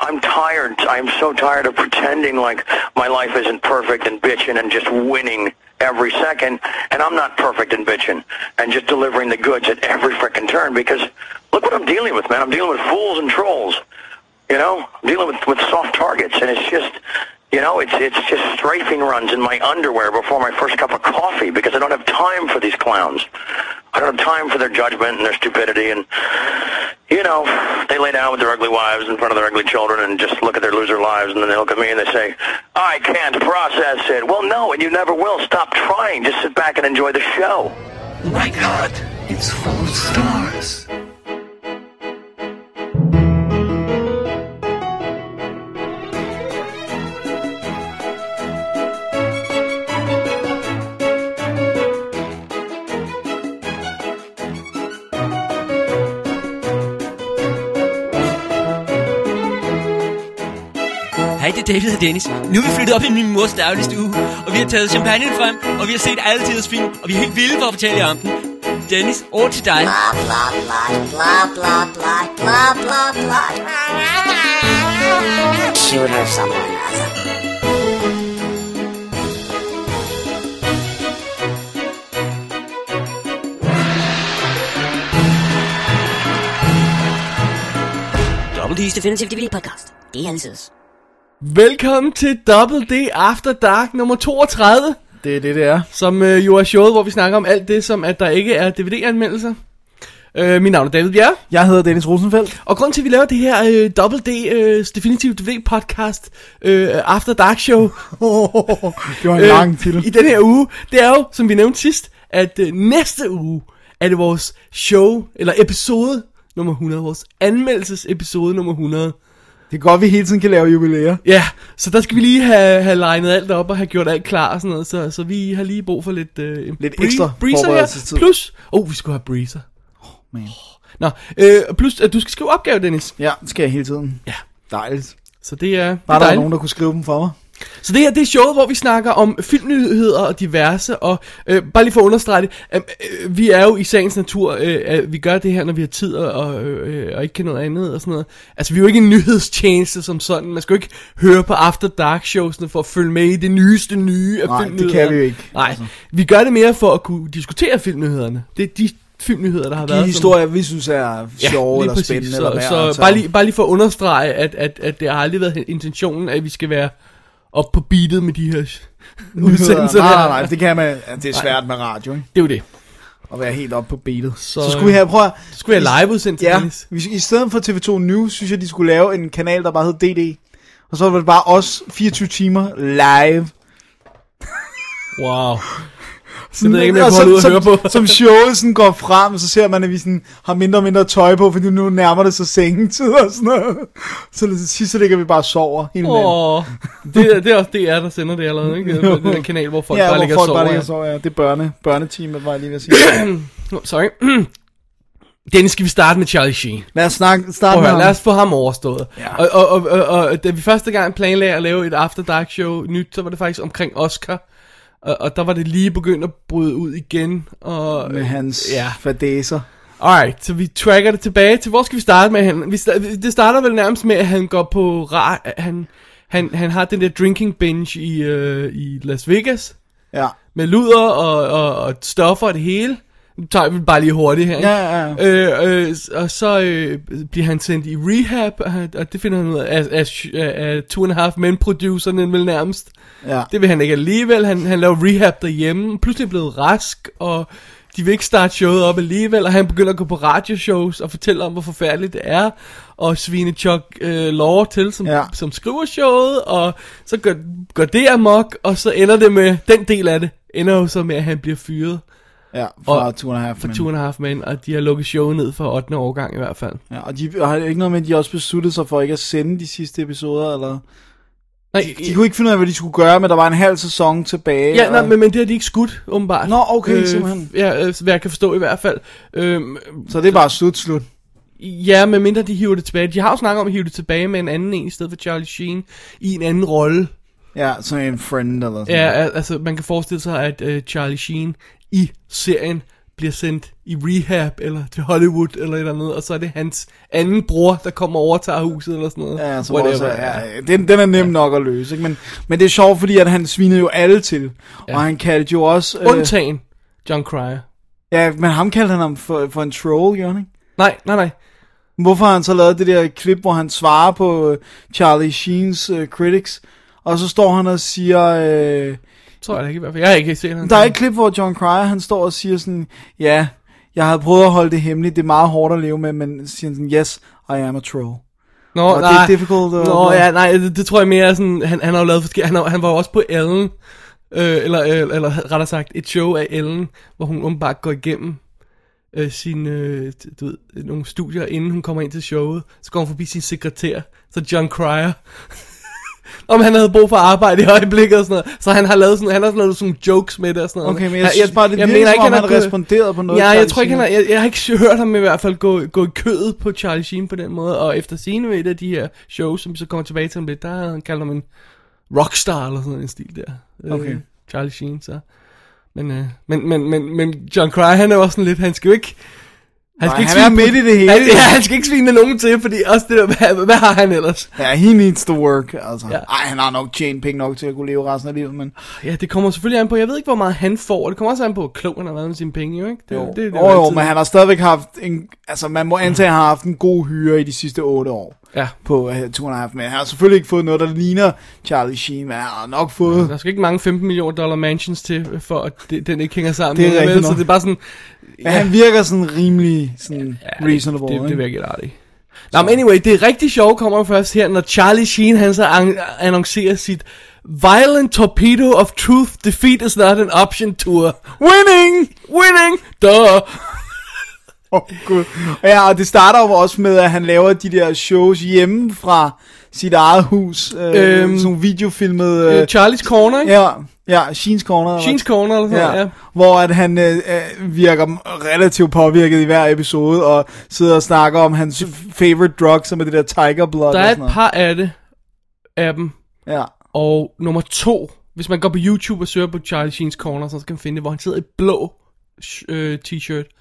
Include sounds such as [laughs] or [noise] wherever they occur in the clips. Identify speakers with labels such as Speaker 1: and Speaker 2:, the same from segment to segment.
Speaker 1: I'm tired. I'm so tired of pretending like my life isn't perfect and bitching and just winning every second. And I'm not perfect and bitching and just delivering the goods at every frickin' turn because look what I'm dealing with, man. I'm dealing with fools and trolls. You know, I'm dealing with, with soft targets, and it's just, you know, it's it's just strafing runs in my underwear before my first cup of coffee because I don't have time for these clowns. I don't have time for their judgment and their stupidity, and you know, they lay down with their ugly wives in front of their ugly children and just look at their loser lives, and then they look at me and they say, "I can't process it." Well, no, and you never will. Stop trying. Just sit back and enjoy the show.
Speaker 2: My God, it's full of stars.
Speaker 3: Hej, det er David og Dennis. Nu er vi flyttet op i min mors dagligstue, og vi har taget champagne frem, og vi har set alle tiders film, og vi er helt vilde for at fortælle jer om den. Dennis, over til dig.
Speaker 4: Blah blah blah blah blah blah blah blah blah. Shoot her someone.
Speaker 3: Dobbelt
Speaker 4: Dyste Film DVD podcast. Det er altid.
Speaker 5: Velkommen til Double D After Dark nummer 32,
Speaker 6: Det er det, det er.
Speaker 5: som øh, jo er showet, hvor vi snakker om alt det, som at der ikke er DVD-anmeldelser. Øh, mit navn er David Bjerre,
Speaker 6: Jeg hedder Dennis Rosenfeldt.
Speaker 5: og grund til, at vi laver det her øh, Double D øh, Definitive DVD-podcast øh, After Dark
Speaker 6: [laughs]
Speaker 5: Show
Speaker 6: det var en
Speaker 5: øh,
Speaker 6: lang titel.
Speaker 5: i den her uge, det er jo, som vi nævnte sidst, at øh, næste uge er det vores show, eller episode nummer 100, vores anmeldelsesepisode nummer 100.
Speaker 6: Det er godt, vi hele tiden kan lave jubilæer.
Speaker 5: Ja, så der skal vi lige have, have legnet alt op og have gjort alt klar og sådan noget, så, så vi har lige brug for lidt, øh, en
Speaker 6: Lidt ekstra
Speaker 5: breezer her,
Speaker 6: forberedelsestid.
Speaker 5: plus, oh, vi skulle have breezer.
Speaker 6: Man.
Speaker 5: Nå, øh, plus at du skal skrive opgave, Dennis.
Speaker 6: Ja, det skal jeg hele tiden.
Speaker 5: Ja.
Speaker 6: Dejligt.
Speaker 5: Så det er, det
Speaker 6: Var
Speaker 5: er
Speaker 6: der
Speaker 5: dejligt.
Speaker 6: nogen, der kunne skrive dem for mig?
Speaker 5: Så det her, det er showet, hvor vi snakker om filmnyheder og diverse, og øh, bare lige for at understrege det, øh, øh, vi er jo i sagens natur, øh, at vi gør det her, når vi har tid og, og, øh, og ikke kan noget andet og sådan noget. Altså, vi er jo ikke en nyhedstjeneste som sådan, man skal jo ikke høre på After Dark showsene for at følge med i det nyeste nye af
Speaker 6: Nej, det
Speaker 5: filmnyhederne.
Speaker 6: kan vi jo ikke. Altså.
Speaker 5: Nej, vi gør det mere for at kunne diskutere filmnyhederne. Det er de filmnyheder, der har været.
Speaker 6: De
Speaker 5: som-
Speaker 6: historier, vi synes er sjove
Speaker 5: lige
Speaker 6: eller
Speaker 5: præcis.
Speaker 6: spændende
Speaker 5: så,
Speaker 6: eller altså. værd.
Speaker 5: så,
Speaker 6: at
Speaker 5: så
Speaker 6: tage
Speaker 5: bare,
Speaker 6: om.
Speaker 5: lige, bare lige for at understrege, at, at, at det har aldrig været intentionen, at vi skal være op på beatet med de her udsendelser.
Speaker 6: Nej, nej,
Speaker 5: her.
Speaker 6: nej, det kan man. ja, Det er svært med radio, ikke?
Speaker 5: Det er jo det.
Speaker 6: At være helt oppe på beatet.
Speaker 5: Så,
Speaker 6: Så, så skulle vi have, prøv at,
Speaker 5: Så skulle vi have live udsendt
Speaker 6: Ja, hvis, i stedet for TV2 News, synes jeg, de skulle lave en kanal, der bare hed DD. Og så var det bare os 24 timer live.
Speaker 5: Wow. Så ved jeg ikke, om jeg
Speaker 6: Og
Speaker 5: kunne holde ud
Speaker 6: som,
Speaker 5: at høre på.
Speaker 6: som, som showet sådan går frem, så ser man, at vi sådan har mindre og mindre tøj på, fordi nu nærmer det sig sengetid og sådan noget. Så til sidst så ligger vi bare og sover hele natten.
Speaker 5: Åh, det, er- det er også DR, der sender det allerede, ikke? Det er Den der kanal, hvor folk
Speaker 6: ja,
Speaker 5: bare
Speaker 6: hvor
Speaker 5: ligger og
Speaker 6: folk bare
Speaker 5: sover.
Speaker 6: ligger
Speaker 5: ja.
Speaker 6: og sover, ja. Det er børne, børneteamet, var jeg lige ved at sige.
Speaker 5: [laughs] Nå, Sorry. [clears throat] Dennis, skal vi starte med Charlie Sheen?
Speaker 6: lad os snakke, starte
Speaker 5: Prøv at
Speaker 6: med
Speaker 5: høre,
Speaker 6: ham.
Speaker 5: lad os få ham overstået.
Speaker 6: Ja.
Speaker 5: Og, og, og, og, og da vi første gang planlagde at lave et After Dark show nyt, så var det faktisk omkring Oscar. Og, og der var det lige begyndt at bryde ud igen. Og,
Speaker 6: Med øh, hans
Speaker 5: Ja.
Speaker 6: ja. fadæser.
Speaker 5: Alright, så vi tracker det tilbage til, hvor skal vi starte med han? Vi sta- det starter vel nærmest med, at han går på... Ra- han, han, han har den der drinking binge i, øh, i Las Vegas.
Speaker 6: Ja.
Speaker 5: Med luder og, og, og stoffer og det hele. Nu tager vi den bare lige hurtigt her. ikke?
Speaker 6: Ja, ja, ja.
Speaker 5: Øh, øh, s- og så øh, bliver han sendt i rehab, og, han- og det finder han ud af, af, af, af Two and a Half Men-producerne vel nærmest.
Speaker 6: ja.
Speaker 5: Det vil han ikke alligevel, han, han laver rehab derhjemme, pludselig er blevet rask, og de vil ikke starte showet op alligevel, og han begynder at gå på radioshows og fortælle om, hvor forfærdeligt det er, og svine Chuck øh, Law til, som, ja.
Speaker 6: Ja.
Speaker 5: som skriver showet, og så går, går det amok, og så ender det med, den del af det, ender jo så med, at han bliver fyret
Speaker 6: ja, fra
Speaker 5: Og-
Speaker 6: og, Two and a Half
Speaker 5: for
Speaker 6: Men.
Speaker 5: Two and a Half Men, og de har lukket showet ned for 8. årgang i hvert fald.
Speaker 6: Ja, og de og har det ikke noget med, at de også besluttede sig for ikke at sende de sidste episoder, eller...
Speaker 5: Nej,
Speaker 6: De kunne ikke finde ud af, hvad de skulle gøre, men der var en halv sæson tilbage.
Speaker 5: Ja, nej,
Speaker 6: og-
Speaker 5: men, men det har de ikke skudt, åbenbart.
Speaker 6: Nå, okay, simpelthen.
Speaker 5: Ja, øh, hvad jeg kan forstå i hvert fald. Øhm,
Speaker 6: Så det er bare slut, slut.
Speaker 5: Ja, men mindre de hiver det tilbage. De har jo snakket om at hive det tilbage med en anden en, i stedet for Charlie Sheen, i en anden rolle.
Speaker 6: Ja, sådan en friend eller sådan
Speaker 5: Ja, al- altså man kan forestille sig, at øh, Charlie Sheen i serien bliver sendt i rehab eller til Hollywood eller et eller andet, og så er det hans anden bror, der kommer og overtager huset eller sådan noget.
Speaker 6: Ja, som
Speaker 5: Whatever.
Speaker 6: også er, ja, den, den er nem ja. nok at løse, ikke? Men, men det er sjovt, fordi at han svinede jo alle til, ja. og han kaldte jo også... Øh,
Speaker 5: Undtagen John Cryer.
Speaker 6: ja, men ham kaldte han ham for, for en troll, gjorde han ikke?
Speaker 5: Nej, nej, nej.
Speaker 6: Hvorfor har han så lavet det der klip, hvor han svarer på øh, Charlie Sheens øh, critics, og så står han og siger... Øh,
Speaker 5: Tror jeg da ikke i hvert fald. Jeg har ikke set ham.
Speaker 6: der er et klip, hvor John Cryer, han står og siger sådan, ja, jeg havde prøvet at holde det hemmeligt, det er meget hårdt at leve med, men siger han sådan, yes, I am a troll.
Speaker 5: Nå,
Speaker 6: Og det er
Speaker 5: nej.
Speaker 6: difficult at-
Speaker 5: Nå, ja, nej, det, det tror jeg mere er sådan, han, han har jo lavet forskellige, han, har- han var jo også på Ellen, øh, eller, øh, eller rettere sagt, et show af Ellen, hvor hun åbenbart går igennem øh, sine, øh, du ved, nogle studier, inden hun kommer ind til showet, så går hun forbi sin sekretær, så John Cryer, [laughs] om han havde brug for arbejde i øjeblikket og sådan noget. Så han har lavet sådan, han har sådan lavet sådan nogle jokes med det og sådan noget.
Speaker 6: Okay, men jeg
Speaker 5: Han-
Speaker 6: synes bare, det virker som om, han
Speaker 5: gået-
Speaker 6: responderede på noget,
Speaker 5: Ja, jeg
Speaker 6: Charlie
Speaker 5: tror ikke, han
Speaker 6: Sheen
Speaker 5: har, jeg, jeg har ikke hørt ham i hvert fald gå, gå i kødet på Charlie Sheen på den måde. Og efter sine ved et af de her shows, som vi så kommer tilbage til om lidt, der havde han kaldt ham en rockstar eller sådan en stil der. Øh,
Speaker 6: Okay.
Speaker 5: Charlie Sheen, så. Men, øh, men, men, men, men John Cryer, han er jo også sådan lidt, han skal jo ikke... Han,
Speaker 6: Nej, han er
Speaker 5: svine-
Speaker 6: midt i det hele.
Speaker 5: Han, ja, han skal ikke svine nogen til, fordi også det der, hvad, hvad har han ellers?
Speaker 6: Ja, he needs to work, altså. Ja.
Speaker 5: Ja.
Speaker 6: Ej, han har nok tjent penge nok til at kunne leve resten af livet, men...
Speaker 5: Ja, det kommer selvfølgelig an på, jeg ved ikke, hvor meget han får, og det kommer også an på, hvor klog han har været med sine penge, jo ikke? Det,
Speaker 6: Jo,
Speaker 5: det, det, er
Speaker 6: jo, jo
Speaker 5: altid-
Speaker 6: men han har stadigvæk haft en... Altså, man må antage, at han har haft en god hyre i de sidste otte år
Speaker 5: Ja,
Speaker 6: på uh, Two and a Half Men han har selvfølgelig ikke fået noget, der ligner Charlie Sheen, men han har nok fået...
Speaker 5: der skal ikke mange 15 millioner dollar mansions til, for at det, den ikke hænger sammen.
Speaker 6: Det er rigtigt
Speaker 5: vel?
Speaker 6: nok.
Speaker 5: Så det er bare sådan,
Speaker 6: Men han virker sådan rimelig sådan ja, reasonable,
Speaker 5: det, det
Speaker 6: ikke?
Speaker 5: virker lidt artigt. Nå, men anyway, det rigtig sjove kommer jo først her, når Charlie Sheen, han så an- annoncerer sit Violent Torpedo of Truth, Defeat is not an option tour.
Speaker 6: Winning!
Speaker 5: Winning! Duh!
Speaker 6: Åh, oh, gud. Ja, og det starter jo også med, at han laver de der shows hjemme fra sit eget hus. Øh, øhm,
Speaker 5: Øhm,
Speaker 6: sådan videofilmet...
Speaker 5: Øh, Charlie's Corner, ikke?
Speaker 6: ja, ja, Sheen's Corner.
Speaker 5: Sheen's Corner, eller sådan
Speaker 6: Ja,
Speaker 5: noget,
Speaker 6: ja.
Speaker 5: ja.
Speaker 6: Hvor at han øh, øh, virker relativt påvirket i hver episode, og sidder og snakker om hans f- favorite drug, som er det der tiger blood.
Speaker 5: Der
Speaker 6: og
Speaker 5: er
Speaker 6: sådan
Speaker 5: et par af det, af dem,
Speaker 6: noget. Ja.
Speaker 5: Og nummer to, hvis man går på YouTube og søger på Charlie Sheen's Corner, så skal man finde det, hvor han sidder i blå sh- øh, t-shirt.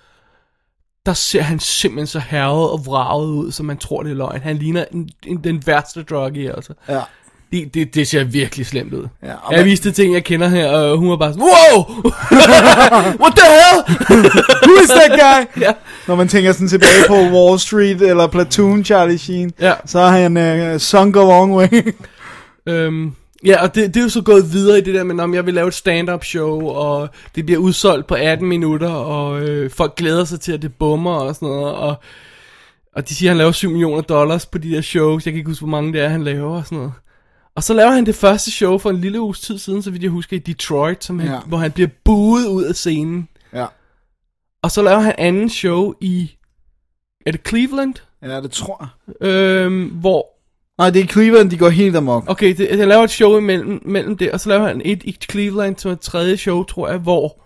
Speaker 5: Der ser han simpelthen så herret og vraget ud, som man tror, det er løgn. Han ligner en, en, den værste drug i, altså.
Speaker 6: Ja.
Speaker 5: Det, det, det ser virkelig slemt ud.
Speaker 6: Ja, og
Speaker 5: jeg
Speaker 6: man-
Speaker 5: viste ting, jeg kender her, og hun var bare sådan, Wow! [laughs] What the hell?
Speaker 6: [laughs] Who is that guy?
Speaker 5: ja.
Speaker 6: Når man tænker sådan tilbage på Wall Street eller Platoon Charlie Sheen,
Speaker 5: Ja.
Speaker 6: så er han øh, sunk a long way.
Speaker 5: Øhm, ja, og det, det er jo så gået videre i det der med, om jeg vil lave et stand-up show, og det bliver udsolgt på 18 minutter, og øh, folk glæder sig til, at det bummer og sådan noget, og, og de siger, at han laver 7 millioner dollars på de der shows, jeg kan ikke huske, hvor mange det er, han laver og sådan noget. Og så laver han det første show for en lille uges tid siden, så vidt jeg husker, i Detroit, som han,
Speaker 6: Ja.
Speaker 5: ja. hvor han bliver buet ud af scenen.
Speaker 6: [laughs] ja.
Speaker 5: Og så laver han anden show i, er det Cleveland?
Speaker 6: ja, det tror jeg.
Speaker 5: Øhm, hvor
Speaker 6: Nej, det er Cleveland, de går helt amok.
Speaker 5: Okay, det, han laver et show imellem mellem det, og så laver han et i Cleveland, som er et tredje show, tror jeg, hvor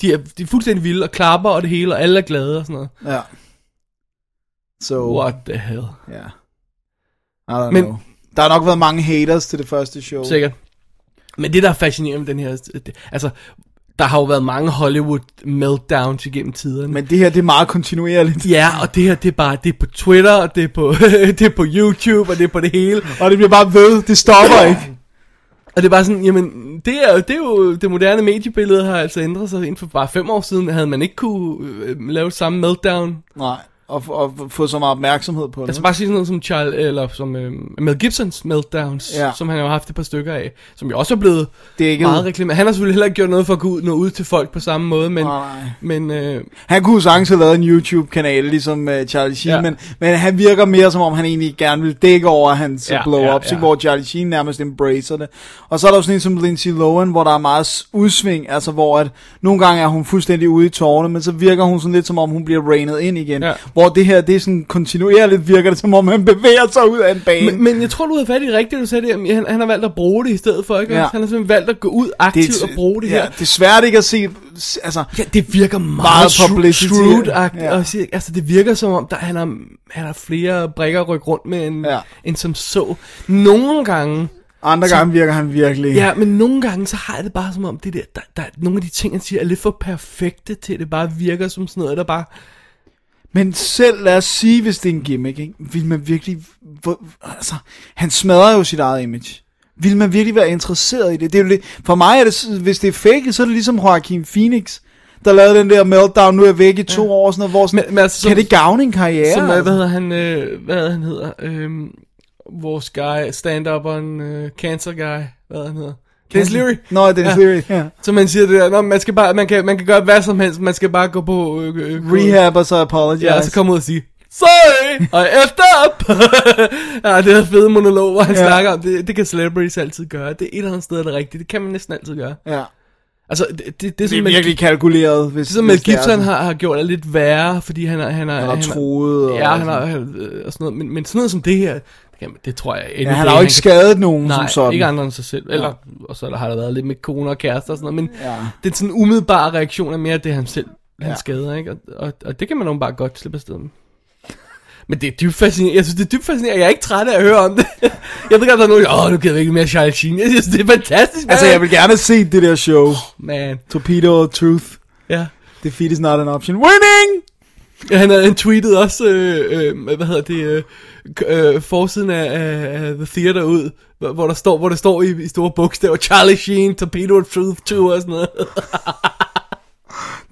Speaker 5: de er, de er fuldstændig vilde og klapper og det hele, og alle er glade og sådan noget.
Speaker 6: Ja. So,
Speaker 5: What the hell?
Speaker 6: Ja. I don't Men,
Speaker 5: Men-
Speaker 6: know. Der har nok været mange haters til det første show.
Speaker 5: Sikkert. Men det, der er fascinerende med den her... Det, altså, der har jo været mange Hollywood meltdowns igennem tiderne.
Speaker 6: Men det her, det er meget kontinuerligt.
Speaker 5: Ja, og det her, det er bare, det er på Twitter, og det er på, [laughs] det er på YouTube, og det er på det hele.
Speaker 6: Og det bliver bare ved. Det stopper ikke.
Speaker 5: Og det er bare sådan, jamen, det er, jo, det er jo, det moderne mediebillede har altså ændret sig. Inden for bare fem år siden havde man ikke kunne øh, lave samme meltdown.
Speaker 6: Nej, og, f- og f- få så meget opmærksomhed på det.
Speaker 5: Altså bare sige sådan noget som, Charles, eller som øh, Mel Gibsons meltdowns,
Speaker 6: Ja.
Speaker 5: ja. som han jo har haft et par stykker af, som jo også er blevet
Speaker 6: Dækket.
Speaker 5: meget reklameret. Han har selvfølgelig heller ikke gjort noget for at gå ud, nå ud til folk på samme måde, men,
Speaker 6: Nej, nej.
Speaker 5: men øh,
Speaker 6: Han kunne jo sagtens have lavet en YouTube-kanal, ligesom uh, Charlie Sheen, ja.
Speaker 5: Ja.
Speaker 6: men, men han virker mere som om, han egentlig gerne vil dække over hans ja,
Speaker 5: Ja,
Speaker 6: blow-ups,
Speaker 5: ja,
Speaker 6: ja, ja.
Speaker 5: ja.
Speaker 6: hvor Charlie Sheen nærmest embracer det. Og så er der jo sådan en som Lindsay Lohan, hvor der er meget s- udsving, altså hvor at nogle gange er hun fuldstændig ude i tårne, men så virker hun sådan lidt som om, hun bliver rainet ind igen. Ja.
Speaker 5: Ja.
Speaker 6: Hvor det her, det er sådan kontinuerligt virker det, som om han [laughs] bevæger sig ud af en bane.
Speaker 5: men, men jeg tror, du havde fat i det rigtigt, du sagde det, jamen, han, han har valgt at bruge det i stedet for, ikke?
Speaker 6: Ja.
Speaker 5: Ja. Han har simpelthen valgt at gå ud aktivt
Speaker 6: et-
Speaker 5: og bruge det
Speaker 6: ja,
Speaker 5: her.
Speaker 6: Det er svært ikke at se, s- altså,
Speaker 5: Ja, det virker meget,
Speaker 6: Meget
Speaker 5: meget
Speaker 6: publicity.
Speaker 5: shrewd-agtigt.
Speaker 6: Ja.
Speaker 5: Ja. Altså, det virker som om, der, han, har, han har flere brækker at rykke rundt med, end,
Speaker 6: Ja.
Speaker 5: ja. end som så. Nogle gange,
Speaker 6: Andre gange virker han virkelig.
Speaker 5: Ja, men nogle gange, så har jeg det bare som om, det der, der, der er nogle af de ting, han siger, er lidt for perfekte til, det bare virker som sådan noget, der bare...
Speaker 6: Men selv lad os sige, hvis det er en gimmick, ikke? vil man virkelig... Hvor, altså, han smadrer jo sit eget image. Vil man virkelig være interesseret i det? det, er jo det for mig er det, hvis det er fake, så er det ligesom Joaquin Phoenix, der lavede den der meltdown, nu er jeg væk i to ja. år, og sådan noget, hvor sådan,
Speaker 5: Men- men altså,
Speaker 6: kan
Speaker 5: som-
Speaker 6: det gavne en karriere?
Speaker 5: Som, øh,
Speaker 6: altså?
Speaker 5: hvad hedder han, øh, hvad er det, han hedder, øh, vores guy, stand-upperen, øh, cancer guy, hvad er det, han hedder, Dennis Leary.
Speaker 6: Nå, Dennis ja. Leary, ja.
Speaker 5: Så man siger det der, Nå, man, skal bare, man, kan, man kan gøre hvad som helst, man skal bare gå på øh, øh,
Speaker 6: Rehab og så apologize.
Speaker 5: Ja, og så kommer ud og sige, sorry, og efter op. [laughs] ja, det er fede monolog, hvor han
Speaker 6: Ja.
Speaker 5: ja. snakker om det. Det kan celebrities altid gøre. Det er et eller andet sted, der er rigtigt. Det kan man næsten altid gøre.
Speaker 6: Ja.
Speaker 5: Altså, det, det, det,
Speaker 6: Det
Speaker 5: som
Speaker 6: er
Speaker 5: Mel-
Speaker 6: virkelig kalkuleret, hvis
Speaker 5: det, som
Speaker 6: hvis
Speaker 5: Ligesom Mel
Speaker 6: det er
Speaker 5: Gibson
Speaker 6: sådan.
Speaker 5: har, har gjort er lidt værre, fordi han har... Han har,
Speaker 6: Han har troet.
Speaker 5: Ja, han har, han, øh, og sådan noget. Men, men sådan noget som det her, det, kan, det tror jeg...
Speaker 6: Ja, han har jo ikke skadet nogen
Speaker 5: Nej,
Speaker 6: som sådan.
Speaker 5: ikke andre end sig selv. Eller, og så har der været lidt med koner og kærester og sådan noget, men ja. den sådan umiddelbare reaktion er mere det, han selv han
Speaker 6: Ja.
Speaker 5: ja. skader, ikke? Og, og, og, det kan man jo bare godt slippe afsted med. Men det er dybt fascinerende. Jeg synes, det er dybt fascinerende. Jeg er ikke træt af at høre om det. [laughs] jeg ved godt, der er nogen, der siger, åh, nu gider vi ikke mere Charlie Sheen. Jeg synes, det er fantastisk, man.
Speaker 6: Altså, jeg vil gerne se det der show.
Speaker 5: Man,
Speaker 6: Torpedo Truth.
Speaker 5: ja.
Speaker 6: Defeat is not an option. Winning!
Speaker 5: Ja, han, havde- han tweetede også, øh, øh, hvad hedder det, øh, k- øh, forsiden af, af, af The Theater ud, hvor- hvor der står, hvor der står i, i store bogstaver, Charlie Sheen, Torpedo Truth Tour og sådan noget.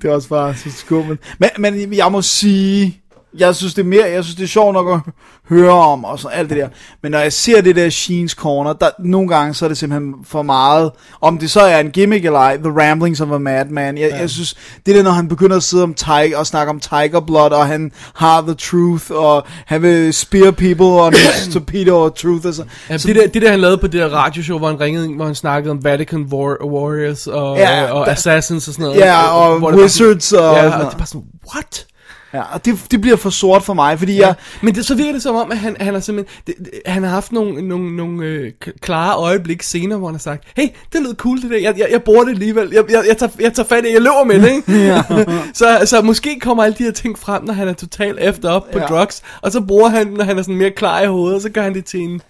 Speaker 6: Det er også bare så skummelt. Men, men jeg må sige, jeg synes det er mere, jeg synes det er sjovt nok at høre om, og så alt det der. Men når jeg ser det der Sheens Corner, der, nogle gange så er det simpelthen for meget. Om det så er en gimmick eller ej, The Ramblings of a Madman. Jeg, ja. jeg synes, det der, når han begynder at sidde om tiger, og snakke om Tiger Blood, og han har The Truth, og han vil spear people, og torpedo og Truth. Og så.
Speaker 5: [laughs] Ja,
Speaker 6: så
Speaker 5: det, der, det der, han lavede på det der radioshow, hvor han ringede ind, hvor han snakkede om Vatican War- Warriors og,
Speaker 6: Ja,
Speaker 5: ja, og
Speaker 6: der-
Speaker 5: Assassins og sådan noget.
Speaker 6: Ja, og
Speaker 5: Hvor det bare
Speaker 6: Wizards og-
Speaker 5: sådan, Ja,
Speaker 6: og
Speaker 5: og
Speaker 6: sådan
Speaker 5: det er bare sådan, what?
Speaker 6: ja, og det, det bliver for sort for mig, fordi ja.
Speaker 5: Ja.
Speaker 6: jeg,
Speaker 5: Men det, så virker det som om, at han, han, er simpelthen, det, det- han har haft nogle, nogle, nogle øh, k- klare øjeblik senere, hvor han har sagt, hey, det lød cool det der, jeg, jeg, jeg bruger det alligevel, jeg, jeg, jeg, tager, jeg tager fat i, jeg løber med det, ikke? [laughs] så, så måske kommer alle de her ting frem, når han er totalt efter op på
Speaker 6: Ja.
Speaker 5: ja. drugs, og så bruger han, den, når han er sådan mere klar i hovedet, og så gør han det til en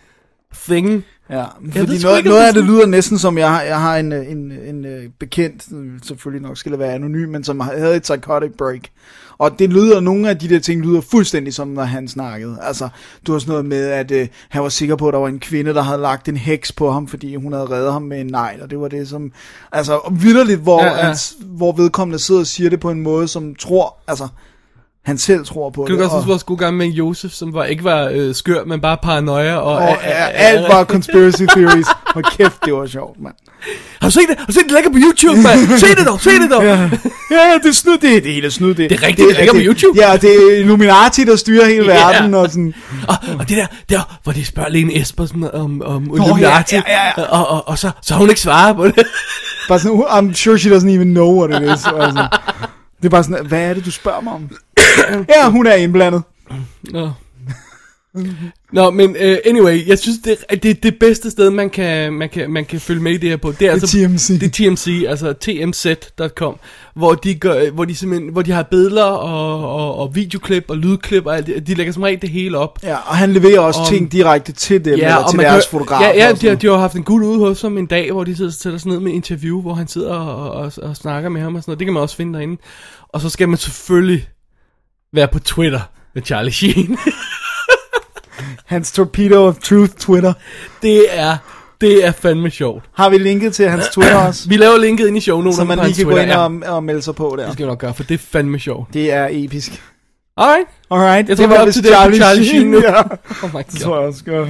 Speaker 5: thing.
Speaker 6: Ja,
Speaker 5: ved
Speaker 6: fordi
Speaker 5: sgu
Speaker 6: noget,
Speaker 5: ikke, om
Speaker 6: noget
Speaker 5: det
Speaker 6: af det
Speaker 5: sådan-
Speaker 6: lyder næsten som, jeg har, jeg har en, øh, en, en øh, bekendt, øh, selvfølgelig nok skal det være anonym, men som havde et psychotic break. Og det lyder, nogle af de der ting lyder fuldstændig som, når han snakkede. Altså, du har sådan noget med, at øh, han var sikker på, at der var en kvinde, der havde lagt en heks på ham, fordi hun havde reddet ham med en negl, og det var det som... Altså, vidderligt, hvor, ja,
Speaker 5: Ja,
Speaker 6: ja.
Speaker 5: ja.
Speaker 6: Hans, hvor vedkommende sidder og siger det på en måde, som tror, altså, han selv tror på
Speaker 5: Kan du
Speaker 6: det.
Speaker 5: godt huske vores gode gang med Josef, som var, ikke var øh, skør, men bare paranoia? Og,
Speaker 6: og, og, alt var conspiracy theories. Hvor kæft, det var sjovt, mand.
Speaker 5: Har du set det? Har du set det ligger på YouTube, mand? Se det dog, se det dog!
Speaker 6: Ja, ja, det er snyd, det, det hele er snyd, det.
Speaker 5: Det er rigtigt, det ligger på YouTube.
Speaker 6: Ja, det er Illuminati, der styrer hele
Speaker 5: Ja.
Speaker 6: verden, og sådan,
Speaker 5: Og, og det der, der, hvor de spørger Lene Espersen om, om
Speaker 6: ja,
Speaker 5: Illuminati,
Speaker 6: ja, ja, ja.
Speaker 5: og, og, og så, så har hun ikke svaret på det.
Speaker 6: bare sådan, "Uh, I'm sure she doesn't even know what it is, og sådan. Det er bare sådan, hvad er det, du spørger
Speaker 5: [coughs]
Speaker 6: mig om? ja, hun er indblandet.
Speaker 5: Nå. [laughs] Nå, men uh, anyway, jeg synes, det, er- det er det bedste sted, man kan, man kan, man kan følge med i det her på. Det er,
Speaker 6: Det er
Speaker 5: altså,
Speaker 6: TMZ.
Speaker 5: Det er TMZ, altså tmz.com, hvor de, gør, hvor de, simpelthen, hvor de har billeder og, og, og videoklip og lydklip og alt det. De lægger som regel det hele op.
Speaker 6: Ja, og han leverer også
Speaker 5: Om-
Speaker 6: ting direkte til dem, ja, eller til
Speaker 5: man
Speaker 6: deres
Speaker 5: kan-
Speaker 6: fotografer.
Speaker 5: Ja, ja
Speaker 6: og
Speaker 5: de,
Speaker 6: sådan
Speaker 5: har- de har jo haft en gut ude hos ham en dag, hvor de sidder og sætter sig ned med et interview, hvor han sidder og, og, og snakker med ham og sådan noget. Det kan man også finde derinde. Og så skal man selvfølgelig være på Twitter med Charlie Sheen. [laughs]
Speaker 6: noget. Hans Torpedo of Truth Twitter.
Speaker 5: det er det er fandme sjovt.
Speaker 6: Har vi linket til hans Twitter også?
Speaker 5: Vi laver linket ind i shownoterne
Speaker 6: så man lige
Speaker 5: på hans
Speaker 6: kan gå
Speaker 5: Twitter,
Speaker 6: ind
Speaker 5: ja.
Speaker 6: og, og melde sig på der.
Speaker 5: Det skal vi nok gøre, for det er fandme sjovt.
Speaker 6: Det er episk.
Speaker 5: Alright.
Speaker 6: Alright,
Speaker 5: Jeg tror, vi er up
Speaker 6: vist
Speaker 5: to date på Charlie Sheen nu.
Speaker 6: [laughs] ja.
Speaker 5: Oh my
Speaker 6: Det
Speaker 5: god.
Speaker 6: tror jeg også godt.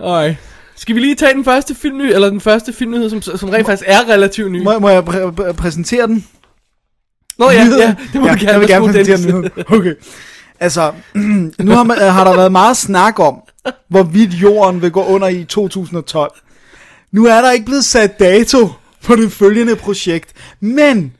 Speaker 6: Oh.
Speaker 5: Alright. Skal vi lige tage den første filmny, eller den første filmnyhed, som, som rent faktisk er relativt ny?
Speaker 6: Må, må jeg præ- præ- præsentere den?
Speaker 5: Nå ja, ja, det må
Speaker 6: ja,
Speaker 5: du gerne.
Speaker 6: Jeg vil gerne
Speaker 5: Værsgo,
Speaker 6: præsentere
Speaker 5: Dennis.
Speaker 6: den. nu. Okay. Altså, [clears throat] nu har, man, har der været meget snak om, hvorvidt jorden vil gå under i 2012. Nu er der ikke blevet sat dato på det følgende projekt, men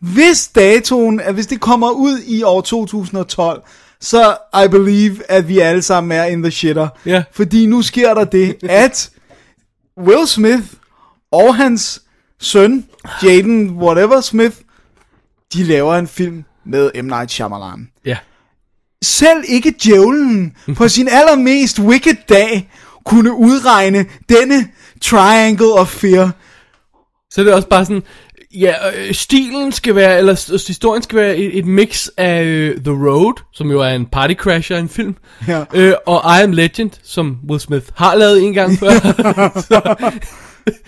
Speaker 6: hvis datoen, at hvis det kommer ud i år 2012, så I believe, at vi alle sammen er in the shitter.
Speaker 5: Ja.
Speaker 6: Fordi nu sker der det, at Will Smith og hans søn, Jaden whatever Smith, de laver en film med M. Night Shyamalan.
Speaker 5: Ja. [laughs]
Speaker 6: Selv ikke djævlen på sin allermest wicked dag kunne udregne denne triangle of fear.
Speaker 5: Så er det også bare sådan, ja, øh, stilen skal være, eller s- historien skal være et, et mix af øh, The Road, som jo er en party crasher af en film,
Speaker 6: Ja.
Speaker 5: øh, og I Am Legend, som Will Smith har lavet en gang
Speaker 6: [laughs]
Speaker 5: før. så,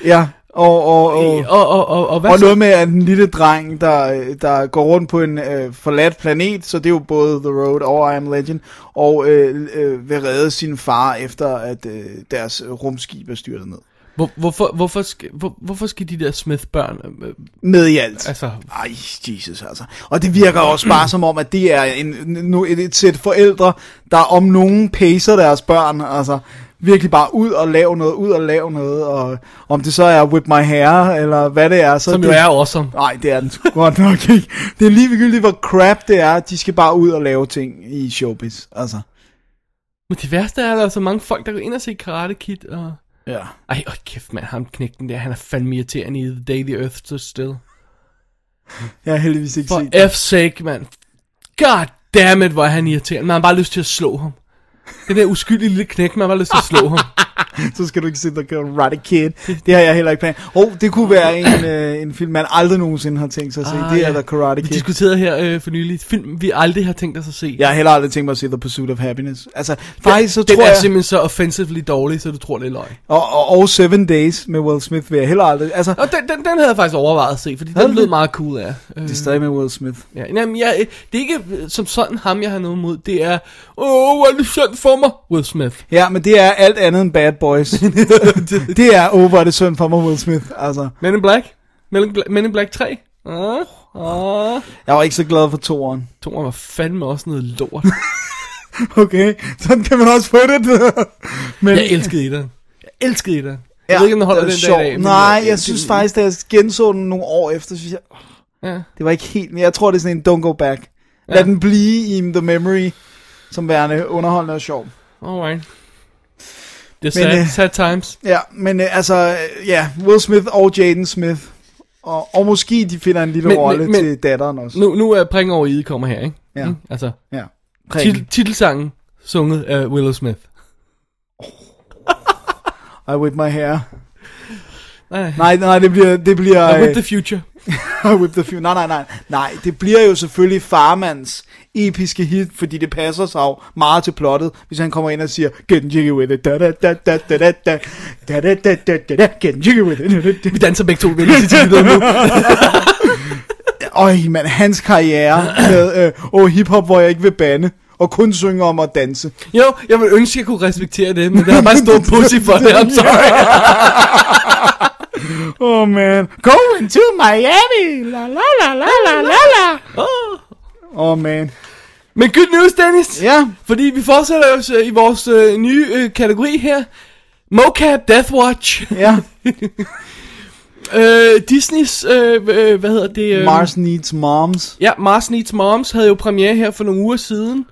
Speaker 6: Ja, og, og, og,
Speaker 5: og, og, og, og, hvad
Speaker 6: og
Speaker 5: så?
Speaker 6: noget med, at en lille dreng, der, øh, der går rundt på en øh, forladt planet, så det er jo både The Road og I Am Legend, og øh, øh, vil redde sin far, efter at øh, deres rumskib er styrtet ned.
Speaker 5: Hvor, hvorfor, hvorfor, skal, hvor, hvorfor skal de der Smith-børn, øh,
Speaker 6: Med i alt.
Speaker 5: altså,
Speaker 6: Ej, Jesus altså. Og det virker også bare som om, at det er en, nu et, et sæt forældre, der om nogen pacer deres børn, altså virkelig bare ud og lave noget, ud og lave noget, og om det så er Whip My Hair, eller hvad det er. Så
Speaker 5: som
Speaker 6: det,
Speaker 5: jo er awesome.
Speaker 6: Nej, det er den sgu godt nok ikke. Det er ligegyldigt, hvor crap det er. De skal bare ud og lave ting i showbiz, altså.
Speaker 5: Men det værste er, at der er så mange folk, der går ind og ser Karate Kid, og...
Speaker 6: Ja.
Speaker 5: Ej, åh, kæft mand, ham knægten der, han er fandme irriterende i The Day the Earth Stood Still.
Speaker 6: Jeg har heldigvis ikke set
Speaker 5: For F sake, mand. God damn it, hvor er han irriterende. Man har bare lyst til at slå ham. Den der uskyldige lille knæk, man har bare lyst til at slå ham.
Speaker 6: så skal du ikke sidde og gøre Karate Kid. Det har jeg heller ikke plan. Oh, det kunne være en, øh, en film, man aldrig nogensinde har tænkt sig at se. Ah, det er
Speaker 5: ja.
Speaker 6: da Karate [laughs]
Speaker 5: Vi
Speaker 6: Kid.
Speaker 5: diskuterede her øh, for nylig et film, vi aldrig har tænkt os at se.
Speaker 6: Jeg har heller aldrig tænkt mig at se The Pursuit of Happiness. Altså, faktisk så
Speaker 5: Den
Speaker 6: tror
Speaker 5: er
Speaker 6: jeg...
Speaker 5: simpelthen så offensively dårlig, så du tror, det er løgn.
Speaker 6: Og, og, og Seven Days med Will Smith vil jeg heller aldrig... Altså,
Speaker 5: Og den, den, den havde jeg faktisk overvejet at se, fordi
Speaker 6: Havde
Speaker 5: den
Speaker 6: du
Speaker 5: lød
Speaker 6: det?
Speaker 5: meget cool af. Øh,
Speaker 6: det er stadig med Will Smith.
Speaker 5: ja. Jamen, jeg, øh, det er ikke øh, som sådan ham, jeg har noget imod. Det er, åh, hvor er det synd for mig, Will Smith.
Speaker 6: Ja, men det er alt andet end Bad Boys. [laughs] det er, åh, oh, hvor er det synd for mig, Will Smith. Altså,
Speaker 5: Men in Black? Men in Black, Men in Black 3? Ah, ah.
Speaker 6: jeg var ikke så glad for toeren.
Speaker 5: Toren var fandme også noget lort.
Speaker 6: [laughs] Okay, sådan kan man også få det. [laughs] men,
Speaker 5: Jeg elskede etteren. Jeg elskede etteren. Jeg
Speaker 6: Ja,
Speaker 5: ved ikke, om den holder
Speaker 6: det
Speaker 5: den
Speaker 6: var
Speaker 5: dag i dag. men,
Speaker 6: Nej,
Speaker 5: øh,
Speaker 6: jeg
Speaker 5: det-
Speaker 6: synes faktisk, da jeg genså den nogle år efter, synes jeg,
Speaker 5: Ja.
Speaker 6: det var ikke helt... Jeg tror, det er sådan en don't go back. Lad
Speaker 5: Ja.
Speaker 6: den blive i The Memory, som værende underholdende og sjov.
Speaker 5: Alright. Det er
Speaker 6: Men,
Speaker 5: sad,
Speaker 6: øh,
Speaker 5: sad times.
Speaker 6: Ja, men øh, altså, øh, ja, Will Smith og Jaden Smith. Og, og måske de finder en lille
Speaker 5: Men-
Speaker 6: rolle
Speaker 5: men- men-
Speaker 6: til datteren også.
Speaker 5: Nu, nu er Pring over i kommer her, ikke?
Speaker 6: Ja.
Speaker 5: Mm, Altså,
Speaker 6: ja.
Speaker 5: tit,
Speaker 6: Prikken.
Speaker 5: titelsangen sunget af Willow Smith.
Speaker 6: I whip my hair.
Speaker 5: Nej,
Speaker 6: Nej, nej, det bliver... Det bliver
Speaker 5: nej. With
Speaker 6: øh,
Speaker 5: the future.
Speaker 6: [laughs] I whip the few. Nej, nej, nej. Nej, det bliver jo selvfølgelig farmands episke hit, fordi det passer sig jo meget til plottet, hvis han kommer ind og siger, get jiggy with it, da da da da da da da da da da da da da get jiggy with it. [laughs] da, da, da."
Speaker 5: Vi danser begge to venner til
Speaker 6: [laughs]
Speaker 5: titlet nu.
Speaker 6: Øj, mand, hans
Speaker 5: [clears throat]
Speaker 6: karriere med øh, oh, hiphop, hvor jeg ikke vil bande, og kun synge om at danse.
Speaker 5: Jo, jeg vil ønske, at jeg kunne respektere det, men der er bare stor pussy for det. I'm sorry.
Speaker 6: Oh man, going to Miami, la la la la la la la. Oh man.
Speaker 5: Men good news, Dennis.
Speaker 6: Ja,
Speaker 5: Fordi vi fortsætter jo øh, i vores øh, nye øh, kategori her. Mocap Death Watch.
Speaker 6: ja.
Speaker 5: Øh, Disneys, øh, øh, hvad hedder det? Øh,
Speaker 6: Mars needs moms.
Speaker 5: Ja, Mars Needs Moms havde jo premiere her for nogle uger siden.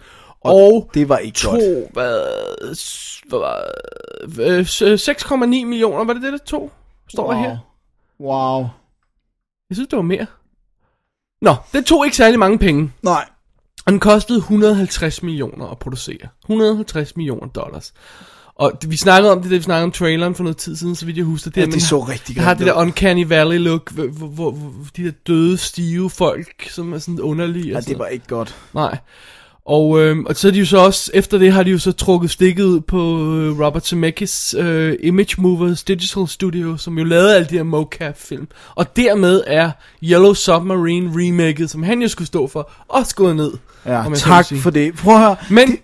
Speaker 5: Og
Speaker 6: Det var ikke
Speaker 5: to,
Speaker 6: godt.
Speaker 5: hvad, s- hvad var- øh, s- øh, 6,9 millioner, var det det der to? Står wow. der her?
Speaker 6: Wow.
Speaker 5: Jeg synes, det var mere. Nå, det tog ikke særlig mange penge.
Speaker 6: Nej.
Speaker 5: Og den kostede 150 millioner at producere. 150 millioner dollars. Og det- vi snakkede om det, da vi snakkede om traileren for noget tid siden, så vidt jeg husker.
Speaker 6: Ja,
Speaker 5: at
Speaker 6: det
Speaker 5: man
Speaker 6: så
Speaker 5: har-
Speaker 6: rigtig
Speaker 5: Der har det
Speaker 6: grimt
Speaker 5: der
Speaker 6: ud.
Speaker 5: uncanny valley look, hvor, hvor, hvor, hvor de der døde, stive folk, som er sådan underlige. og
Speaker 6: Ja,
Speaker 5: sådan
Speaker 6: det
Speaker 5: noget.
Speaker 6: var ikke godt.
Speaker 5: Nej. Og, øh, og så er de jo så også, efter det har de jo så trukket stikket ud på øh, Robert Zemeckis øh, Image Movers Digital Studio, som jo lavede alle de her mocap-film. Og dermed er Yellow Submarine remaket, som han jo skulle stå for, også gået ned.
Speaker 6: Ja,
Speaker 5: om jeg så må
Speaker 6: tak
Speaker 5: sige.
Speaker 6: for det. Prøv at høre.
Speaker 5: Men det...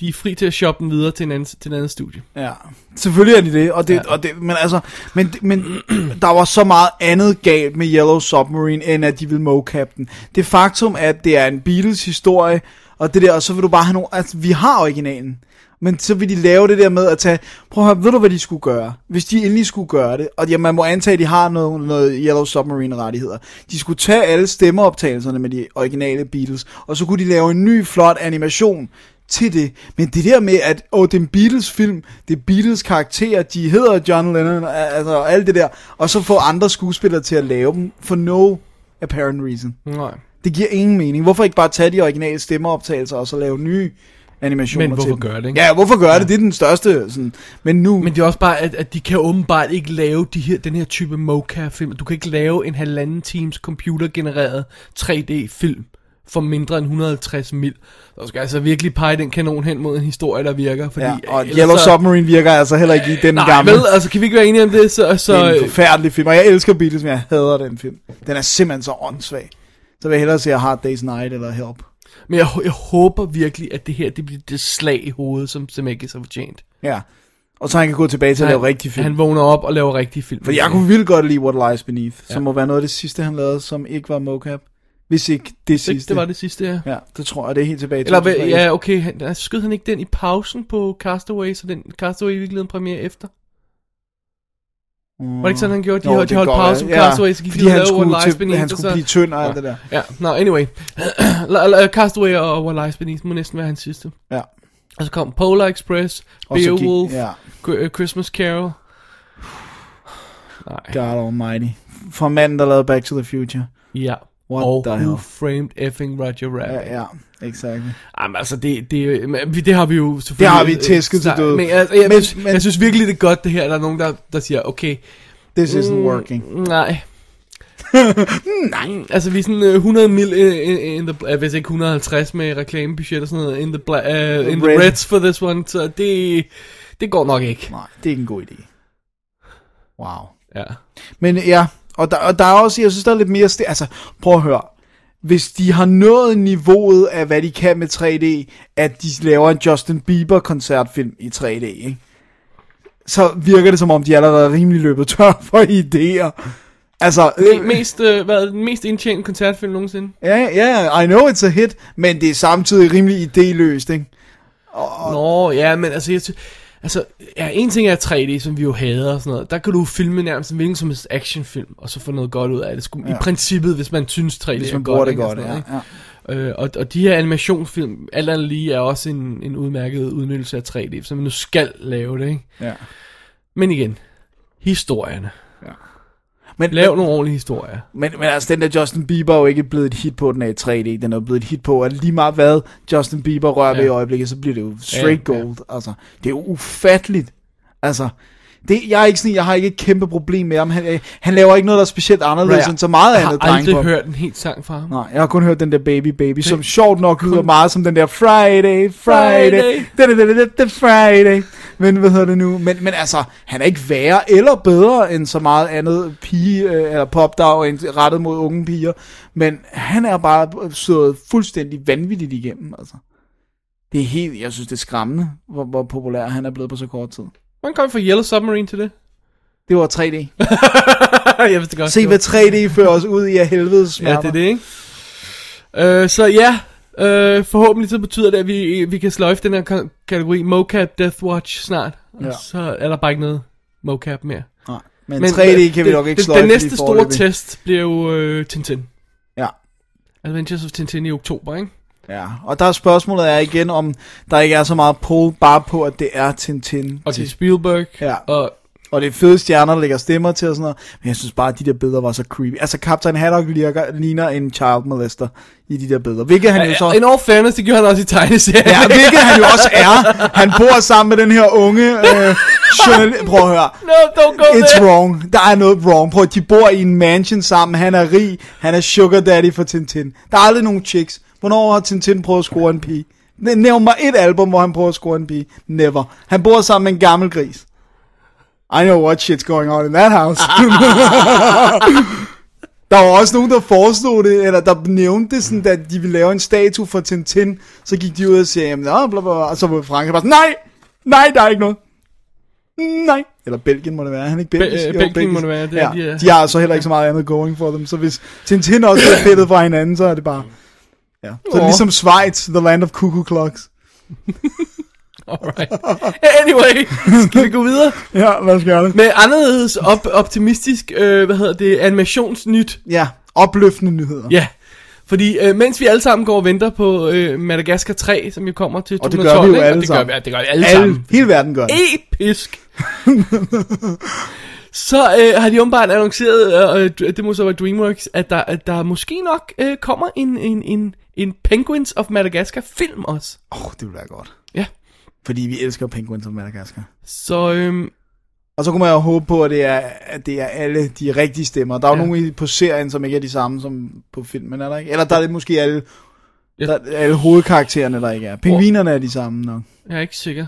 Speaker 5: de er fri til at shoppe den videre til en anden, til en anden studie.
Speaker 6: Ja, selvfølgelig er de det, og det,
Speaker 5: Ja.
Speaker 6: ja. og det men altså, men, men [clears throat] der var så meget andet galt med Yellow Submarine, end at de ville mocap den. Det faktum, at det er en Beatles historie, og det der, og så vil du bare have nogle, altså, vi har originalen, men så vil de lave det der med at tage, prøv at høre, ved du hvad de skulle gøre? Hvis de endelig skulle gøre det, og ja, man må antage, at de har noget, noget Yellow Submarine rettigheder, de skulle tage alle stemmeoptagelserne med de originale Beatles, og så kunne de lave en ny flot animation, til det. Men det der med, at åh, det er en Beatles-film, det er Beatles karakterer, de hedder John Lennon, og- altså og alt det der, og så få andre skuespillere til at lave dem, for no apparent reason.
Speaker 5: Nej.
Speaker 6: Det giver ingen mening. Hvorfor ikke bare tage de originale stemmeoptagelser, og så lave nye animationer
Speaker 5: Men hvorfor
Speaker 6: til dem.
Speaker 5: gøre det, ikke?
Speaker 6: Ja, hvorfor gøre ja. det? Det er den største. Sådan. Men nu...
Speaker 5: Men det er også bare, at, at de kan åbenbart ikke lave de her, den her type mocap-film. Du kan ikke lave en halvanden times computergenereret 3D-film for mindre end 150 mil. Så skal altså virkelig pege den kanon hen mod en historie, der virker. Fordi øh,
Speaker 6: ja, og
Speaker 5: ellers
Speaker 6: Yellow
Speaker 5: så-
Speaker 6: Submarine virker altså heller ikke i den
Speaker 5: Nej,
Speaker 6: gamle.
Speaker 5: vel, altså kan vi ikke være enige om det? Så, så, øh,
Speaker 6: Det er en forfærdelig film, og jeg elsker Beatles, men jeg hader den film. Den er simpelthen så åndssvag. Så vil jeg hellere se Hard Day's Night eller Help.
Speaker 5: men jeg, jeg, håber virkelig, at det her det bliver det slag i hovedet, som Zemeckis har fortjent.
Speaker 6: Ja. Og så han kan gå tilbage til at lave rigtig film.
Speaker 5: Han vågner op og laver rigtig film.
Speaker 6: Fordi jeg kunne vildt godt lide What Lies Beneath, ja. som må være noget af det sidste, han lavede, som ikke var mocap. Hvis ikke det sidste.
Speaker 5: det, det var det sidste, ja.
Speaker 6: Ja, det tror jeg, det er helt tilbage i
Speaker 5: Eller hvad-
Speaker 6: 2001.
Speaker 5: ja, okay, han, altså, skød han ikke den i pausen på Castaway, så den Castaway i virkeligheden premiere efter? Var det ikke sådan, han gjorde? De,
Speaker 6: Jo,
Speaker 5: jo, de
Speaker 6: Mm. det
Speaker 5: holdt
Speaker 6: kan godt
Speaker 5: pause på
Speaker 6: være. Ja,
Speaker 5: Castaway, så gik
Speaker 6: fordi
Speaker 5: de og
Speaker 6: han
Speaker 5: lavede
Speaker 6: skulle
Speaker 5: What
Speaker 6: til-
Speaker 5: Lies Beneath.
Speaker 6: han
Speaker 5: og
Speaker 6: skulle
Speaker 5: så-
Speaker 6: blive tynd og alt det der.
Speaker 5: Ja, no, anyway. [clears throat] La- la- Castaway og What Lies Beneath må næsten være hans sidste.
Speaker 6: Ja.
Speaker 5: Og så kom Polar Express,
Speaker 6: Og så gik-
Speaker 5: Beowulf,
Speaker 6: ja.
Speaker 5: Gr- øh, Christmas Carol. Nej,
Speaker 6: God almighty. Fra manden, der lavede Back to the Future.
Speaker 5: ja.
Speaker 6: What
Speaker 5: og
Speaker 6: the
Speaker 5: Who
Speaker 6: hell?
Speaker 5: Framed Effing Roger Rabbit.
Speaker 6: Ja, ja, exakt.
Speaker 5: Jamen altså, det, det, men vi- det har vi jo selvfølgelig...
Speaker 6: Det har vi
Speaker 5: øh,
Speaker 6: tæsket til
Speaker 5: snak-
Speaker 6: døde.
Speaker 5: Men, altså, jeg, men,
Speaker 6: Men-
Speaker 5: jeg, synes,
Speaker 6: men-
Speaker 5: jeg synes virkelig, det er godt det her, der er nogen, der, der siger, okay,
Speaker 6: This isn't
Speaker 5: Øh.
Speaker 6: working. [laughs]
Speaker 5: nej. nej. Altså, vi er sådan øh, 100 mil, øh, in, in the, uh, hvis ikke 150 med reklamebudget og sådan noget, in the, bla, uh, in the
Speaker 6: Red.
Speaker 5: reds for this one, så det, det går nok ikke.
Speaker 6: Nej, det er ikke en god idé. Wow.
Speaker 5: Ja.
Speaker 6: Men ja, og der, og der er også, jeg synes, der er lidt mere... St- altså, prøv at høre. Hvis de har nået niveauet af, hvad de kan med 3D, at de laver en Justin Bieber-koncertfilm i 3D, ikke? så virker det som om, de allerede er rimelig løbet tør for idéer. Altså, øh,
Speaker 5: Det mest, øh, hvad, er det, den mest indtjente koncertfilm nogensinde.
Speaker 6: ja, ja, I know it's a hit, men det er samtidig rimelig idéløst, ikke?
Speaker 5: Nå, ja, men altså, jeg, sy- altså, ja, en ting er 3D, som vi jo hader og sådan noget. Der kan du filme nærmest en hvilken som helst actionfilm, og så få noget godt ud af det. Skulle, ja. I princippet, hvis man synes 3D
Speaker 6: Hvis
Speaker 5: er
Speaker 6: man
Speaker 5: godt.
Speaker 6: bruger det
Speaker 5: ikke, og
Speaker 6: godt, ja.
Speaker 5: sådan noget, ikke?
Speaker 6: ja.
Speaker 5: Øh, og, og de her animationsfilm, alt andet lige, er også en, en udmærket udnyttelse af 3D, så man nu skal lave det, ikke?
Speaker 6: Ja.
Speaker 5: Men igen, historierne.
Speaker 6: Men,
Speaker 5: Lav nogle ordentlige historier.
Speaker 6: Men, men altså, den der Justin Bieber er jo ikke blevet et hit på, den er i 3D. Den er jo blevet et hit på, at lige meget hvad Justin Bieber rører ja. ved i
Speaker 5: Ja.
Speaker 6: øjeblikket, så bliver det jo straight
Speaker 5: Ja,
Speaker 6: ja,
Speaker 5: ja.
Speaker 6: gold. Ja. Altså, det er jo ufatteligt. Altså, det, jeg, er ikke sådan, jeg har ikke et kæmpe problem med ham. Han, øh, han laver ikke noget, der er specielt anderledes end så meget
Speaker 5: jeg har
Speaker 6: andet, drenge.
Speaker 5: aldrig
Speaker 6: på.
Speaker 5: hørt en helt sang fra ham.
Speaker 6: Nej, jeg har kun hørt den der Baby Baby, som sjovt nok lyder meget som den der Friday, Friday,
Speaker 5: Friday.
Speaker 6: da, da, da, da, da, da, Friday. Men hvad hedder det nu? Men, men altså, han er ikke værre eller bedre end så meget andet pige, øh, eller popdag, end rettet mod unge piger. Men han er bare slået fuldstændig vanvittigt igennem, altså. Det er helt, jeg synes, det er skræmmende, hvor, hvor populær han er blevet på så kort tid.
Speaker 5: Hvordan kom vi fra Yellow Submarine til det? [laughs]
Speaker 6: Det var 3D.
Speaker 5: jeg vidste godt.
Speaker 6: Se,
Speaker 5: det var-
Speaker 6: hvad 3D fører os ud i af helvedes
Speaker 5: Ja,
Speaker 6: smerter.
Speaker 5: det er det, ikke? Øh, så ja, øh, forhåbentlig så betyder det, at vi, vi kan sløjfe den her ka- kategori mocap Death Watch snart. Og
Speaker 6: Ja.
Speaker 5: så er der bare ikke noget mocap mere.
Speaker 6: Nej, men, men 3D kan vi
Speaker 5: øh,
Speaker 6: nok ikke
Speaker 5: den,
Speaker 6: sløjfe
Speaker 5: Den
Speaker 6: lige
Speaker 5: næste store
Speaker 6: foreløbig.
Speaker 5: test bliver jo øh, Tintin.
Speaker 6: Ja.
Speaker 5: Adventures of Tintin i oktober, ikke?
Speaker 6: Ja, og der er spørgsmålet er igen, om der ikke er så meget pull bare på, at det er Tintin.
Speaker 5: Og det er Spielberg.
Speaker 6: Ja.
Speaker 5: Og
Speaker 6: Og det er fede stjerner, der lægger stemmer til og sådan noget. Men jeg synes bare, at de der billeder var så creepy. Altså, Captain Haddock lirker, ligner en child molester i de der billeder. Hvilket han jo så...
Speaker 5: in all fairness, det gjorde han også i tegneserien.
Speaker 6: Ja, hvilket han jo også er. Han bor sammen med den her unge øh, journal... Prøv at høre.
Speaker 5: [laughs] no, don't go
Speaker 6: It's
Speaker 5: there.
Speaker 6: wrong. Der er noget wrong. Prøv at de bor i en mansion sammen. Han er rig. Han er sugar daddy for Tintin. Der er aldrig nogen chicks. Hvornår har Tintin prøvet at score en pige? Næ- Nævn mig et album, hvor han prøver at score en pige. Never. Han bor sammen med en gammel gris. I know what shit's going on in that house. der var også nogen, der foreslog det, eller der nævnte det sådan, at de ville lave en statue for Tintin. Så gik de ud og sagde, jamen, nå, bla, bla, bla. og så var Frankrig bare sådan, nej, nej, der er ikke noget. Nej. Eller Belgien må det være, er han ikke belgisk?
Speaker 5: øh,
Speaker 6: Jo,
Speaker 5: Belgien
Speaker 6: belgisk.
Speaker 5: må det være, det
Speaker 6: ja.
Speaker 5: er- de er-
Speaker 6: de har altså heller ikke så meget andet going for dem, så hvis Tintin også er pillet fra hinanden, så er det bare... Ja. Så er det
Speaker 5: Åh.
Speaker 6: ligesom Schweiz, the land of cuckoo clocks.
Speaker 5: [laughs] Alright. Anyway, skal vi gå videre?
Speaker 6: Ja, hvad skal det?
Speaker 5: Med anderledes op- optimistisk, øh, hvad hedder det, animationsnyt.
Speaker 6: Ja, opløftende nyheder.
Speaker 5: Ja, fordi øh, mens vi alle sammen går og venter på øh, Madagaskar 3, som jo kommer til
Speaker 6: Og det
Speaker 5: 2012,
Speaker 6: gør vi jo
Speaker 5: ikke?
Speaker 6: alle
Speaker 5: og det
Speaker 6: sammen.
Speaker 5: Gør vi, det gør vi alle, alle.
Speaker 6: Alle,
Speaker 5: sammen.
Speaker 6: hele verden gør det. [laughs]
Speaker 5: Episk! så øh, har de åbenbart annonceret, øh, øh, det må så være DreamWorks, at der, at der måske nok øh, kommer en, en, en, en Penguins of Madagascar film også.
Speaker 6: Åh, oh, det ville være godt.
Speaker 5: Ja.
Speaker 6: Fordi vi elsker Penguins of Madagascar.
Speaker 5: Så øhm,
Speaker 6: Og så kunne man jo håbe på, at det er, at det er alle de rigtige stemmer. Der er jo
Speaker 5: Ja.
Speaker 6: ja. nogen i- på serien, som ikke er de samme som på filmen, er der ikke? Eller der er det måske alle,
Speaker 5: Ja.
Speaker 6: der, er alle hovedkaraktererne, der ikke er. Pingvinerne er de samme nok.
Speaker 5: jeg er ikke sikker.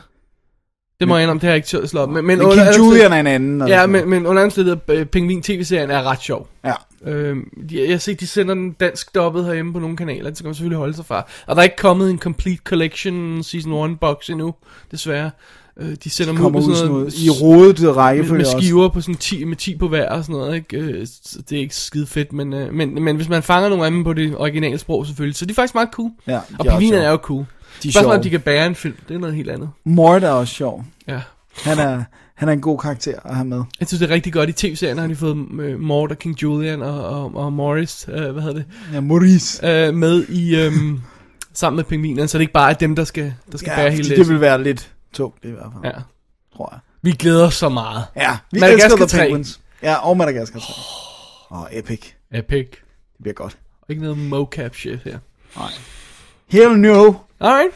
Speaker 5: Det må jeg indrømme, det har jeg ikke tørt slå op. Men, men,
Speaker 6: Men
Speaker 5: under alle
Speaker 6: King
Speaker 5: omstændigheder-
Speaker 6: Julian er en anden. og
Speaker 5: Ja,
Speaker 6: sådan noget.
Speaker 5: men, men øh, under andet sted, Pingvin TV-serien er ret sjov.
Speaker 6: Ja.
Speaker 5: Øhm, de, jeg har set, de sender den dansk dobbet herhjemme på nogle kanaler, det skal man selvfølgelig holde sig fra. Og der er ikke kommet en Complete Collection Season 1 box endnu, desværre. Øh, de sender dem ud
Speaker 6: Kommer
Speaker 5: på
Speaker 6: ud
Speaker 5: sådan
Speaker 6: sådan
Speaker 5: noget,
Speaker 6: noget, i rodet
Speaker 5: med,
Speaker 6: rækkefølge
Speaker 5: med
Speaker 6: også.
Speaker 5: skiver på sådan 10, med 10 på hver og sådan noget, ikke? Øh, så det er ikke skide fedt, men, øh, men, men hvis man fanger nogle af dem på det originale sprog selvfølgelig, så de er faktisk meget cool.
Speaker 6: Ja,
Speaker 5: og
Speaker 6: de er også
Speaker 5: pingvinerne
Speaker 6: sjove.
Speaker 5: er jo cool.
Speaker 6: De er
Speaker 5: Spørgsmålet er, om
Speaker 6: sjove.
Speaker 5: de kan bære en film, det er noget helt andet.
Speaker 6: Mort er også sjov.
Speaker 5: Ja.
Speaker 6: Han er, han er en god karakter at have med.
Speaker 5: Jeg synes, det er rigtig godt. I tv-serien har de fået øh, Mort og King Julian og, og, og Morris, øh, hvad hedder det,
Speaker 6: Ja, Maurice.
Speaker 5: øh, med i, øh, sammen med pingvinerne, så det ikke bare er dem, der skal, der skal ja,
Speaker 6: Ja,
Speaker 5: bære
Speaker 6: fordi
Speaker 5: hele
Speaker 6: det
Speaker 5: det.
Speaker 6: vil være lidt tungt i hvert fald, ja.
Speaker 5: Ja.
Speaker 6: tror jeg.
Speaker 5: Vi glæder os så meget.
Speaker 6: Ja, vi
Speaker 5: Madagaskar
Speaker 6: elsker The
Speaker 5: 3.
Speaker 6: Penguins. Ja, og Madagaskar 3. Åh, oh, epic.
Speaker 5: Epic.
Speaker 6: Det bliver godt.
Speaker 5: Ikke noget mocap shit her.
Speaker 6: Hell no.
Speaker 5: Alright.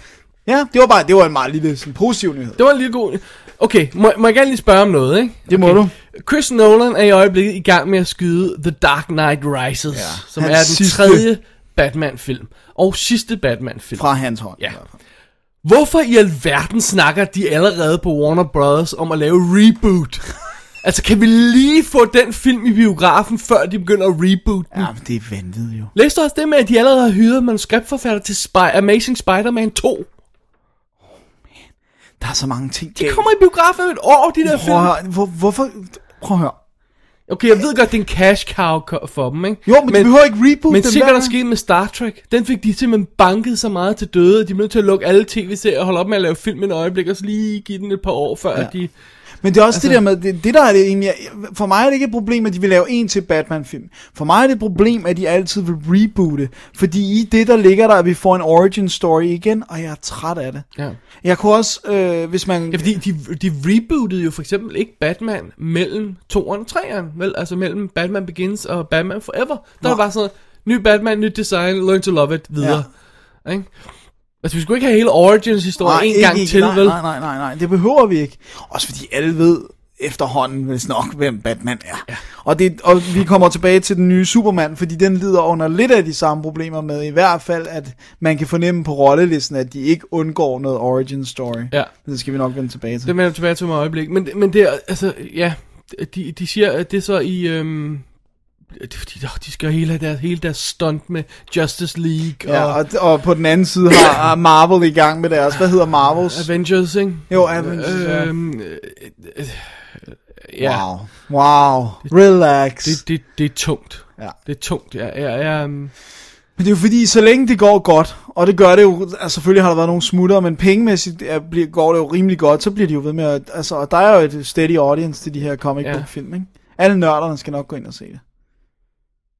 Speaker 6: Ja, det var bare det var en meget lille sådan, positiv nyhed.
Speaker 5: Det var en lille god... Okay, må, må jeg gerne lige spørge om noget, ikke?
Speaker 6: Det må
Speaker 5: okay.
Speaker 6: du.
Speaker 5: Chris Nolan er i øjeblikket i gang med at skyde The Dark Knight Rises, ja,
Speaker 6: Ja,
Speaker 5: som er
Speaker 6: hans
Speaker 5: den
Speaker 6: sidste-
Speaker 5: tredje Batman-film. Og sidste Batman-film.
Speaker 6: Fra hans hånd.
Speaker 5: Ja.
Speaker 6: i hvert fald.
Speaker 5: Hvorfor i alverden snakker de allerede på Warner Brothers om at lave
Speaker 6: [laughs]
Speaker 5: reboot? altså, kan vi lige få den film i biografen, før de begynder at reboot den?
Speaker 6: ja men det ventede jo.
Speaker 5: Læs du også det med, at de allerede har hyret manuskriptforfatter til Spy- Amazing Spider-Man 2?
Speaker 6: Der er så mange ting.
Speaker 5: De kommer i biografen om et år, de der
Speaker 6: Prøv at
Speaker 5: film.
Speaker 6: høre, hvor, hvorfor... Prøv at høre.
Speaker 5: Okay, jeg ved godt, det er en cash cow ko- for dem, ikke?
Speaker 6: Jo, men, men de behøver ikke reboot
Speaker 5: Men
Speaker 6: dem
Speaker 5: se, hvad der
Speaker 6: gang.
Speaker 5: skete med Star Trek. Den fik de simpelthen banket så meget til døde, at de blev nødt til at lukke alle tv-serier og holde op med at lave film en øjeblik, og så lige give den et par år, før ja. de...
Speaker 6: Men det er også altså, det der med, det, det der er det egentlig, for mig er det ikke et problem, at de vil lave en til Batman-film. For mig er det et problem, at de altid vil reboote, fordi i det, der ligger der, at vi får en origin story igen, og jeg er træt af det.
Speaker 5: Ja.
Speaker 6: Jeg kunne også, øh, hvis man...
Speaker 5: Ja, fordi de, de rebootede jo for eksempel ikke Batman mellem 2'eren og 3'eren, vel? Altså mellem Batman Begins og Batman Forever. Der var bare sådan noget, ny Batman, nyt design, learn to love it, videre. Ja. Ikke? Altså, vi skulle ikke have hele Origins-historien en
Speaker 6: ikke-
Speaker 5: gang
Speaker 6: ikke,
Speaker 5: til,
Speaker 6: nej,
Speaker 5: vel?
Speaker 6: Nej, nej, nej, nej, det behøver vi ikke. Også fordi alle ved efterhånden, hvis nok, hvem Batman er. Ja. Og, det, og vi kommer tilbage til den nye Superman, fordi den lider under lidt af de samme problemer med, i hvert fald, at man kan fornemme på rollelisten, at de ikke undgår noget origin story.
Speaker 5: Ja.
Speaker 6: Det skal vi nok vende tilbage til.
Speaker 5: Det vender jeg tilbage til mig øjeblik. Men, men det er, altså, ja, de, de siger, at det er så i... Øhm, det er fordi, åh, de skal hele have deres, hele deres stunt med Justice League
Speaker 6: Ja,
Speaker 5: og,
Speaker 6: og, og på den anden side har har Marvel i gang med deres, hvad hedder Marvels?
Speaker 5: Avengers, ikke?
Speaker 6: Jo, Avengers, ja.
Speaker 5: Øhm, øh, øh, øh, ja.
Speaker 6: Wow, wow, relax.
Speaker 5: Det, det, det er tungt.
Speaker 6: Ja.
Speaker 5: Det er tungt. Jeg, jeg, jeg, mm,
Speaker 6: Men det er jo fordi, så længe det går godt, og det gør det jo, altså selvfølgelig har der været nogle smutter, men pengemæssigt er, bliver, går det jo rimelig godt, så bliver de jo ved med at, altså, og der er jo et steady audience til de her comic
Speaker 5: Ja.
Speaker 6: book film, ikke? Alle nørderne skal nok gå ind og se det.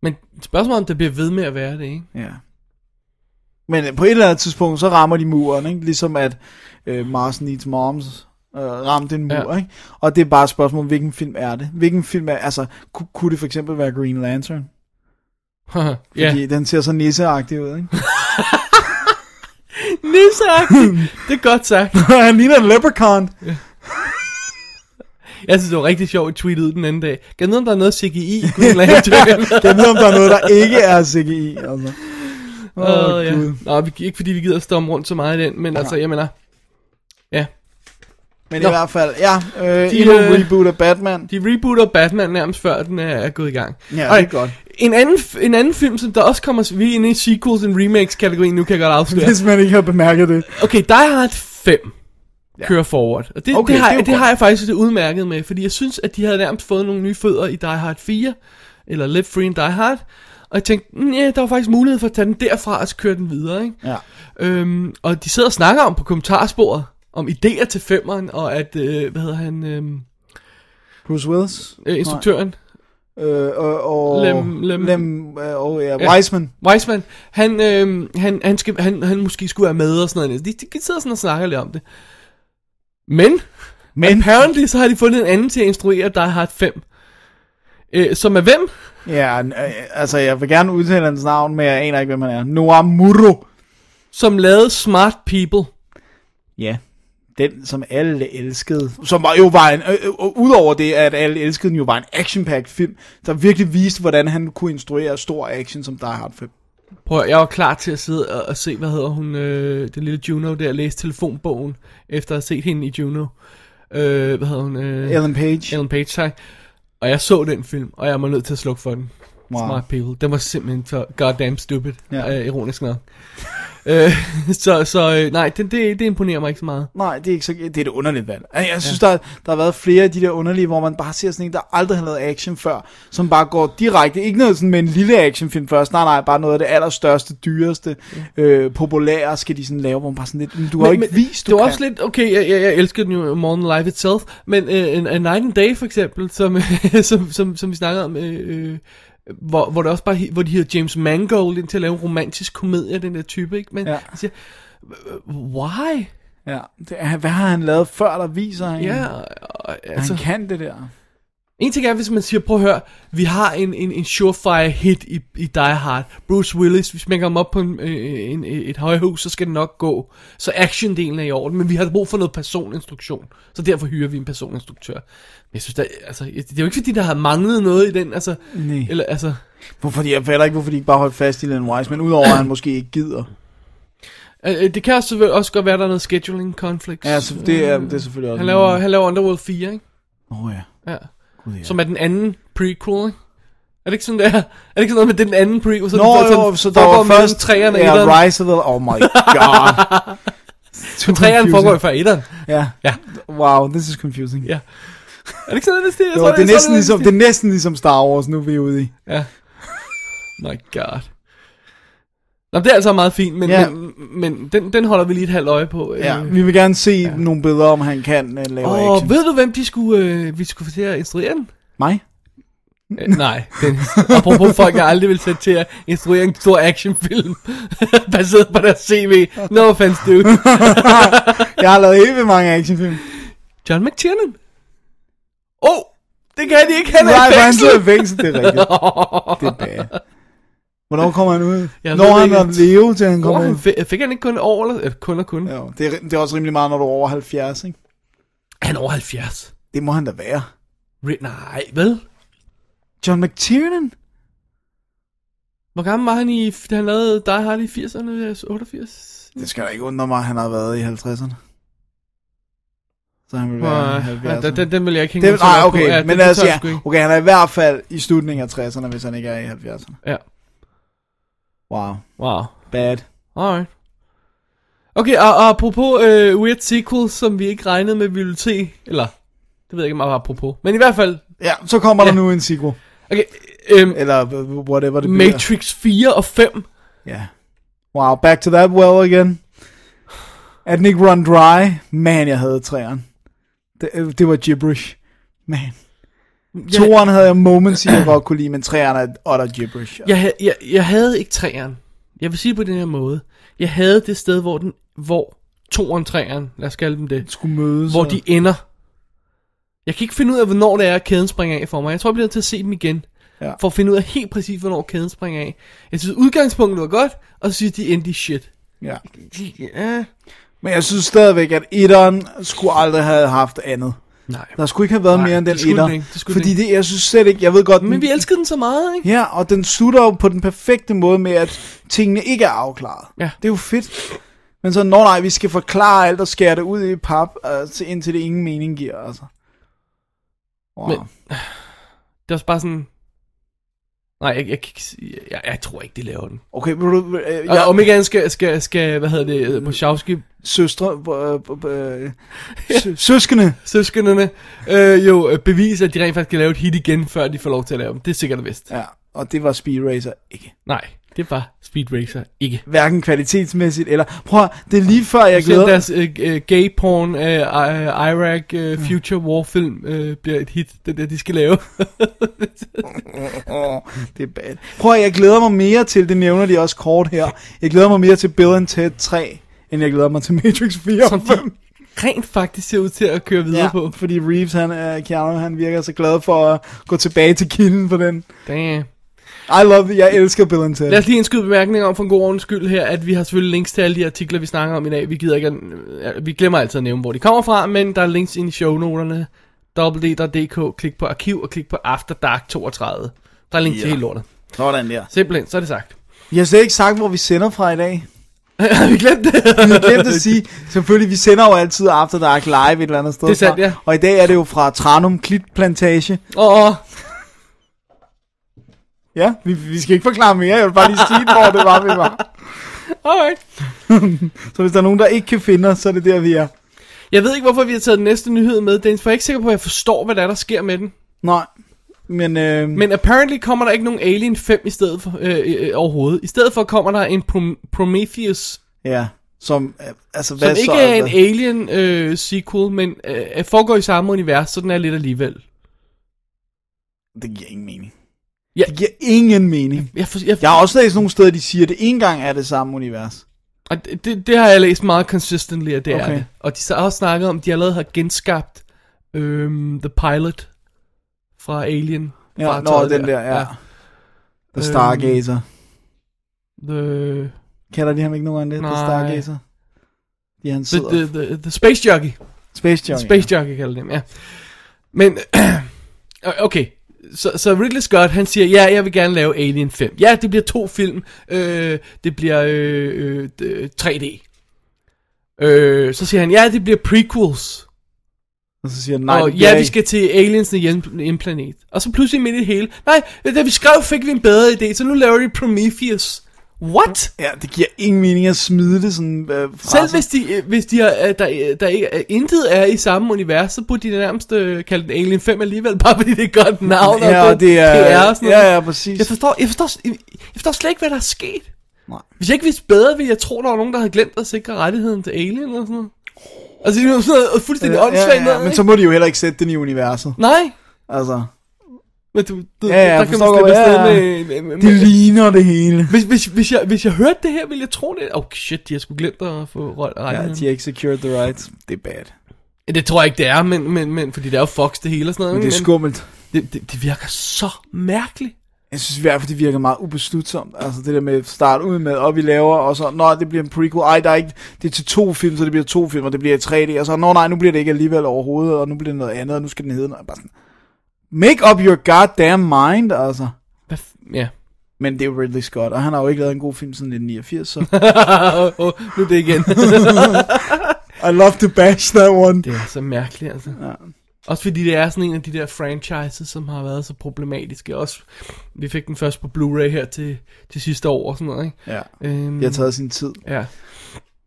Speaker 5: men spørgsmålet er, om det bliver ved med at være det, ikke? [laughs]
Speaker 6: Ja. Men øh, på et eller andet tidspunkt, så rammer de muren, ikke? Ligesom at øh, Mars Needs Moms øh, ramte en mur,
Speaker 5: Ja.
Speaker 6: ja. ikke? Og det er bare et spørgsmål, hvilken film er det? Hvilken film er, altså, kunne, kunne det for eksempel være Green Lantern?
Speaker 5: ja.
Speaker 6: Fordi den ser så nisseagtig ud, ikke?
Speaker 5: Nisseagtigt. det er godt sagt.
Speaker 6: [laughs] Han ligner en leprechaun.
Speaker 5: Jeg synes, det var rigtig sjovt, at tweetede den anden dag. Kan vide, om der er noget CGI i
Speaker 6: [laughs]
Speaker 5: Green Lantern?
Speaker 6: Jeg ved, om der er noget, der ikke er CGI, altså. Åh, oh,
Speaker 5: Åh, ja.
Speaker 6: Gud.
Speaker 5: Nå, vi, ikke fordi vi gider at stomme rundt så meget i den, men altså, jeg mener... Ja.
Speaker 6: Men
Speaker 5: Nå.
Speaker 6: i hvert fald, ja, øh,
Speaker 5: De,
Speaker 6: de, endnu en
Speaker 5: øh,
Speaker 6: reboot af Batman.
Speaker 5: De rebooter Batman nærmest før den er, er gået i gang.
Speaker 6: Ja, det er
Speaker 5: Alright.
Speaker 6: godt.
Speaker 5: En anden, f- en anden film, som der også kommer... Vi er inde i sequels and remakes-kategorien, nu kan jeg godt afsløre.
Speaker 6: Hvis man ikke har bemærket det.
Speaker 5: Okay, Die Hard 5 ja. kører forward. Og det, okay,
Speaker 6: Okay,
Speaker 5: det, har,
Speaker 6: det er jo
Speaker 5: det, det
Speaker 6: godt.
Speaker 5: har jeg faktisk det udmærket med, fordi jeg synes, at de havde nærmest fået nogle nye fødder i Die Hard 4, eller Live Free and Die Hard. Og jeg tænkte, "Mm, ja, der var faktisk mulighed for at tage den derfra og så køre den videre. Ikke?
Speaker 6: Ja.
Speaker 5: Øhm, og de sidder og snakker om på kommentarsporet, om idéer til femmeren, og at, øh, hvad hedder han, øhm,
Speaker 6: Bruce Willis.
Speaker 5: øh, instruktøren,
Speaker 6: Øh, og, og,
Speaker 5: Lem-
Speaker 6: lem, lem,
Speaker 5: Lem-
Speaker 6: lem øh, og, ja,
Speaker 5: Ja.
Speaker 6: Wiseman.
Speaker 5: Weisman, han, øh, han, han, skal, han, han måske skulle være med og sådan noget. De, de sidder sådan og snakker lidt om det. Men, Men. apparently så har de fundet en anden til at instruere Die Hard 5. Øh, som er hvem?
Speaker 6: Ja, n- øh, altså jeg vil gerne udtale hans navn, men jeg aner ikke, hvem han er. Noamuro.
Speaker 5: Som lavede Smart People.
Speaker 6: Ja. Den, som alle elskede. Som var, jo var en, øh, øh, udover det, at alle elskede den, jo var en action film, der virkelig viste, hvordan han kunne instruere stor action som Die Hard 5.
Speaker 5: Prøv, at høre, jeg var klar til at sidde og, og se, hvad hedder hun, øh, den lille Juno der, læse telefonbogen, efter at have set hende i Juno. Øh, hvad hedder hun? Øh,
Speaker 6: Ellen Page.
Speaker 5: Ellen Page, tak. Og jeg så den film, og jeg var nødt til at slukke for den.
Speaker 6: Wow.
Speaker 5: Smart People. Den var simpelthen for goddamn stupid,
Speaker 6: Ja.
Speaker 5: ja. øh, ironisk nok. [laughs] øh, så, så øh, nej, det, det, det imponerer mig ikke så meget.
Speaker 6: Nej, det er ikke så, det er et underligt valg. Altså, Jeg synes, ja. der, der har været flere af de der underlige, hvor man bare ser sådan en, der aldrig har lavet action før, som bare går direkte, ikke noget sådan med en lille actionfilm først, nej, nej, bare noget af det allerstørste, dyreste, øh, populære skal de sådan lave, hvor man bare sådan lidt, "Men du har jo ikke vist, du
Speaker 5: Det var
Speaker 6: kan.
Speaker 5: også lidt, okay, jeg, jeg, jeg elsker den jo, More Than Life Itself, men uh, A Night and Day for eksempel, som, [laughs] som, som, som vi snakkede om, øh, øh, hvor, hvor, det også bare, he- hvor de hedder James Mangold ind til at lave en romantisk komedie af den der type, ikke? Men
Speaker 6: Ja.
Speaker 5: ja. jeg siger, øh, why?
Speaker 6: Ja, det, er- hvad har han lavet før, der viser han?
Speaker 5: Ja, og- og-
Speaker 6: altså.
Speaker 5: altså.
Speaker 6: Han kan det der.
Speaker 5: En ting er, hvis man siger, prøv at høre, vi har en, en, en surefire hit i, i Die Hard. Bruce Willis, hvis man kommer op på en, øh, en, et højhus, så skal det nok gå. Så actiondelen er i orden, men vi har brug for noget personinstruktion. Så derfor hyrer vi en personinstruktør. Men jeg synes, der, altså, det er jo ikke fordi, der har manglet noget i den, altså...
Speaker 6: Nej.
Speaker 5: Eller, altså
Speaker 6: Hvorfor de, jeg fatter ikke, hvorfor de ikke bare holdt fast i Len Wise, men udover at han måske ikke gider.
Speaker 5: øh, øh, det kan også, selvfølgelig også godt være, der er noget scheduling conflicts.
Speaker 6: Ja, så det er, det er selvfølgelig også.
Speaker 5: han, laver, han laver Underworld 4, ikke?
Speaker 6: Åh oh, ja.
Speaker 5: Ja.
Speaker 6: Gud, ja.
Speaker 5: Som er den anden prequel, ikke? Er det ikke sådan, der? Er det ikke sådan noget med, det er den anden prequel? Så
Speaker 6: Nå,
Speaker 5: er det
Speaker 6: jo, så der var først
Speaker 5: træerne
Speaker 6: ja, Rise of the... Oh my
Speaker 5: [laughs]
Speaker 6: god. Too
Speaker 5: Træerne
Speaker 6: confusing.
Speaker 5: foregår jo før etteren.
Speaker 6: Ja.
Speaker 5: Ja.
Speaker 6: Wow, this is confusing.
Speaker 5: Ja. Er det ikke sådan, hvis det er?
Speaker 6: Jo,
Speaker 5: tror,
Speaker 6: det, er
Speaker 5: jeg
Speaker 6: næsten
Speaker 5: tror,
Speaker 6: ligesom, det er næsten ligesom Star Wars, nu vi er ude i.
Speaker 5: Ja. My god. Nå, det er altså meget fint, men,
Speaker 6: Ja.
Speaker 5: ja. men, men den, den holder vi lige et halvt øje på.
Speaker 6: Ja.
Speaker 5: Øh,
Speaker 6: Vi vil gerne se ja. nogle billeder, om han kan uh, lave
Speaker 5: Og
Speaker 6: action.
Speaker 5: ved du, hvem de skulle, øh, vi skulle få til at instruere
Speaker 6: [laughs]
Speaker 5: den?
Speaker 6: Mig?
Speaker 5: Øh, nej, den, apropos folk, jeg aldrig vil sætte til at instruere en stor actionfilm, [laughs] baseret på deres CV. No offense, dude.
Speaker 6: Jeg har lavet helt vildt mange actionfilm.
Speaker 5: John McTiernan. Åh, oh, det kan de ikke, han
Speaker 6: Nej,
Speaker 5: er i
Speaker 6: for han sidder
Speaker 5: fængsel.
Speaker 6: i fængsel, det er
Speaker 5: [laughs]
Speaker 6: rigtigt. Det er bad. Hvornår kommer han ud?
Speaker 5: Jeg
Speaker 6: Når
Speaker 5: ved
Speaker 6: han
Speaker 5: ikke.
Speaker 6: er leve, til han kommer
Speaker 5: Hvor
Speaker 6: ud.
Speaker 5: han fik, fik han ikke kun over, eller øh, kun og kun? Ja.
Speaker 6: Jo, det, er, det er også rimelig meget, når du er over 70, ikke?
Speaker 5: Han er over 70.
Speaker 6: Det må han da være.
Speaker 5: Ri- Nej, vel?
Speaker 6: John McTiernan?
Speaker 5: Hvor gammel var han i, da han lavede Die Hard i 80'erne, øh, 88?
Speaker 6: Det skal da ikke undre mig, at han har været i 50'erne. Så han vil være i
Speaker 5: Nej,
Speaker 6: 70'erne.
Speaker 5: den, den, den vil jeg ikke hænge
Speaker 6: Det,
Speaker 5: mig så
Speaker 6: nej,
Speaker 5: op
Speaker 6: okay,
Speaker 5: på.
Speaker 6: ja, men
Speaker 5: den- den
Speaker 6: altså,
Speaker 5: tør jeg
Speaker 6: ja,
Speaker 5: sgu ikke.
Speaker 6: okay, han er i hvert fald i slutningen af 60'erne, hvis han ikke er i 70'erne.
Speaker 5: Ja,
Speaker 6: Wow,
Speaker 5: wow.
Speaker 6: bad.
Speaker 5: Alright. Okay, og, og apropos øh, Weird Sequel, som vi ikke regnede med, vi ville se, eller, det ved jeg ikke meget apropos, men i hvert fald,
Speaker 6: Ja, så kommer ja. der
Speaker 5: Ja.
Speaker 6: nu en sequel,
Speaker 5: okay, øh,
Speaker 6: eller øh, whatever det bliver.
Speaker 5: Matrix 4 og 5,
Speaker 6: Ja. Wow, back to that well again. At den ikke run dry? Man, jeg havde træeren. Det, øh, det var gibberish. Man. Ja. Toren havde jeg moments i, jeg godt kunne lide, men træerne er utter gibberish.
Speaker 5: Jeg, hav- jeg, jeg havde ikke træeren. Jeg vil sige det på den her måde. Jeg havde det sted, hvor, den, hvor toeren, træeren, lad os kalde dem det,
Speaker 6: skulle mødes.
Speaker 5: hvor
Speaker 6: og-
Speaker 5: de ender. Jeg kan ikke finde ud af, hvornår det er, at kæden springer af for mig. Jeg tror, jeg bliver nødt til at se dem igen.
Speaker 6: Ja.
Speaker 5: For at finde ud af helt præcis, hvornår kæden springer af. Jeg synes, udgangspunktet var godt, og så synes de endte i shit.
Speaker 6: Ja.
Speaker 5: Ja.
Speaker 6: Men jeg synes stadigvæk, at etteren skulle aldrig have haft andet.
Speaker 5: Nej.
Speaker 6: Der skulle ikke have været
Speaker 5: Nej,
Speaker 6: Nej, mere end den
Speaker 5: det skulle den
Speaker 6: etter.
Speaker 5: ikke, det skulle
Speaker 6: Fordi
Speaker 5: den
Speaker 6: det, jeg synes slet ikke, jeg ved godt...
Speaker 5: Men
Speaker 6: den-
Speaker 5: vi elskede den så meget, ikke?
Speaker 6: Ja, og den slutter jo på den perfekte måde med, at tingene ikke er afklaret.
Speaker 5: Ja.
Speaker 6: Det er jo fedt. Men så, nå nej, vi skal forklare alt og skære det ud i pap, altså, indtil det ingen mening giver, altså. Wow. Men,
Speaker 5: Men- Det er også bare sådan... Nej, jeg, jeg, kan ikke sige- jeg, jeg tror ikke, de laver den.
Speaker 6: okay, vil du, øh,
Speaker 5: Og ja.
Speaker 6: jeg,
Speaker 5: om ikke andet skal, skal, skal, hvad hedder det, øh, Wachowski
Speaker 6: søstre, øh, øh, øh, sø- [laughs] søskende,
Speaker 5: søskenderne øh, jo øh, bevise, at de rent faktisk kan lave et hit igen, før de får lov til at lave dem. Det er sikkert og vist. Ja.
Speaker 6: ja, og det var Speed Racer ikke.
Speaker 5: Nej, det var Speed Racer ikke.
Speaker 6: Hverken kvalitetsmæssigt eller, prøv at, høre, det er lige før, jeg
Speaker 5: Selv
Speaker 6: glæder,
Speaker 5: deres øh, øh, gay porn, øh, øh, Iraq, øh, Future War film øh, bliver et hit, det der de skal lave. [laughs]
Speaker 6: Åh, det er bad. Prøv at, jeg glæder mig mere til, det nævner de også kort her, jeg glæder mig mere til Bill and Ted 3, end jeg glæder mig til Matrix 4
Speaker 5: Som
Speaker 6: og
Speaker 5: de
Speaker 6: 5.
Speaker 5: Rent faktisk ser ud til at køre videre ja. på.
Speaker 6: fordi Reeves, han, uh, Keanu, han virker så glad for at gå tilbage til kilden på den.
Speaker 5: Damn.
Speaker 6: I love it. Jeg elsker Bill and Ted.
Speaker 5: Lad os lige indskyde bemærkninger om for en god ordens skyld her, at vi har selvfølgelig links til alle de artikler, vi snakker om i dag. Vi, gider ikke, at- øh, vi glemmer altid at nævne, hvor de kommer fra, men der er links ind i shownoterne. www.dk, klik på arkiv og klik på After Dark 32. Der er link yeah.
Speaker 6: Ja.
Speaker 5: til hele lortet.
Speaker 6: Sådan der.
Speaker 5: Simpelthen, så er det sagt. [laughs]
Speaker 6: Jeg har slet ikke sagt, hvor vi sender fra i dag.
Speaker 5: Har vi glemt det?
Speaker 6: Jeg glemte at
Speaker 5: [laughs]
Speaker 6: sige, selvfølgelig, vi sender jo altid After Dark live et eller andet sted.
Speaker 5: Det er sandt,
Speaker 6: fra.
Speaker 5: ja.
Speaker 6: Og i dag er det jo fra Tranum Klit Plantage.
Speaker 5: Åh, oh,
Speaker 6: Ja, vi, vi skal ikke forklare mere, jeg vil bare lige sige, hvor det var, vi var.
Speaker 5: alright.
Speaker 6: Så hvis der er nogen, der ikke kan finde os, så er det der, vi er.
Speaker 5: Jeg ved ikke, hvorfor vi har taget den næste nyhed med, Dennis, for jeg er ikke sikker på, at jeg forstår, hvad der, er, der sker med den.
Speaker 6: Nej, men, øh, men
Speaker 5: Men apparently kommer der ikke nogen Alien 5 i stedet for, øh, øh, overhovedet. I stedet for kommer der en Prom- Prometheus
Speaker 6: ja, som, øh, altså, hvad
Speaker 5: Som ikke
Speaker 6: så,
Speaker 5: er en
Speaker 6: altså?
Speaker 5: Alien øh, sequel, men øh, foregår i samme univers, så den er lidt alligevel.
Speaker 6: Det giver ingen mening.
Speaker 5: Ja.
Speaker 6: Ja. Det giver ingen mening.
Speaker 5: Jeg, for, jeg,
Speaker 6: Jeg har også læst nogle steder, de siger, at det ikke engang er det samme univers.
Speaker 5: og det- det, det har jeg læst meget consistently, at det okay. er
Speaker 6: Okay.
Speaker 5: det. Og de så- har også snakket om, at de allerede har genskabt øhm, The Pilot fra Alien.
Speaker 6: Ja, nå,
Speaker 5: fartøjet
Speaker 6: den der, ja. The Stargazer.
Speaker 5: The,
Speaker 6: Kalder de ham ikke nogen andet? The
Speaker 5: Øhm, Nej.
Speaker 6: Stargazer? Ja, han
Speaker 5: the,
Speaker 6: sidder.
Speaker 5: the, the, the Space Jockey.
Speaker 6: Space Junk.
Speaker 5: Space Junkie kalder dem, ja. Men, [clears throat] okay. Så, så Ridley Scott, han siger, ja, jeg vil gerne lave Alien 5. Ja, det bliver to film. Øh, det bliver øh, øh, d- 3D. Øh, så siger han, ja, det bliver prequels.
Speaker 6: Og så siger han, nej,
Speaker 5: Nej, og
Speaker 6: det bliver
Speaker 5: ja, vi
Speaker 6: ikke.
Speaker 5: skal til Aliensene hjem, hjem planet. Og så pludselig midt i det hele, nej, da vi skrev, fik vi en bedre idé, så nu laver de Prometheus. What?
Speaker 6: Ja, det giver ingen mening at smide det sådan øh, fra
Speaker 5: Selv
Speaker 6: sig.
Speaker 5: hvis, de, øh, hvis de er, øh, der, øh, der ikke, er- intet er i samme univers, så burde de nærmest øh, kalde den Alien 5 alligevel, [laughs] bare fordi det er et godt navn og,
Speaker 6: ja,
Speaker 5: god
Speaker 6: og det er,
Speaker 5: PR og sådan noget.
Speaker 6: ja, ja, præcis.
Speaker 5: Jeg, forstår, jeg, forstår, jeg forstår slet ikke, hvad der er sket.
Speaker 6: Nej.
Speaker 5: Hvis jeg ikke vidste bedre, ville jeg tro, der var nogen, der havde glemt at sikre rettigheden til Alien eller sådan noget. Altså, det er jo sådan noget fuldstændig åndssvagt
Speaker 6: ja, ja, men så må de jo heller ikke sætte den i universet.
Speaker 5: Nej,
Speaker 6: Altså,
Speaker 5: men du, du,
Speaker 6: Ja, ja,
Speaker 5: der
Speaker 6: jeg
Speaker 5: kan man
Speaker 6: forstår
Speaker 5: slippe
Speaker 6: godt,
Speaker 5: afsted
Speaker 6: ja, ja.
Speaker 5: med, med, med,
Speaker 6: det ligner det hele.
Speaker 5: hvis, hvis, hvis, jeg, hvis jeg hørte det her, ville jeg tro det. Oh shit, de har sgu glemt at få
Speaker 6: Ja,
Speaker 5: rettigheden.
Speaker 6: de har ikke secured the rights. Det er bad.
Speaker 5: Det tror jeg ikke, det er, men, men, men fordi det er jo Fox det hele og sådan noget.
Speaker 6: Men det
Speaker 5: ikke?
Speaker 6: er skummelt.
Speaker 5: Det, det, det virker så mærkeligt.
Speaker 6: Jeg synes i hvert fald, det virker meget ubeslutsomt. Altså det der med at starte ud med, og vi laver, og så, nå, det bliver en prequel. Ej, der er ikke, det er til to film, så det bliver to film, og det bliver i 3D. Og så, nå nej, nu bliver det ikke alligevel overhovedet, og nu bliver det noget andet, og nu skal den hedde noget. Bare sådan, make up your goddamn mind, altså.
Speaker 5: Hvad f- ja. [laughs]
Speaker 6: Men det er jo Ridley Scott, og han har jo ikke lavet en god film siden 1989, så...
Speaker 5: oh, nu er det igen.
Speaker 6: [laughs] I love to bash that one.
Speaker 5: det er så mærkeligt, altså.
Speaker 6: Ja.
Speaker 5: Også fordi det er sådan en af de der franchises, som har været så problematiske. Også, vi fik den først på Blu-ray her til, til sidste år og sådan noget, ikke?
Speaker 6: Ja,
Speaker 5: Øhm,
Speaker 6: det har taget sin tid.
Speaker 5: Ja,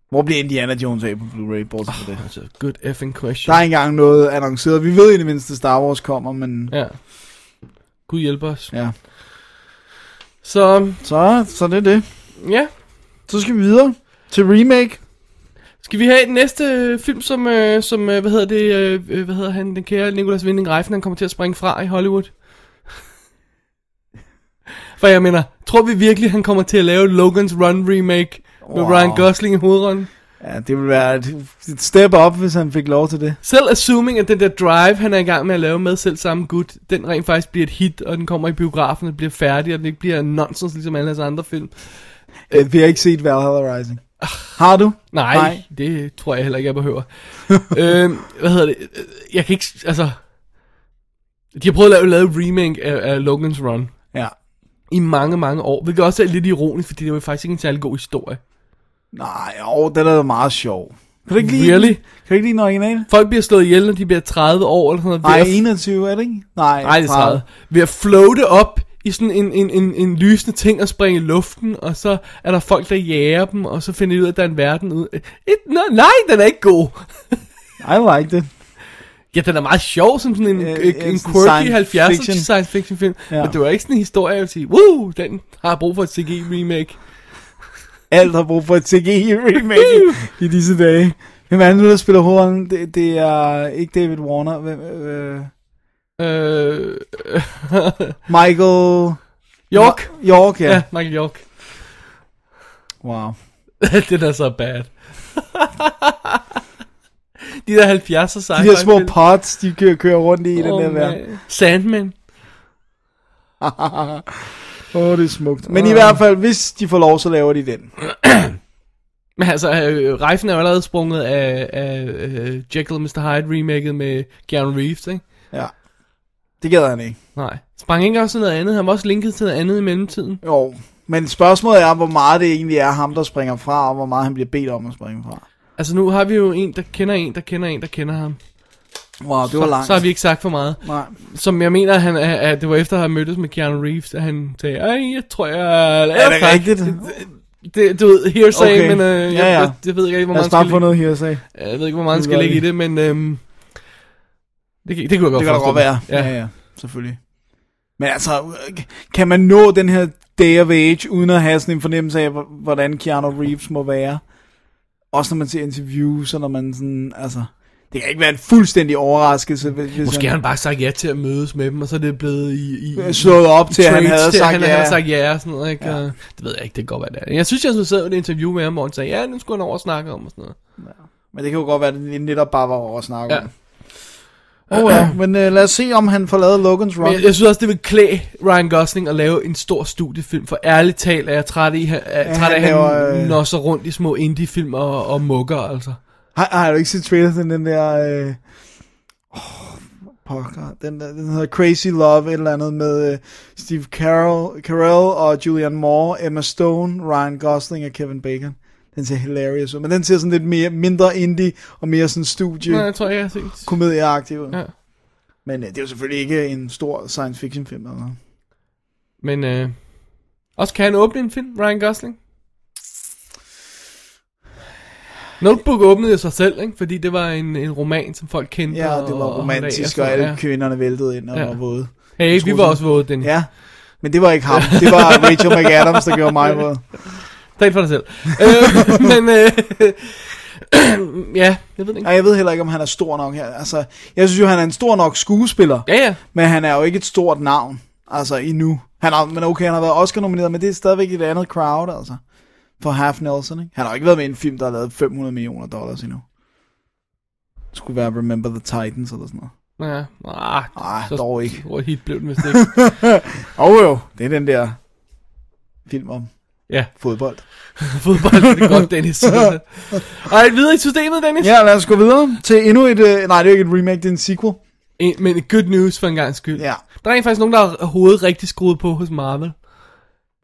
Speaker 6: Hvor bliver Indiana Jones af på Blu-ray, bortset fra det?
Speaker 5: altså, good effing
Speaker 6: Der
Speaker 5: question.
Speaker 6: er ikke engang noget annonceret. Vi ved i det mindste, Star Wars kommer, men...
Speaker 5: Ja. Gud hjælpe os.
Speaker 6: Ja.
Speaker 5: Så,
Speaker 6: Så, så det er det.
Speaker 5: ja.
Speaker 6: Så skal vi videre til remake.
Speaker 5: Skal vi have den næste øh, film, som, øh, som øh, hvad hedder det, øh, øh, hvad hedder han, den kære Nicolas Winding Refn, han kommer til at springe fra i Hollywood? For jeg mener, tror vi virkelig, han kommer til at lave Logan's Run remake med
Speaker 6: Wow.
Speaker 5: Ryan Gosling i hovedrollen?
Speaker 6: Ja, det ville være et, et step up, hvis han fik lov til det.
Speaker 5: Selv assuming, at den der drive, han er i gang med at lave med selv samme gut, den rent faktisk bliver et hit, og den kommer i biografen, og bliver færdig, og den ikke bliver nonsens, ligesom alle hans andre film.
Speaker 6: Øh, vi har ikke set Valhalla Rising. Har du?
Speaker 5: Nej, Nej.
Speaker 6: Nej.
Speaker 5: det tror jeg heller ikke, jeg behøver. [laughs] øhm, hvad hedder det? Øh, Jeg kan ikke, s- altså... De har prøvet at lave, lave remake af, af Logan's Run
Speaker 6: Ja.
Speaker 5: i mange, mange år. Hvilket også er lidt ironisk, fordi det var faktisk ikke en særlig god historie.
Speaker 6: Nej, åh, den er da meget sjov. Kan du ikke lide
Speaker 5: Really?
Speaker 6: den? Kan du ikke lide den original?
Speaker 5: Folk bliver slået ihjel, når de bliver 30 år eller sådan noget. ved
Speaker 6: Nej,
Speaker 5: at-
Speaker 6: 21 er det ikke? Nej,
Speaker 5: Nej, det er 30. Ved at floate op i sådan en, en, en, en lysende ting og springe i luften, og så er der folk, der jager dem, og så finder de ud af, at der er en verden ud. Øh, Et, no, nej, den er ikke god.
Speaker 6: I liked it.
Speaker 5: Ja, den er meget sjov som sådan en,
Speaker 6: Øh,
Speaker 5: øh,
Speaker 6: øh,
Speaker 5: en
Speaker 6: sådan
Speaker 5: quirky
Speaker 6: science
Speaker 5: 70'er
Speaker 6: fiction.
Speaker 5: science fiction film. Ja.
Speaker 6: Ja.
Speaker 5: Men det var ikke sådan en historie, jeg ville sige, wow, den har brug for et CGI remake.
Speaker 6: Alt har brug for et CGI-remake i disse dage. Hvem er det nu, der spiller hovedrollen? Det, det er ikke David Warner. Hvem, øh,
Speaker 5: Øh,
Speaker 6: Michael...
Speaker 5: York.
Speaker 6: Ma- York, ja.
Speaker 5: Ja,
Speaker 6: ja.
Speaker 5: Michael York. [laughs]
Speaker 6: Wow.
Speaker 5: den er så bad. [laughs] De der 70'er sci
Speaker 6: De der små pots, de kører, kører rundt i, i den der verden.
Speaker 5: Sandman.
Speaker 6: Åh, oh, det er smukt. Men i hvert fald, hvis de får lov, så laver de den.
Speaker 5: Men altså, øh, Reifen er jo allerede sprunget af, af øh, Jekyll og Mr. Hyde remaket med Keanu Reeves, ikke?
Speaker 6: Ja. Det gad han ikke.
Speaker 5: Nej. Sprang ikke også til noget andet? Han var også linket til noget andet i mellemtiden.
Speaker 6: Jo. Men spørgsmålet er, hvor meget det egentlig er ham, der springer fra, og hvor meget han bliver bedt om at springe fra.
Speaker 5: Altså, nu har vi jo en, der kender en, der kender en, der kender ham.
Speaker 6: Wow, det var
Speaker 5: Så,
Speaker 6: langt.
Speaker 5: så har vi ikke sagt for meget.
Speaker 6: Nej.
Speaker 5: Som jeg mener, han, at, at det var efter at have mødtes med Keanu Reeves, at han sagde, Ej, jeg tror, jeg...
Speaker 6: Er det rigtigt?
Speaker 5: Det, du ved, hearsay, okay.
Speaker 6: Okay.
Speaker 5: men øh,
Speaker 6: Ja, ja.
Speaker 5: Jeg, det ved jeg ikke, hvor
Speaker 6: Lad
Speaker 5: meget
Speaker 6: os bare få noget her, sag.
Speaker 5: Jeg ved ikke, hvor meget han
Speaker 6: Det
Speaker 5: skal
Speaker 6: gør
Speaker 5: ligge i
Speaker 6: vi.
Speaker 5: det, men øhm, det, kan- det kunne jeg
Speaker 6: Det
Speaker 5: godt
Speaker 6: kan da godt
Speaker 5: forestille
Speaker 6: være.
Speaker 5: mig.
Speaker 6: Ja. ja, ja, selvfølgelig. Men altså, kan man nå den her day of age, uden at have sådan en fornemmelse af, hvor- hvordan Keanu Reeves må være? Også når man ser interviews, og når man sådan, altså... Det kan ikke være en fuldstændig overraskelse, hvis hvis
Speaker 5: Måske har han bare sagt ja til at mødes med dem, og så er det blevet i... i
Speaker 6: han slået op til, at han
Speaker 5: trades
Speaker 6: havde
Speaker 5: til,
Speaker 6: sagt
Speaker 5: han,
Speaker 6: ja.
Speaker 5: Han havde sagt [laughs] ja og sådan noget, ikke? Ja. Det ved jeg ikke, det kan godt være det er. Jeg synes, jeg så et interview med ham, hvor han sagde, ja, nu skulle han over og snakke om og sådan noget.
Speaker 6: Men det kan jo godt være, at det netop bare var over at snakke
Speaker 5: Ja.
Speaker 6: ja. om. Oh, ja. Men uh, lad os se, om han får lavet Logan's Run.
Speaker 5: Men jeg, jeg synes også, det vil klæde Ryan Gosling at lave en stor studiefilm, for ærligt talt er jeg træt, i, er, er,
Speaker 6: han
Speaker 5: træt af, at han
Speaker 6: laver, øh,
Speaker 5: nosser rundt i små indie-film og, og mukker, altså.
Speaker 6: Har, har du ikke set trailer til den der... Øh... Oh, pokker. Den, der, den hedder Crazy Love, et eller andet med øh, Steve Carell, Carell og Julianne Moore, Emma Stone, Ryan Gosling og Kevin Bacon. Den ser hilarious ud, men den ser sådan lidt mere, mindre indie og mere sådan
Speaker 5: Nej,
Speaker 6: studie
Speaker 5: jeg tror ikke, jeg har set.
Speaker 6: komedieagtig ud.
Speaker 5: Ja.
Speaker 6: Ja. Men øh, det er jo selvfølgelig ikke en stor science fiction film eller noget.
Speaker 5: Men øh, også kan han åbne en film, Ryan Gosling? Notebook åbnede jo sig selv, ikke? fordi det var en, en roman, som folk kendte.
Speaker 6: Ja, det var
Speaker 5: og- og
Speaker 6: romantisk,
Speaker 5: holdt
Speaker 6: og
Speaker 5: af
Speaker 6: alle
Speaker 5: sådan noget,
Speaker 6: kvinderne væltede ind og
Speaker 5: Ja.
Speaker 6: var våde.
Speaker 5: ja. Hey, vi var også våde, den. Ja.
Speaker 6: Ja, men det var ikke ham. Det
Speaker 5: [laughs]
Speaker 6: var Rachel McAdams, der gjorde mig våd.
Speaker 5: Tal for dig selv. øh, [laughs] men, øh, [clears throat] ja, jeg ved det ikke.
Speaker 6: Og jeg ved heller ikke, om han er stor nok her. Altså, jeg synes jo, han er en stor nok skuespiller,
Speaker 5: Ja, ja.
Speaker 6: men han er jo ikke et stort navn, altså endnu. Han har, men okay, han har været Oscar-nomineret, men det er stadigvæk et andet crowd, altså. For Half Nelson, ikke? Han har jo ikke været med i en film, der har lavet 500 millioner dollars endnu. Det skulle være Remember the Titans eller sådan noget.
Speaker 5: ja. Ah,
Speaker 6: Ah, dog ikke.
Speaker 5: Hvor hit blev den, hvis det ikke.
Speaker 6: Åh oh, jo, det er den der film om
Speaker 5: ja,
Speaker 6: fodbold.
Speaker 5: fodbold det er
Speaker 6: [laughs]
Speaker 5: godt, Dennis. Alright, videre i systemet, Dennis.
Speaker 6: Ja, lad os gå videre til endnu et... Øh, nej, det er jo ikke et remake, det er en sequel.
Speaker 5: En, men good news for en gang skyld.
Speaker 6: Ja.
Speaker 5: Der er rent faktisk nogen, der har hovedet rigtig skruet på hos Marvel.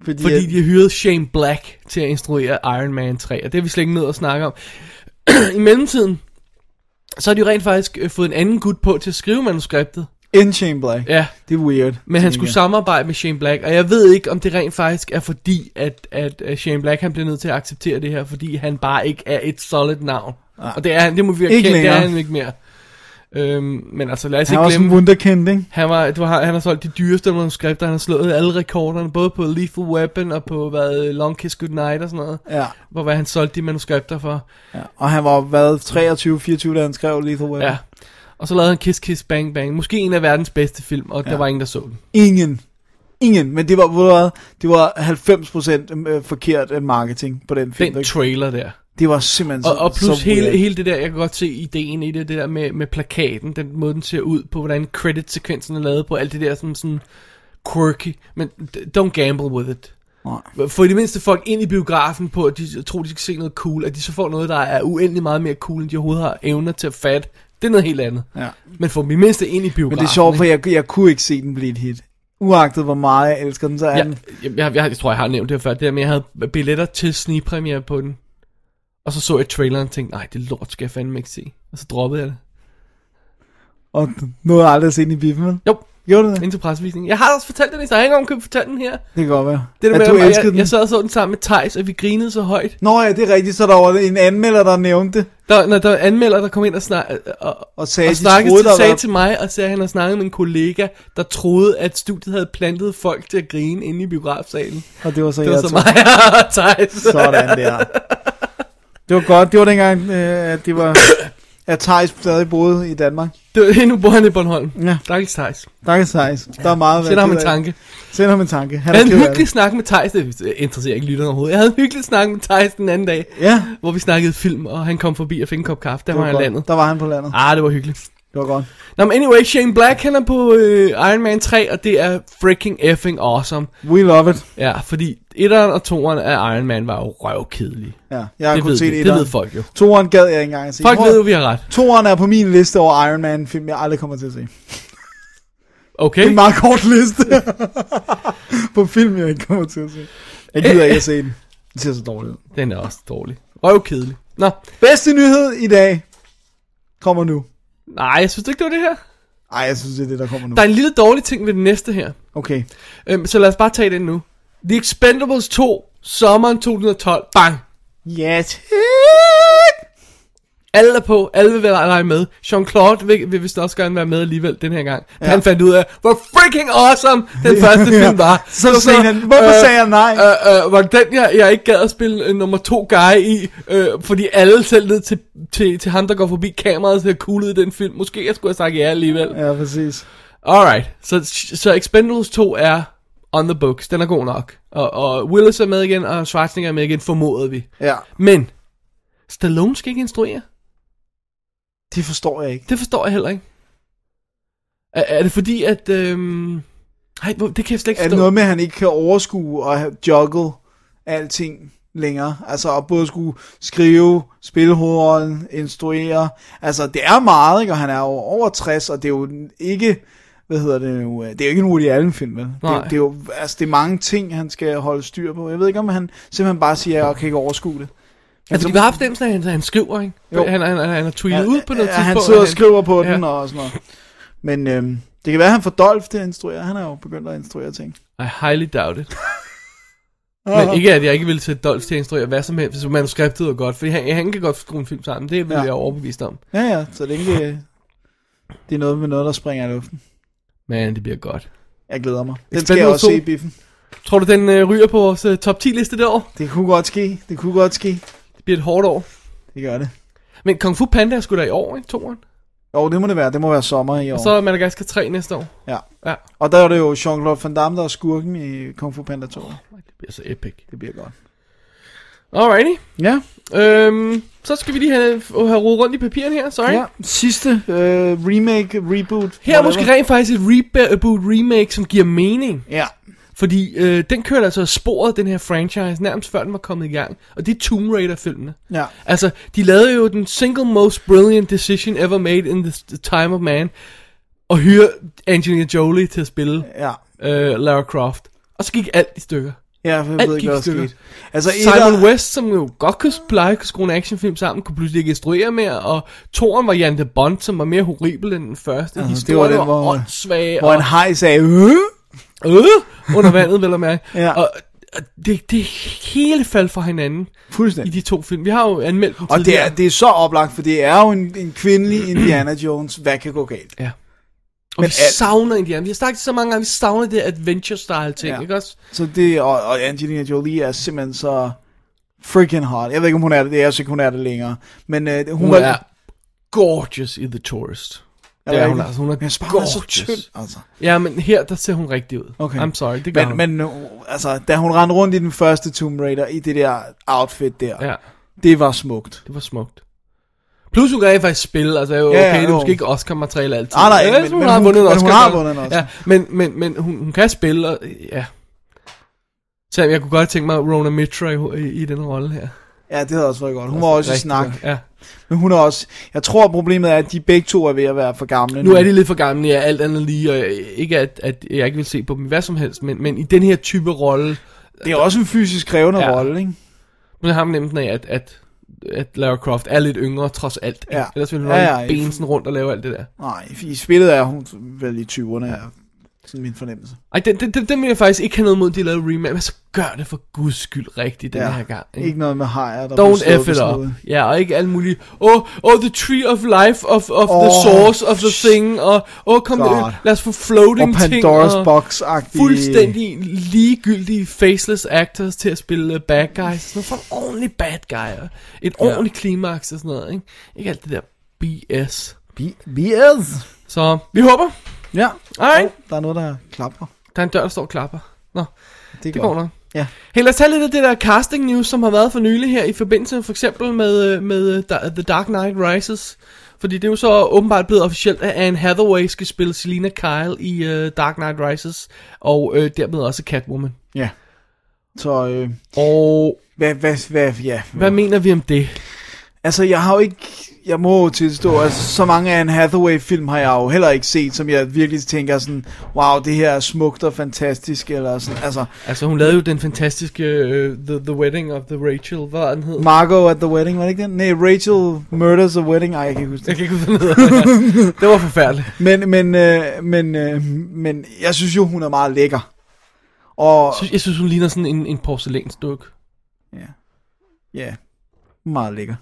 Speaker 6: Fordi, øh,
Speaker 5: Fordi
Speaker 6: at-
Speaker 5: de har hyret Shane Black til at instruere Iron Man 3, og det er vi slet ikke nødt at snakke om. [clears throat] I mellemtiden, så har de jo rent faktisk øh, fået en anden gut på til at skrive manuskriptet.
Speaker 6: In Shane Black.
Speaker 5: Ja,
Speaker 6: Det er weird.
Speaker 5: men han
Speaker 6: tænker
Speaker 5: skulle
Speaker 6: jeg.
Speaker 5: samarbejde med Shane Black, og jeg ved ikke, om det rent faktisk er fordi, at, at øh, Shane Black han bliver nødt til at acceptere det her, fordi han bare ikke er et solid navn. Og det er han, det må vi erkende, det er
Speaker 6: længere.
Speaker 5: han ikke mere. Øhm, men altså, lad os
Speaker 6: Han er
Speaker 5: ikke
Speaker 6: også
Speaker 5: glemme...
Speaker 6: en wunderkind, ikke?
Speaker 5: Han, var, du har, han har solgt de dyreste manuskripter, han har slået alle rekorderne, både på Lethal Weapon og på hvad, Long Kiss Goodnight og sådan noget.
Speaker 6: Ja.
Speaker 5: Hvor hvad han solgte de manuskripter for.
Speaker 6: Og han var, hvad, 23-24, da han skrev Lethal Weapon?
Speaker 5: Ja. Og så lavede han Kiss Kiss Bang Bang. Måske en af verdens bedste film, og ja. der var ingen, der så den.
Speaker 6: Ingen. Ingen. Men det var, ved du hvad, det var 90% øh, forkert øh, marketing på den film.
Speaker 5: Den
Speaker 6: ikke?
Speaker 5: trailer der.
Speaker 6: det var simpelthen
Speaker 5: Og,
Speaker 6: så
Speaker 5: og plus
Speaker 6: så
Speaker 5: hele,
Speaker 6: weird.
Speaker 5: hele det der, jeg kan godt se ideen i det, det der med, med plakaten, den måde den ser ud på, hvordan credit-sekvensen er lavet på, alt det der sådan, sådan quirky, men d- don't gamble with it.
Speaker 6: Nej.
Speaker 5: Få i det mindste folk ind i biografen på, at de tror, de skal se noget cool, at de så får noget, der er uendelig meget mere cool, end de overhovedet har evner til at fatte. Det er noget helt andet.
Speaker 6: Ja.
Speaker 5: Men få dem i det mindste ind i biografen.
Speaker 6: Men det er sjovt, for
Speaker 5: ikke?
Speaker 6: jeg, jeg kunne ikke se den blive et hit. Uagtet hvor meget jeg elsker den, så er ja. den...
Speaker 5: jeg, jeg, jeg, jeg, jeg tror, jeg har nævnt det her før, det der med, at jeg havde billetter til snigpremiere på den. Og så så jeg traileren og tænkte, nej, det lort skal jeg fandme ikke se. Og så droppede jeg det.
Speaker 6: Og nu har jeg aldrig set den i biffen, vel?
Speaker 5: Jo,
Speaker 6: Gjorde du det?
Speaker 5: Ind til pressevisningen. Jeg har også fortalt den, så jeg har ikke omkøbt fortalt den her.
Speaker 6: Det kan godt være.
Speaker 5: Det der
Speaker 6: at
Speaker 5: med,
Speaker 6: du
Speaker 5: at
Speaker 6: elskede
Speaker 5: jeg,
Speaker 6: den.
Speaker 5: jeg sad og så den sammen med Tejs, og vi grinede så højt.
Speaker 6: Nå ja, det er rigtigt, så der var en anmelder, der nævnte det.
Speaker 5: Der, når der var anmelder, der kom ind og, snak, og,
Speaker 6: Og sagde,
Speaker 5: og
Speaker 6: de
Speaker 5: snakkede
Speaker 6: troede,
Speaker 5: til,
Speaker 6: der
Speaker 5: sagde
Speaker 6: var-
Speaker 5: til mig, og sagde, at han har snakket med en kollega, der troede, at studiet havde plantet folk til at grine inde i biografsalen.
Speaker 6: Og det var så,
Speaker 5: Det var
Speaker 6: jeg
Speaker 5: så
Speaker 6: tog.
Speaker 5: mig og Tejs.
Speaker 6: Sådan der. Det var godt. Det var dengang, øh, at det var... At Thijs stadig boede i Danmark.
Speaker 5: [laughs] Det var, nu bor han i Bornholm.
Speaker 6: Ja.
Speaker 5: Stakkels Tejs.
Speaker 6: Tak, Thijs. Der er meget at være
Speaker 5: Send ham en
Speaker 6: ked af.
Speaker 5: tanke.
Speaker 6: Send ham en tanke. Han
Speaker 5: Jeg
Speaker 6: er
Speaker 5: havde
Speaker 6: ked
Speaker 5: en
Speaker 6: af
Speaker 5: hyggelig snak med Tejs. Det interesserer ikke lytteren overhovedet. Jeg havde en hyggelig snak med Tejs den anden dag,
Speaker 6: det. Ja,
Speaker 5: hvor vi snakkede film, og han kom forbi og fik en kop kaffe. Der
Speaker 6: det
Speaker 5: var han
Speaker 6: godt.
Speaker 5: landet.
Speaker 6: Der var han på landet.
Speaker 5: Ah, det var hyggeligt.
Speaker 6: Det var godt.
Speaker 5: Nå, men anyway, Shane Black, han er på øh, Iron Man 3, og det er freaking effing awesome.
Speaker 6: We love it.
Speaker 5: Ja, fordi etteren og toeren af Iron Man var jo røvkedelige.
Speaker 6: Ja, jeg har
Speaker 5: Det
Speaker 6: kun
Speaker 5: ved,
Speaker 6: set
Speaker 5: vi.
Speaker 6: et.
Speaker 5: det ved folk jo.
Speaker 6: Toren gad jeg ikke engang at se.
Speaker 5: Folk
Speaker 6: Tror-
Speaker 5: ved jo, vi har ret.
Speaker 6: Toren er på min liste over Iron Man film, jeg aldrig kommer til at se. Det
Speaker 5: Okay.
Speaker 6: er en meget kort liste. [laughs] på film, jeg ikke kommer til at se. Jeg gider ikke at se den. Det ser så dårligt ud.
Speaker 5: Den er også dårlig. Røvkedelig. Nå,
Speaker 6: Bedste nyhed i dag kommer nu.
Speaker 5: nej, jeg synes du ikke, det var det her.
Speaker 6: Ej, jeg synes, det er det, der kommer nu.
Speaker 5: Der er en lille dårlig ting ved det næste her.
Speaker 6: Okay.
Speaker 5: Øhm, så lad os bare tage den nu. The Expendables 2, sommeren 2012. Bang!
Speaker 6: Yes.
Speaker 5: Alle er på, alle vil være lege med. Jean-Claude vil, vil vist også gerne være med alligevel den her gang. Ja. Han fandt ud af, hvor freaking awesome
Speaker 6: [laughs]
Speaker 5: den første film var.
Speaker 6: Så sagde han, hvorfor sagde jeg nej?
Speaker 5: Øh, øh, var det den, jeg, jeg ikke gad at spille øh, nummer to guy i, øh, fordi alle selv ned til, til, til ham, der går forbi kameraet, ser cool ud i den film. Måske jeg skulle have sagt ja alligevel.
Speaker 6: Ja, præcis.
Speaker 5: Alright, så, så Expendables 2 er on the books, den er god nok. Og, og Willis er med igen, og Schwarzenegger er med igen, formodede vi.
Speaker 6: Ja.
Speaker 5: Men, Stallone skal ikke instruere.
Speaker 6: Det forstår jeg ikke.
Speaker 5: Det forstår jeg heller ikke. Er, er det fordi, at... Øhm... Ej, hvor- det kan jeg slet ikke
Speaker 6: Er
Speaker 5: forstå.
Speaker 6: det noget med, at han ikke kan overskue og have- juggle alting længere? Altså at både skulle skrive, spille hovedrollen, instruere. Altså det er meget, ikke? Og han er jo over 60, og det er jo ikke... Hvad hedder det nu? øh, Det er jo ikke en Woody Allen film, vel? Det,
Speaker 5: Nej.
Speaker 6: det, er jo, altså, det er mange ting, han skal holde styr på. Jeg ved ikke, om han simpelthen bare siger, at jeg kan ikke overskue det.
Speaker 5: altså, de var haft dem, at han, han skriver, ikke?
Speaker 6: Jo.
Speaker 5: Han, han, han, han har tweetet
Speaker 6: Ja,
Speaker 5: ud på noget
Speaker 6: ja,
Speaker 5: tidspunkt.
Speaker 6: Han sidder og skriver på
Speaker 5: Ja.
Speaker 6: den og sådan noget. Men øhm, det kan være, at han får Dolph til at instruere. Han er jo begyndt at instruere ting. Ah.
Speaker 5: I highly doubt
Speaker 6: [laughs]
Speaker 5: it. Men ikke, at jeg ikke ville sætte Dolph til at instruere hvad som helst, hvis manuskriptet var godt. Fordi han, han kan godt skrue en film sammen, det vil
Speaker 6: Ja.
Speaker 5: jeg overbevist om.
Speaker 6: Ja, ja, så det er ikke... øh, Det er noget med noget, der springer i luften.
Speaker 5: Men det bliver godt.
Speaker 6: Jeg glæder mig. Den skal jeg
Speaker 5: Expendables
Speaker 6: også
Speaker 5: 2.
Speaker 6: se i biffen.
Speaker 5: Tror du, den øh, ryger på vores øh, top 10 liste det år?
Speaker 6: Det kunne godt ske. Det kunne godt ske.
Speaker 5: Det bliver et hårdt år.
Speaker 6: Det gør det.
Speaker 5: Men Kung Fu Panda er sgu da i år, ikke? Toren.
Speaker 6: Jo, det må det være. Det må være sommer i år.
Speaker 5: Og så er Madagaskar 3 næste år.
Speaker 6: Ja.
Speaker 5: Ja.
Speaker 6: Og der er det jo Jean-Claude Van Damme, der er skurken i Kung Fu Panda 2.
Speaker 5: Det bliver så epic.
Speaker 6: Det bliver godt.
Speaker 5: Alrighty.
Speaker 6: Ja,
Speaker 5: Øhm, så skal vi lige have, have rodet rundt i papirerne her, sorry.
Speaker 6: ja. sidste øh, remake, reboot.
Speaker 5: Her er
Speaker 6: whatever.
Speaker 5: måske rent faktisk et reboot remake, som giver mening.
Speaker 6: Ja,
Speaker 5: Fordi øh, den kørte altså af sporet, den her franchise, nærmest før den var kommet i gang. Og det er Tomb Raider-filmene.
Speaker 6: ja.
Speaker 5: Altså, de lavede jo den single most brilliant decision ever made in the time of man. Og hyre Angelina Jolie til at spille
Speaker 6: Ja,
Speaker 5: øh, Lara Croft. Og så gik alt i stykker.
Speaker 6: ja jeg
Speaker 5: Alt
Speaker 6: ved
Speaker 5: gik
Speaker 6: ikke,
Speaker 5: i
Speaker 6: hvad der
Speaker 5: stykker.
Speaker 6: skete. Altså,
Speaker 5: Simon
Speaker 6: etter-
Speaker 5: West, som jo godt kunne pleje at kunne skrue en actionfilm sammen, kunne pludselig ikke instruere mere, og Toren var Jan de Bond, som var mere horribel end den første.
Speaker 6: det
Speaker 5: Uh,
Speaker 6: var
Speaker 5: Historien
Speaker 6: den,
Speaker 5: det var,
Speaker 6: hvor-
Speaker 5: var åndssvage,
Speaker 6: Hvor
Speaker 5: og
Speaker 6: en haj sagde, øh?
Speaker 5: øh, under vandet, vel at mærke.
Speaker 6: [laughs] Ja.
Speaker 5: Og, og det, det hele faldt fra hinanden i
Speaker 6: Fuldstændig.
Speaker 5: de to film. Vi har jo anmeldt dem
Speaker 6: Og det
Speaker 5: tidligere.
Speaker 6: er, det er så oplagt, for det er jo en, en kvindelig Indiana Jones. Hvad kan gå galt?
Speaker 5: Ja. Og
Speaker 6: Men
Speaker 5: vi
Speaker 6: alt-
Speaker 5: savner Indiana. Vi har snakket så mange gange, vi savner det adventure-style ting,
Speaker 6: Ja.
Speaker 5: ja. ikke også?
Speaker 6: Så det, og, og Angelina Jolie er simpelthen så freaking hot. Jeg ved ikke, om hun er det. Jeg synes ikke, hun er det længere. Men øh, hun,
Speaker 5: Hun
Speaker 6: var-
Speaker 5: er gorgeous i The Tourist.
Speaker 6: er
Speaker 5: det er hun
Speaker 6: rigtigt?
Speaker 5: altså. Hun er
Speaker 6: Men jeg synes bare, hun er så
Speaker 5: gorgeous.
Speaker 6: tynd, altså.
Speaker 5: Ja, men her, der ser hun rigtig ud.
Speaker 6: Okay.
Speaker 5: I'm sorry, det gør
Speaker 6: Men,
Speaker 5: hun.
Speaker 6: men øh, altså, da hun rendte rundt i den første Tomb Raider, i det der outfit der,
Speaker 5: Ja.
Speaker 6: det var smukt.
Speaker 5: Det var smukt. Plus hun kan rent faktisk spille, altså okay,
Speaker 6: Ja, ja,
Speaker 5: ja, det er
Speaker 6: jo.
Speaker 5: måske ikke Oscar-materiale altid.
Speaker 6: Nej, nej,
Speaker 5: Ja,
Speaker 6: men-
Speaker 5: altså, hun
Speaker 6: men
Speaker 5: har
Speaker 6: hun-
Speaker 5: vundet en
Speaker 6: men
Speaker 5: Oscar.
Speaker 6: hun har
Speaker 5: så-
Speaker 6: vundet en Oscar.
Speaker 5: Ja, men, men, men hun, hun kan spille, og ja. Selvom jeg kunne godt tænke mig Rona Mitra i, i, i den rolle her.
Speaker 6: Ja, det havde også været godt. Hun var også i
Speaker 5: Altså, Rigtig
Speaker 6: snak.
Speaker 5: godt, Ja.
Speaker 6: Men hun er også... Jeg tror, problemet er, at de begge to er ved at være for gamle.
Speaker 5: Nu er de lidt for gamle, ja, alt andet lige, og ikke at, at jeg ikke vil se på dem i hvad som helst, men, men i den her type rolle,
Speaker 6: Det er også en fysisk krævende
Speaker 5: Ja.
Speaker 6: rolle, ikke?
Speaker 5: men jeg har nemlig af, at, at, at Lara Croft er lidt yngre, trods alt.
Speaker 6: Ja.
Speaker 5: Ellers ville hun
Speaker 6: Ja,
Speaker 5: ja,
Speaker 6: ja,
Speaker 5: ja, bensen rundt og lave alt det der.
Speaker 6: Nej, i spillet er hun vel i 20'erne, er sådan min fornemmelse.
Speaker 5: Ej, den, den, den, den vil jeg faktisk ikke have noget imod, at de lavede remake, men så gør det for guds skyld rigtigt den
Speaker 6: Ja,
Speaker 5: ja, her gang. Ikke?
Speaker 6: Ikke noget med hajer, der
Speaker 5: Don't
Speaker 6: bliver
Speaker 5: F it
Speaker 6: slået
Speaker 5: up.
Speaker 6: med sådan
Speaker 5: Ja, og ikke alt muligt. Oh, oh, the tree of life, of, of oh, the
Speaker 6: Åh,
Speaker 5: source, of the thing, og oh, kom,
Speaker 6: God.
Speaker 5: God. lad os få
Speaker 6: noget. Og
Speaker 5: floating ting.
Speaker 6: Pandoras Box-agtige...
Speaker 5: Fuldstændig ligegyldige faceless actors til at spille øh, bad guys. Sådan noget for en ordentlig bad guy. Og et ordentligt klimaks og sådan noget. Ikke? ikke alt det der BS.
Speaker 6: B- BS.
Speaker 5: Så vi håber.
Speaker 6: Ja.
Speaker 5: Alright.
Speaker 6: Der er noget, der klapper.
Speaker 5: Der er en dør, der står og klapper. Nå,
Speaker 6: Det,
Speaker 5: det går nok.
Speaker 6: Ja.
Speaker 5: Hey, lad os tage lidt af det der casting news, som har været for nylig her, i forbindelse for eksempel med, øh, med øh, Da- The Dark Knight Rises, Fordi det er jo så åbenbart blevet officielt, at Anne Hathaway skal spille Selina Kyle i uh, Dark Knight Rises, og uh, dermed også Catwoman.
Speaker 6: Ja. Så, øh,
Speaker 5: Og
Speaker 6: hvad, hvad, hvad, ja.
Speaker 5: hvad mener vi om det?
Speaker 6: Altså, jeg har jo ikke... Jeg må jo tilstå, at altså, så mange af en Hathaway-film har jeg jo heller ikke set, som jeg virkelig tænker sådan, wow, det her er smukt og fantastisk, eller sådan, altså,
Speaker 5: Altså hun lavede jo den fantastiske uh, the, the Wedding of the Rachel, hvad var den hed?
Speaker 6: Margot at the Wedding, var det ikke den? Nej, Rachel Murders a Wedding, ej, jeg kan ikke huske
Speaker 5: Jeg
Speaker 6: det.
Speaker 5: kan ikke huske, hvad den hedder. [laughs] Det var forfærdeligt.
Speaker 6: Men, men, øh, men, øh, men jeg synes jo, hun er meget lækker. Og,
Speaker 5: Jeg synes- Jeg synes, hun ligner sådan en, en porcelænsdukke.
Speaker 6: ja, ja, meget lækker.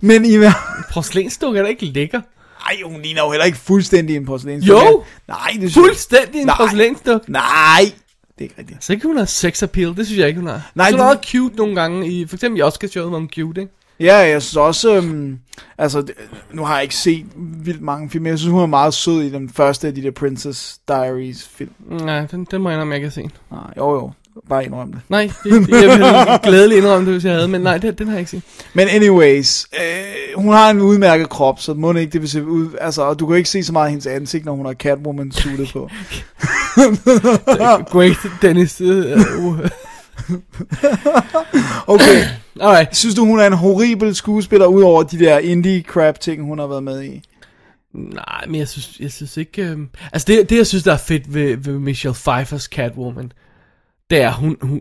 Speaker 6: Men i hver...
Speaker 5: Porcelænsdukke er da ikke lækker.
Speaker 6: Ej, hun ligner jo heller ikke fuldstændig en porcelæn.
Speaker 5: Jo!
Speaker 6: Nej, det synes jeg-
Speaker 5: Fuldstændig en
Speaker 6: Nej.
Speaker 5: porcelænsdukke.
Speaker 6: Nej, det er ikke rigtigt.
Speaker 5: Så ikke hun har sex appeal, det synes jeg ikke, hun har.
Speaker 6: Nej,
Speaker 5: Nej, så
Speaker 6: det-
Speaker 5: er meget cute nogle gange, i, for eksempel i Oscar-showet var hun cute, ikke?
Speaker 6: Ja, jeg synes også, øhm, altså, det- nu har jeg ikke set vildt mange film, men jeg synes, hun er meget sød i den første af de der Princess Diaries film.
Speaker 5: Nej, den, den må jeg indrømme, jeg ikke har set.
Speaker 6: Nej, jo jo, bare indrøm det.
Speaker 5: Nej, det, det, jeg
Speaker 6: [laughs]
Speaker 5: ville glædeligt indrømme det, hvis jeg havde, men nej, det, den har jeg ikke set.
Speaker 6: Men anyways, øh, hun har en udmærket krop, så må det ikke det vil se ud, altså, og du kan jo ikke se så meget af hendes ansigt, når hun har catwoman suitet på.
Speaker 5: Øh, Great, Dennis. øh, Uh,
Speaker 6: Okay,
Speaker 5: [laughs] alright.
Speaker 6: synes du, hun er en horribel skuespiller, udover de der indie crap ting, hun har været med i?
Speaker 5: Nej, men jeg synes, jeg synes ikke... Øh... Altså det, det, jeg synes, der er fedt ved, ved Michelle Pfeiffer's Catwoman, det er, hun... hun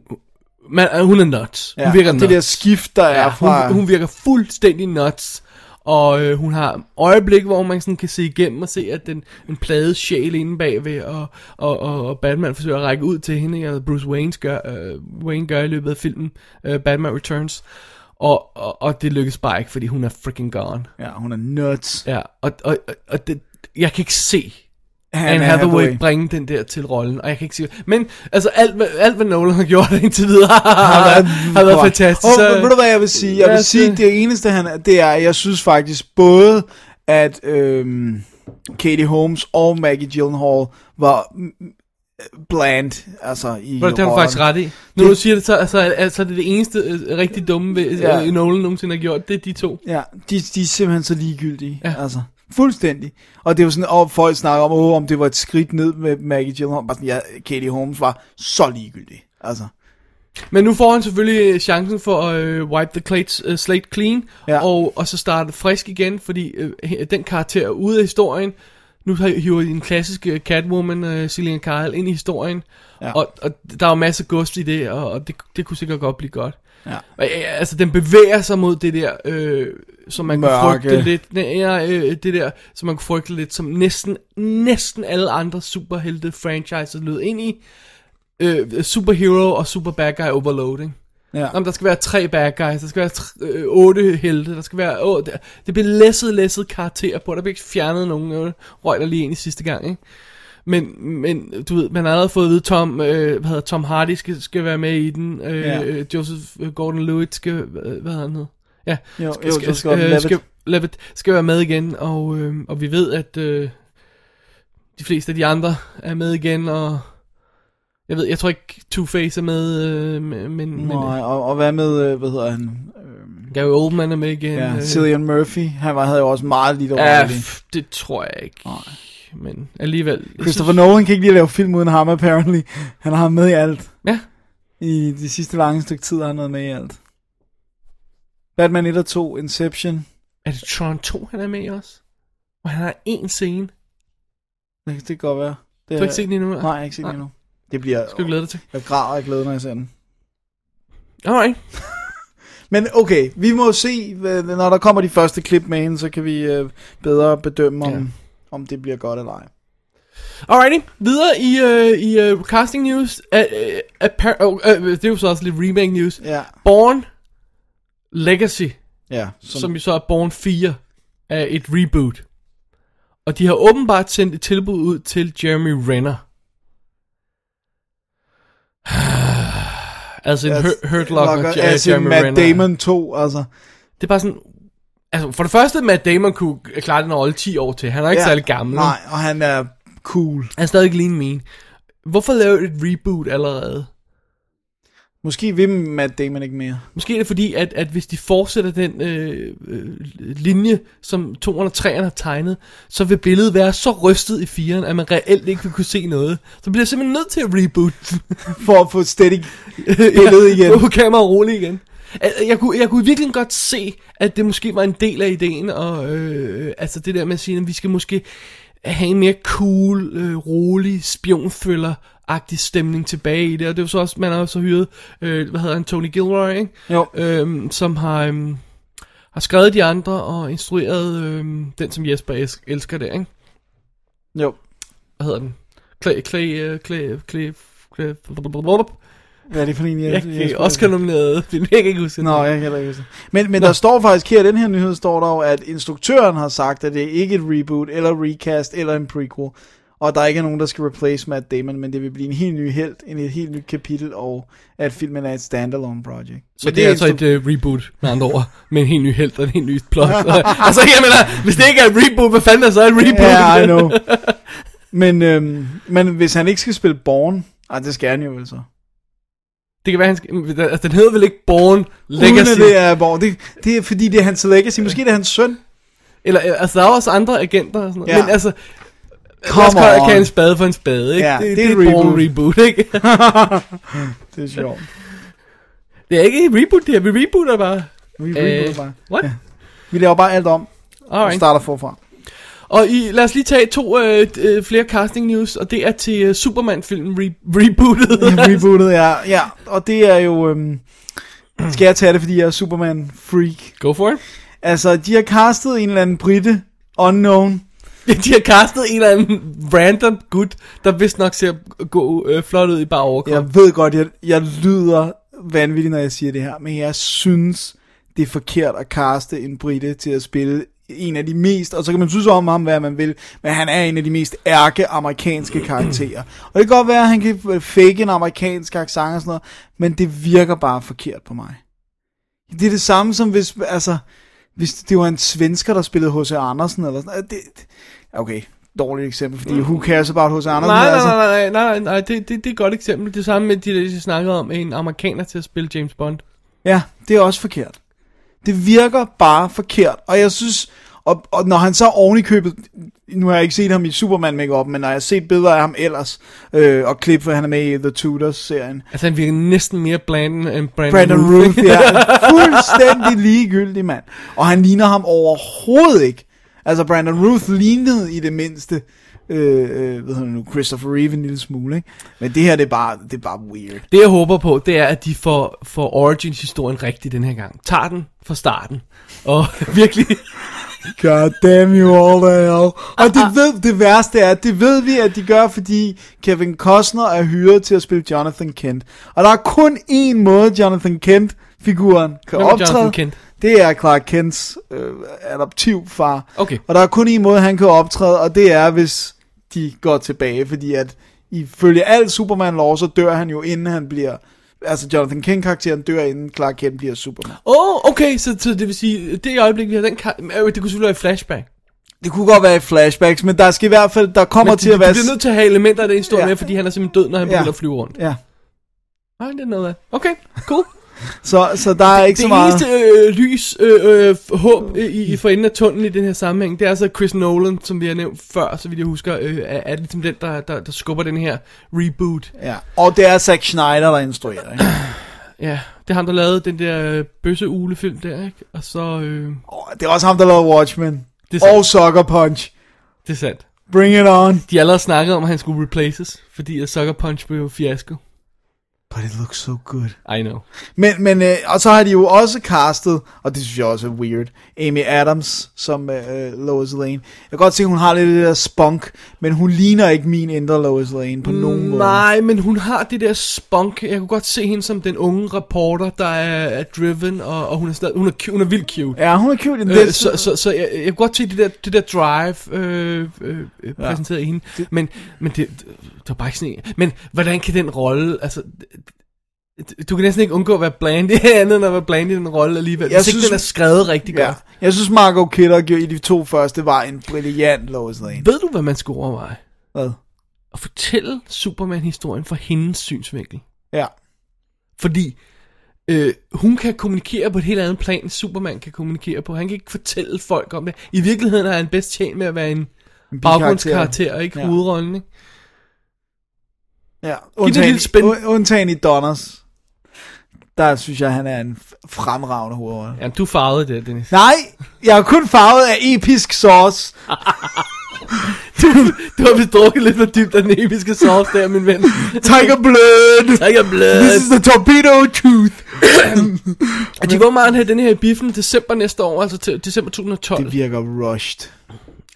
Speaker 5: man, øh, hun er nuts. Hun virker
Speaker 6: det
Speaker 5: nuts.
Speaker 6: der skift, der er
Speaker 5: Ja,
Speaker 6: fra...
Speaker 5: hun, hun virker fuldstændig nuts. Og øh, hun har øjeblik, hvor man sådan kan se igennem og se, at den, den plade sjæl inde bagved, og, og, og, og Batman forsøger at række ud til hende, ikke? og Bruce Wayne gør, øh, Wayne gør i løbet af filmen øh, Batman Returns. Og, og, og det lykkes bare ikke, fordi hun er freaking gone.
Speaker 6: Ja, hun er nuts.
Speaker 5: Ja, og, og, og, og det, jeg kan ikke se
Speaker 6: Han
Speaker 5: Anne Hathaway, Hathaway bringe den der til rollen, og jeg kan ikke sige... Men altså, alt, hvad- alt hvad Nolan har gjort [laughs] indtil videre, har været,
Speaker 6: Ah,
Speaker 5: har været fantastisk.
Speaker 6: Og,
Speaker 5: så-
Speaker 6: så... Ved du hvad jeg vil sige? Jeg
Speaker 5: Lad
Speaker 6: vil
Speaker 5: os,
Speaker 6: sige,
Speaker 5: øh,
Speaker 6: det eneste han er, det er, at jeg synes faktisk både, at øhm, Katie Holmes og Maggie Gyllenhaal var mm, bland, altså i
Speaker 5: Bro, det har du
Speaker 6: rollerne.
Speaker 5: faktisk ret i. Når du siger det, så altså, altså, det er det eneste øh, rigtig dumme, ved,
Speaker 6: Ja.
Speaker 5: ja. øh, Nolan nogensinde har gjort, det er de to.
Speaker 6: Ja, de, de er simpelthen så ligegyldige, ja.
Speaker 5: Ja.
Speaker 6: altså. Fuldstændig. Og det var sådan, og folk snakker om, åh, om det var et skridt ned med Maggie Gyllenhaal. Bare sådan, ja, Katie Holmes var så ligegyldig, altså.
Speaker 5: Men nu får han selvfølgelig chancen for at øh, wipe the clates, øh, slate clean,
Speaker 6: Ja.
Speaker 5: ja. og, og så starte frisk igen, fordi øh, he- den karakter er ude af historien. Nu har- hiver de en klassisk øh, Catwoman, øh, Selina Kyle, ind i historien.
Speaker 6: Ja.
Speaker 5: Ja. Og, og der er jo masser af gust i det, og, og det, det kunne sikkert godt blive godt.
Speaker 6: Ja.
Speaker 5: Og, øh, altså, den bevæger sig mod det der, øh, som man kunne
Speaker 6: Mørke.
Speaker 5: frygte lidt. Nej, ja, øh, det der, som man kunne frygte lidt, som næsten, næsten alle andre superhelte franchises lød ind i. Øh, superhero og super bad guy overloading.
Speaker 6: Ja.
Speaker 5: Jamen, der skal være tre bad guys, der skal være tre, øh, otte helte, der skal være... Åh, det, det bliver læsset, læsset karakterer på, der bliver ikke fjernet nogen øh, røg, der lige ind i sidste gang, ikke? Men, men du ved, man har allerede fået at vide, Tom, øh, hvad hedder, Tom Hardy skal, skal være med i den, øh,
Speaker 6: Ja.
Speaker 5: ja. Joseph Gordon-Levitt skal, øh, hvad hedder han hed? Ja,
Speaker 6: Jo,
Speaker 5: skal,
Speaker 6: jo,
Speaker 5: skal,
Speaker 6: Joseph Gordon-Levitt.
Speaker 5: øh, skal, Levitt skal være med igen, og, øh, og vi ved, at øh, de fleste af de andre er med igen, og jeg ved, jeg tror ikke Two-Face er med, øh, men, men,
Speaker 6: Men,
Speaker 5: men
Speaker 6: og, og hvad med, øh, hvad hedder han? Øhm,
Speaker 5: Gary Oldman er med igen.
Speaker 6: Ja,
Speaker 5: øh,
Speaker 6: Cillian Murphy, han var, havde jo også meget lidt
Speaker 5: ja,
Speaker 6: rolle.
Speaker 5: f- det tror jeg ikke. Nej. Men alligevel. jeg
Speaker 6: Christopher Nolan kan ikke lige lave film uden ham, apparently. Han har ham med i alt.
Speaker 5: Ja.
Speaker 6: I de sidste lange stykke tid har han været med i alt. Batman 1 og 2, Inception.
Speaker 5: Synes, er det Tron 2, han er med i også? Hvor han har én scene.
Speaker 6: Det kan det kan godt være. Det,
Speaker 5: Du har ikke set den endnu?
Speaker 6: Nej, jeg har ikke set den
Speaker 5: Nej.
Speaker 6: endnu. Det bliver...
Speaker 5: Skal du glæde dig til?
Speaker 6: Jeg græder og glæder, når jeg ser den.
Speaker 5: Alright.
Speaker 6: Men okay, vi må se, hvad- når der kommer de første klip med hende, så kan vi øh, bedre bedømme, om,
Speaker 5: Ja.
Speaker 6: om det bliver godt eller ej.
Speaker 5: Alrighty. Videre i, øh, i øh, casting news. Uh, uh, appar- uh, uh, det er jo så også lidt remake news.
Speaker 6: Ja,
Speaker 5: Born Legacy,
Speaker 6: ja.
Speaker 5: som, som jo så er Born 4, er et reboot. Og de har åbenbart sendt et tilbud ud til Jeremy Renner. [sighs] altså en Hurt- Hurt Locker,
Speaker 6: Locker-
Speaker 5: Jer-
Speaker 6: altså,
Speaker 5: Jeremy
Speaker 6: Matt
Speaker 5: Renner.
Speaker 6: Damon 2, altså.
Speaker 5: Det er bare sådan... Altså, for det første, Matt Damon kunne klare den rolle 10 år til. Han er ikke ja, særlig gammel.
Speaker 6: Nej, og han er cool.
Speaker 5: Han er stadig lean mean. Hvorfor lave et reboot allerede?
Speaker 6: Måske vil Matt Damon ikke mere. [laughs]
Speaker 5: Måske er det fordi, at, at hvis de fortsætter den øh, øh, linje, som 203'erne har tegnet, så vil billedet være så rystet i firen, at man reelt ikke vil kunne se noget. Så bliver jeg simpelthen nødt til at reboot
Speaker 6: For at få et steady billede igen.
Speaker 5: Nu kamera roligt igen. Al- Jeg kunne, jeg kunne virkelig godt se, at det måske var en del af ideen, og øh, altså det der med at sige, at vi skal måske have en mere cool, øh, rolig, spionfølger agtig stemning tilbage i det, og det er jo så også, man har jo så hyret, øh, hvad hedder han, Tony Gilroy, ikke?
Speaker 6: Jo.
Speaker 5: Øhm, som har, øhm, har skrevet de andre og instrueret øhm, den, som Jesper es- elsker der, ikke?
Speaker 6: Jo.
Speaker 5: Hvad hedder den? Clay, Clay, øh, Clay, Clay, Clay, Clay
Speaker 6: Hvad er det for en, jeg,
Speaker 5: jeg, jeg, Oscar nomineret, jeg kan ikke huske
Speaker 6: Nå,
Speaker 5: den.
Speaker 6: jeg kan heller ikke huske det. Men, men der står faktisk her, i den her nyhed står der jo, at instruktøren har sagt, at det er ikke et reboot, eller recast, eller en prequel. Og der ikke er nogen, der skal replace Matt Damon, men det vil blive en helt ny held, en et helt nyt kapitel, og at filmen er et standalone project.
Speaker 5: Så det, det er altså et uh, reboot, med andre ord, med en helt ny held og en helt ny
Speaker 6: [laughs]
Speaker 5: plot. altså, jeg mener, hvis det ikke er et reboot, hvad fanden er så et reboot?
Speaker 6: Ja, yeah, I
Speaker 5: [laughs]
Speaker 6: know. men, øhm, men hvis han ikke skal spille Born, ej, det skal han jo altså. vel så.
Speaker 5: Det kan være, han skal, altså, den hedder vel ikke Born
Speaker 6: Legacy.
Speaker 5: Legacy?
Speaker 6: Uden at det er Born. Det, det er fordi, det er hans legacy. Måske det er hans søn.
Speaker 5: Eller, øh, altså, der er også andre agenter og sådan noget.
Speaker 6: Ja.
Speaker 5: Men altså,
Speaker 6: Come
Speaker 5: Come lad os
Speaker 6: on.
Speaker 5: kalde en spade for en spade, ikke?
Speaker 6: Ja,
Speaker 5: det,
Speaker 6: det er
Speaker 5: et
Speaker 6: et
Speaker 5: Born
Speaker 6: reboot.
Speaker 5: reboot, ikke? [laughs]
Speaker 6: Det er sjovt.
Speaker 5: det er ikke et reboot, det her. Vi rebooter bare.
Speaker 6: Vi, øh, bare.
Speaker 5: What? Yeah.
Speaker 6: vi laver bare alt om, og
Speaker 5: Alright.
Speaker 6: starter forfra.
Speaker 5: Og I, lad os lige tage to øh, d- øh, flere casting news, og det er til øh, Superman-filmen re- rebootet.
Speaker 6: Rebootet, ja. ja. Og det er jo... Øhm, skal jeg tage det, fordi jeg er Superman-freak?
Speaker 5: [laughs] Go for it.
Speaker 6: Altså, de har castet en eller anden britte, unknown.
Speaker 5: De har castet en eller anden random gut, der vist nok ser gå øh, flot ud i bare overkrop.
Speaker 6: Jeg ved godt, jeg, jeg lyder vanvittig, når jeg siger det her, men jeg synes, det er forkert at kaste en britte til at spille en af de mest, og så kan man synes om ham, hvad man vil, men han er en af de mest ærke amerikanske karakterer. Og det kan godt være, at han kan fake en amerikansk accent og sådan noget, men det virker bare forkert på mig. Det er det samme som hvis, altså, hvis det var en svensker, der spillede H.C. Andersen, eller sådan noget. Det, det- okay, dårligt eksempel, fordi who cares about H.C. Andersen?
Speaker 5: Nej, nej,
Speaker 6: altså.
Speaker 5: nej, nej, nej, nej, det, det, det er et godt eksempel. Det samme med de, der, jeg snakkede om, en amerikaner til at spille James Bond.
Speaker 6: Ja, det er også forkert. Det virker bare forkert, og jeg synes, og, og når han så oven i købet, nu har jeg ikke set ham i Superman makeup, men når jeg har set billeder af ham ellers, øh, og klip, for han er med i The Tudors-serien.
Speaker 5: Altså, han virker næsten mere bland end Brandon,
Speaker 6: Brandon
Speaker 5: Routh,
Speaker 6: Ruth, [laughs]
Speaker 5: ikke?
Speaker 6: ja, fuldstændig ligegyldig mand. Og han ligner ham overhovedet ikke. Altså, Brandon Ruth lignede i det mindste, øh, øh, hvad hedder han nu, Christopher Reeve en lille smule, ikke? Men det her, det er bare, det er bare weird.
Speaker 5: Det, jeg håber på, det er, at de får, får Origins-historien rigtig den her gang. Tager den fra starten. Og [laughs] virkelig...
Speaker 6: God damn you all hell. Og det,
Speaker 5: Ah,
Speaker 6: ved, det værste er, det ved vi, at de gør, fordi Kevin Costner er hyret til at spille Jonathan Kent. Og der er kun én måde, Jonathan Kent-figuren kan
Speaker 5: Hvem er
Speaker 6: optræde.
Speaker 5: Jonathan Kent?
Speaker 6: Det er Clark Kents øh, adoptivfar.
Speaker 5: Okay.
Speaker 6: Og der er kun én måde, han kan optræde, og det er, hvis de går tilbage, fordi at ifølge al Superman-lov, så dør han jo, inden han bliver... Altså, Jonathan Kent-karakteren dør, inden Clark Kent bliver Superman.
Speaker 5: Åh, oh, okay, så, så det vil sige, det øjeblik, vi har den kamp... Øh, det kunne selvfølgelig være et flashback.
Speaker 6: Det kunne godt være i flashbacks, men der skal i hvert fald, der kommer
Speaker 5: Men
Speaker 6: til at
Speaker 5: du,
Speaker 6: være...
Speaker 5: du bliver nødt til at have elementer af den historie
Speaker 6: Ja.
Speaker 5: ja. med, fordi han er simpelthen død, når han
Speaker 6: Ja.
Speaker 5: ja. begynder at flyve rundt.
Speaker 6: Ja,
Speaker 5: Nej, det er noget af. Okay, cool.
Speaker 6: så, så der er ikke
Speaker 5: det
Speaker 6: så meget...
Speaker 5: eneste øh, lys, øh, øh, f- håb øh, i, i for enden af tunnelen i den her sammenhæng, det er altså Chris Nolan, som vi har nævnt før, så vidt jeg husker, øh, er, er ligesom den, der, der, der skubber den her reboot.
Speaker 6: Ja. Og det er Zack Schneider, der instruerer,
Speaker 5: [clears throat]
Speaker 6: ikke?
Speaker 5: Ja, det er ham, der lavede den der øh, bøsse-ulefilm der, ikke? Og så, øh,
Speaker 6: Og det er også ham, der lavede Watchmen.
Speaker 5: Det er
Speaker 6: Og Sucker Punch.
Speaker 5: det er sandt.
Speaker 6: Bring it on.
Speaker 5: De har allerede snakket om, at han skulle replaces, fordi at Sucker Punch blev fiasko.
Speaker 6: But it looks so good.
Speaker 5: I know.
Speaker 6: Men, men øh, og så har de jo også castet, og det synes jeg også er weird, Amy Adams som øh, Lois Lane. Jeg kan godt se, hun har lidt af det der spunk, men hun ligner ikke min indre Lois Lane på nogen måde.
Speaker 5: Nej, men hun har det der spunk. Jeg kunne godt se hende som den unge reporter, der er, er driven, og, og hun, er stadig, hun, er, cu- hun er vildt cute.
Speaker 6: Ja, hun er cute in
Speaker 5: Øh,
Speaker 6: this.
Speaker 5: så så, så jeg, jeg kunne godt se det der, det der drive øh, øh, øh, præsenteret i hende. Men, men det, det var bare ikke sådan en- Men hvordan kan den rolle... Altså, d- du kan næsten ikke undgå at være bland [laughs] i andet end at være bland i den rolle alligevel.
Speaker 6: Jeg
Speaker 5: Jeg hvis
Speaker 6: synes-
Speaker 5: synes, ikke den er skrevet rigtig ja.
Speaker 6: ja.
Speaker 5: godt.
Speaker 6: Jeg synes, Margot Kidder i de to første var en brilliant Lois Lane.
Speaker 5: Ved du, hvad man skulle overveje?
Speaker 6: Hvad?
Speaker 5: At fortælle Superman-historien fra hendes synsvinkel.
Speaker 6: Ja.
Speaker 5: Fordi øh, hun kan kommunikere på et helt andet plan, end Superman kan kommunikere på. Han kan ikke fortælle folk om det. I virkeligheden er han bedst tjent med at være en baggrundskarakter, og ikke
Speaker 6: Ja.
Speaker 5: ja. hovedrollen. Ikke?
Speaker 6: Ja,
Speaker 5: det et
Speaker 6: undtagen,
Speaker 5: lille spin.
Speaker 6: u- undtagen i Donners. Der synes jeg, han er en f- fremragende hovedrolle.
Speaker 5: Jamen, du farvede det, Dennis.
Speaker 6: Nej, jeg er kun farvet af episk sauce.
Speaker 5: [laughs] Du har vist drukket lidt for dybt af den episke sauce der, min ven.
Speaker 6: Tiger blood.
Speaker 5: Tiger Blood.
Speaker 6: This is the torpedo tooth.
Speaker 5: Og de var Altså, meget have den her i biffen december næste år, altså til december 2012.
Speaker 6: Det virker rushed.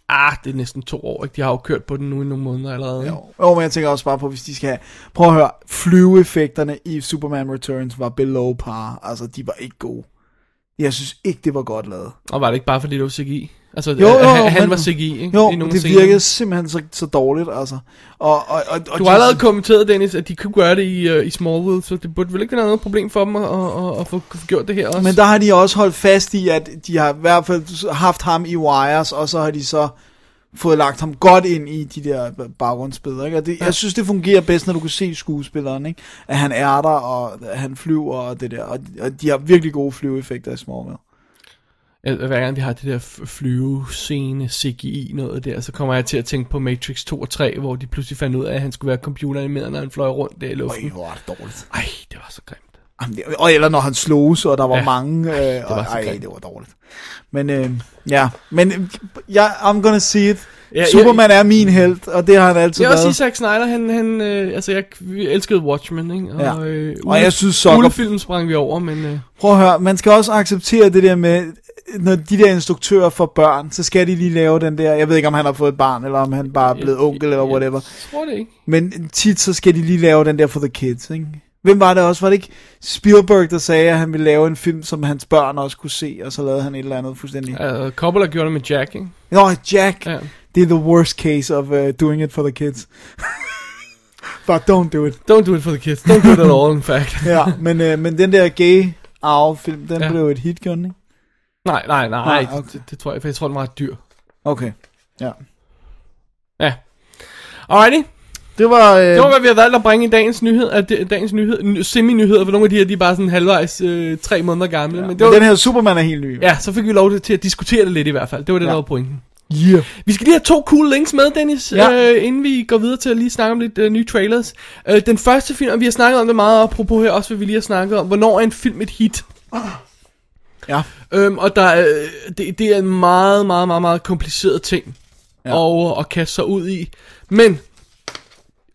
Speaker 5: Ah, det er næsten to år, ikke? De har jo kørt på den nu i nogle måneder allerede. Jo.
Speaker 6: Jo, oh, men jeg tænker også bare på, hvis de skal have... Prøv at høre, flyveeffekterne i Superman Returns var below par. Altså, de var ikke gode. Jeg synes ikke, det var godt lavet.
Speaker 5: Og var det ikke bare fordi, det var CGI? Altså,
Speaker 6: Jo, jo,
Speaker 5: han, han
Speaker 6: men-
Speaker 5: var CGI, ikke?
Speaker 6: Jo,
Speaker 5: I nogle
Speaker 6: det
Speaker 5: scener.
Speaker 6: virkede simpelthen så, så dårligt, altså. Og, og, og, og
Speaker 5: Du har allerede kommenteret, Dennis, at de kunne gøre det i, uh, i Smallwood, så det burde vel ikke være noget problem for dem at, at, at, at få få gjort det her også.
Speaker 6: Men der har de også holdt fast i, at de har i hvert fald haft ham i Wires, og så har de så fået lagt ham godt ind i de der baggrundsbilleder. Ikke? Og det, jeg synes, det fungerer bedst, når du kan se skuespilleren, ikke? at han er der, og han flyver, og det der. Og, og de har virkelig gode flyveeffekter i Smallville.
Speaker 5: Øh, Hver gang vi har det der f- flyvescene, CGI noget der, så kommer jeg til at tænke på Matrix 2 og 3, hvor de pludselig fandt ud af, at han skulle være computeranimeret, når han fløj rundt der i luften.
Speaker 6: Øj, hvor er det dårligt.
Speaker 5: Ej, det var så grimt.
Speaker 6: Jamen, det- Og eller når han sloges, og der var ja.
Speaker 5: Ja.
Speaker 6: mange. Øh, det
Speaker 5: var
Speaker 6: og,
Speaker 5: så
Speaker 6: ej,
Speaker 5: grimt.
Speaker 6: det var dårligt. Men øh, ja, men øh, jeg, I'm gonna see it.
Speaker 5: Ja,
Speaker 6: Superman er min held, og det har han altid
Speaker 5: Jeg vil også sige,
Speaker 6: været.
Speaker 5: Zack Snyder, han, han øh, altså jeg vi elskede Watchmen, ikke? Og,
Speaker 6: Ja.
Speaker 5: øh,
Speaker 6: Og jeg synes, Sucker-
Speaker 5: Ulefilm sprang vi over, men øh,
Speaker 6: Prøv at høre, man skal også acceptere det der med, når de der instruktører får børn, så skal de lige lave den der, jeg ved ikke om han har fået et barn, eller om han bare er blevet onkel, eller whatever.
Speaker 5: jeg tror det ikke.
Speaker 6: Men tit så skal de lige lave den der for the kids, ikke? Hvem var det også? Var det ikke Spielberg, der sagde, at han ville lave en film, som hans børn også kunne se, og så lavede han et eller andet fuldstændig...
Speaker 5: Altså, Coppola gjorde det med Jack, ikke?
Speaker 6: Nå, Jack,
Speaker 5: Ja.
Speaker 6: det er the worst case of uh, doing it for the kids. [laughs] But don't do it.
Speaker 5: Don't do it for the kids. Don't do it at all, in fact.
Speaker 6: Ja, men, uh, men den der gay arve-film, den ja.
Speaker 5: Ja.
Speaker 6: blev et hit, gjorde den, ikke?
Speaker 5: [laughs] Nej, nej, nej.
Speaker 6: Nej, okay.
Speaker 5: det, det, tror jeg, for jeg tror, den var ret dyr.
Speaker 6: Okay, ja.
Speaker 5: Ja. Alrighty.
Speaker 6: Det var... Øh,
Speaker 5: Det var, hvad vi har valgt at bringe i dagens nyhed. At det, dagens nyhed, n- semi-nyheder, for nogle af de her, de er bare sådan halvvejs øh, tre måneder gamle. Ja, men det var,
Speaker 6: Men den her Superman er helt ny.
Speaker 5: ja, så fik vi lov til at diskutere det lidt i hvert fald. Det var det, ja. der var pointen.
Speaker 6: Yeah.
Speaker 5: Vi skal lige have to cool links med, Dennis,
Speaker 6: Ja.
Speaker 5: ja. øh, inden vi går videre til at lige snakke om lidt øh, nye trailers. Øh, den første film, og vi har snakket om det meget, apropos her også, hvad vi lige har snakket om, hvornår er en film et hit?
Speaker 6: Ja.
Speaker 5: Øhm, og der, er, øh, det, det er en meget, meget, meget, meget kompliceret ting
Speaker 6: Ja.
Speaker 5: ja. at, at kaste sig ud i. Men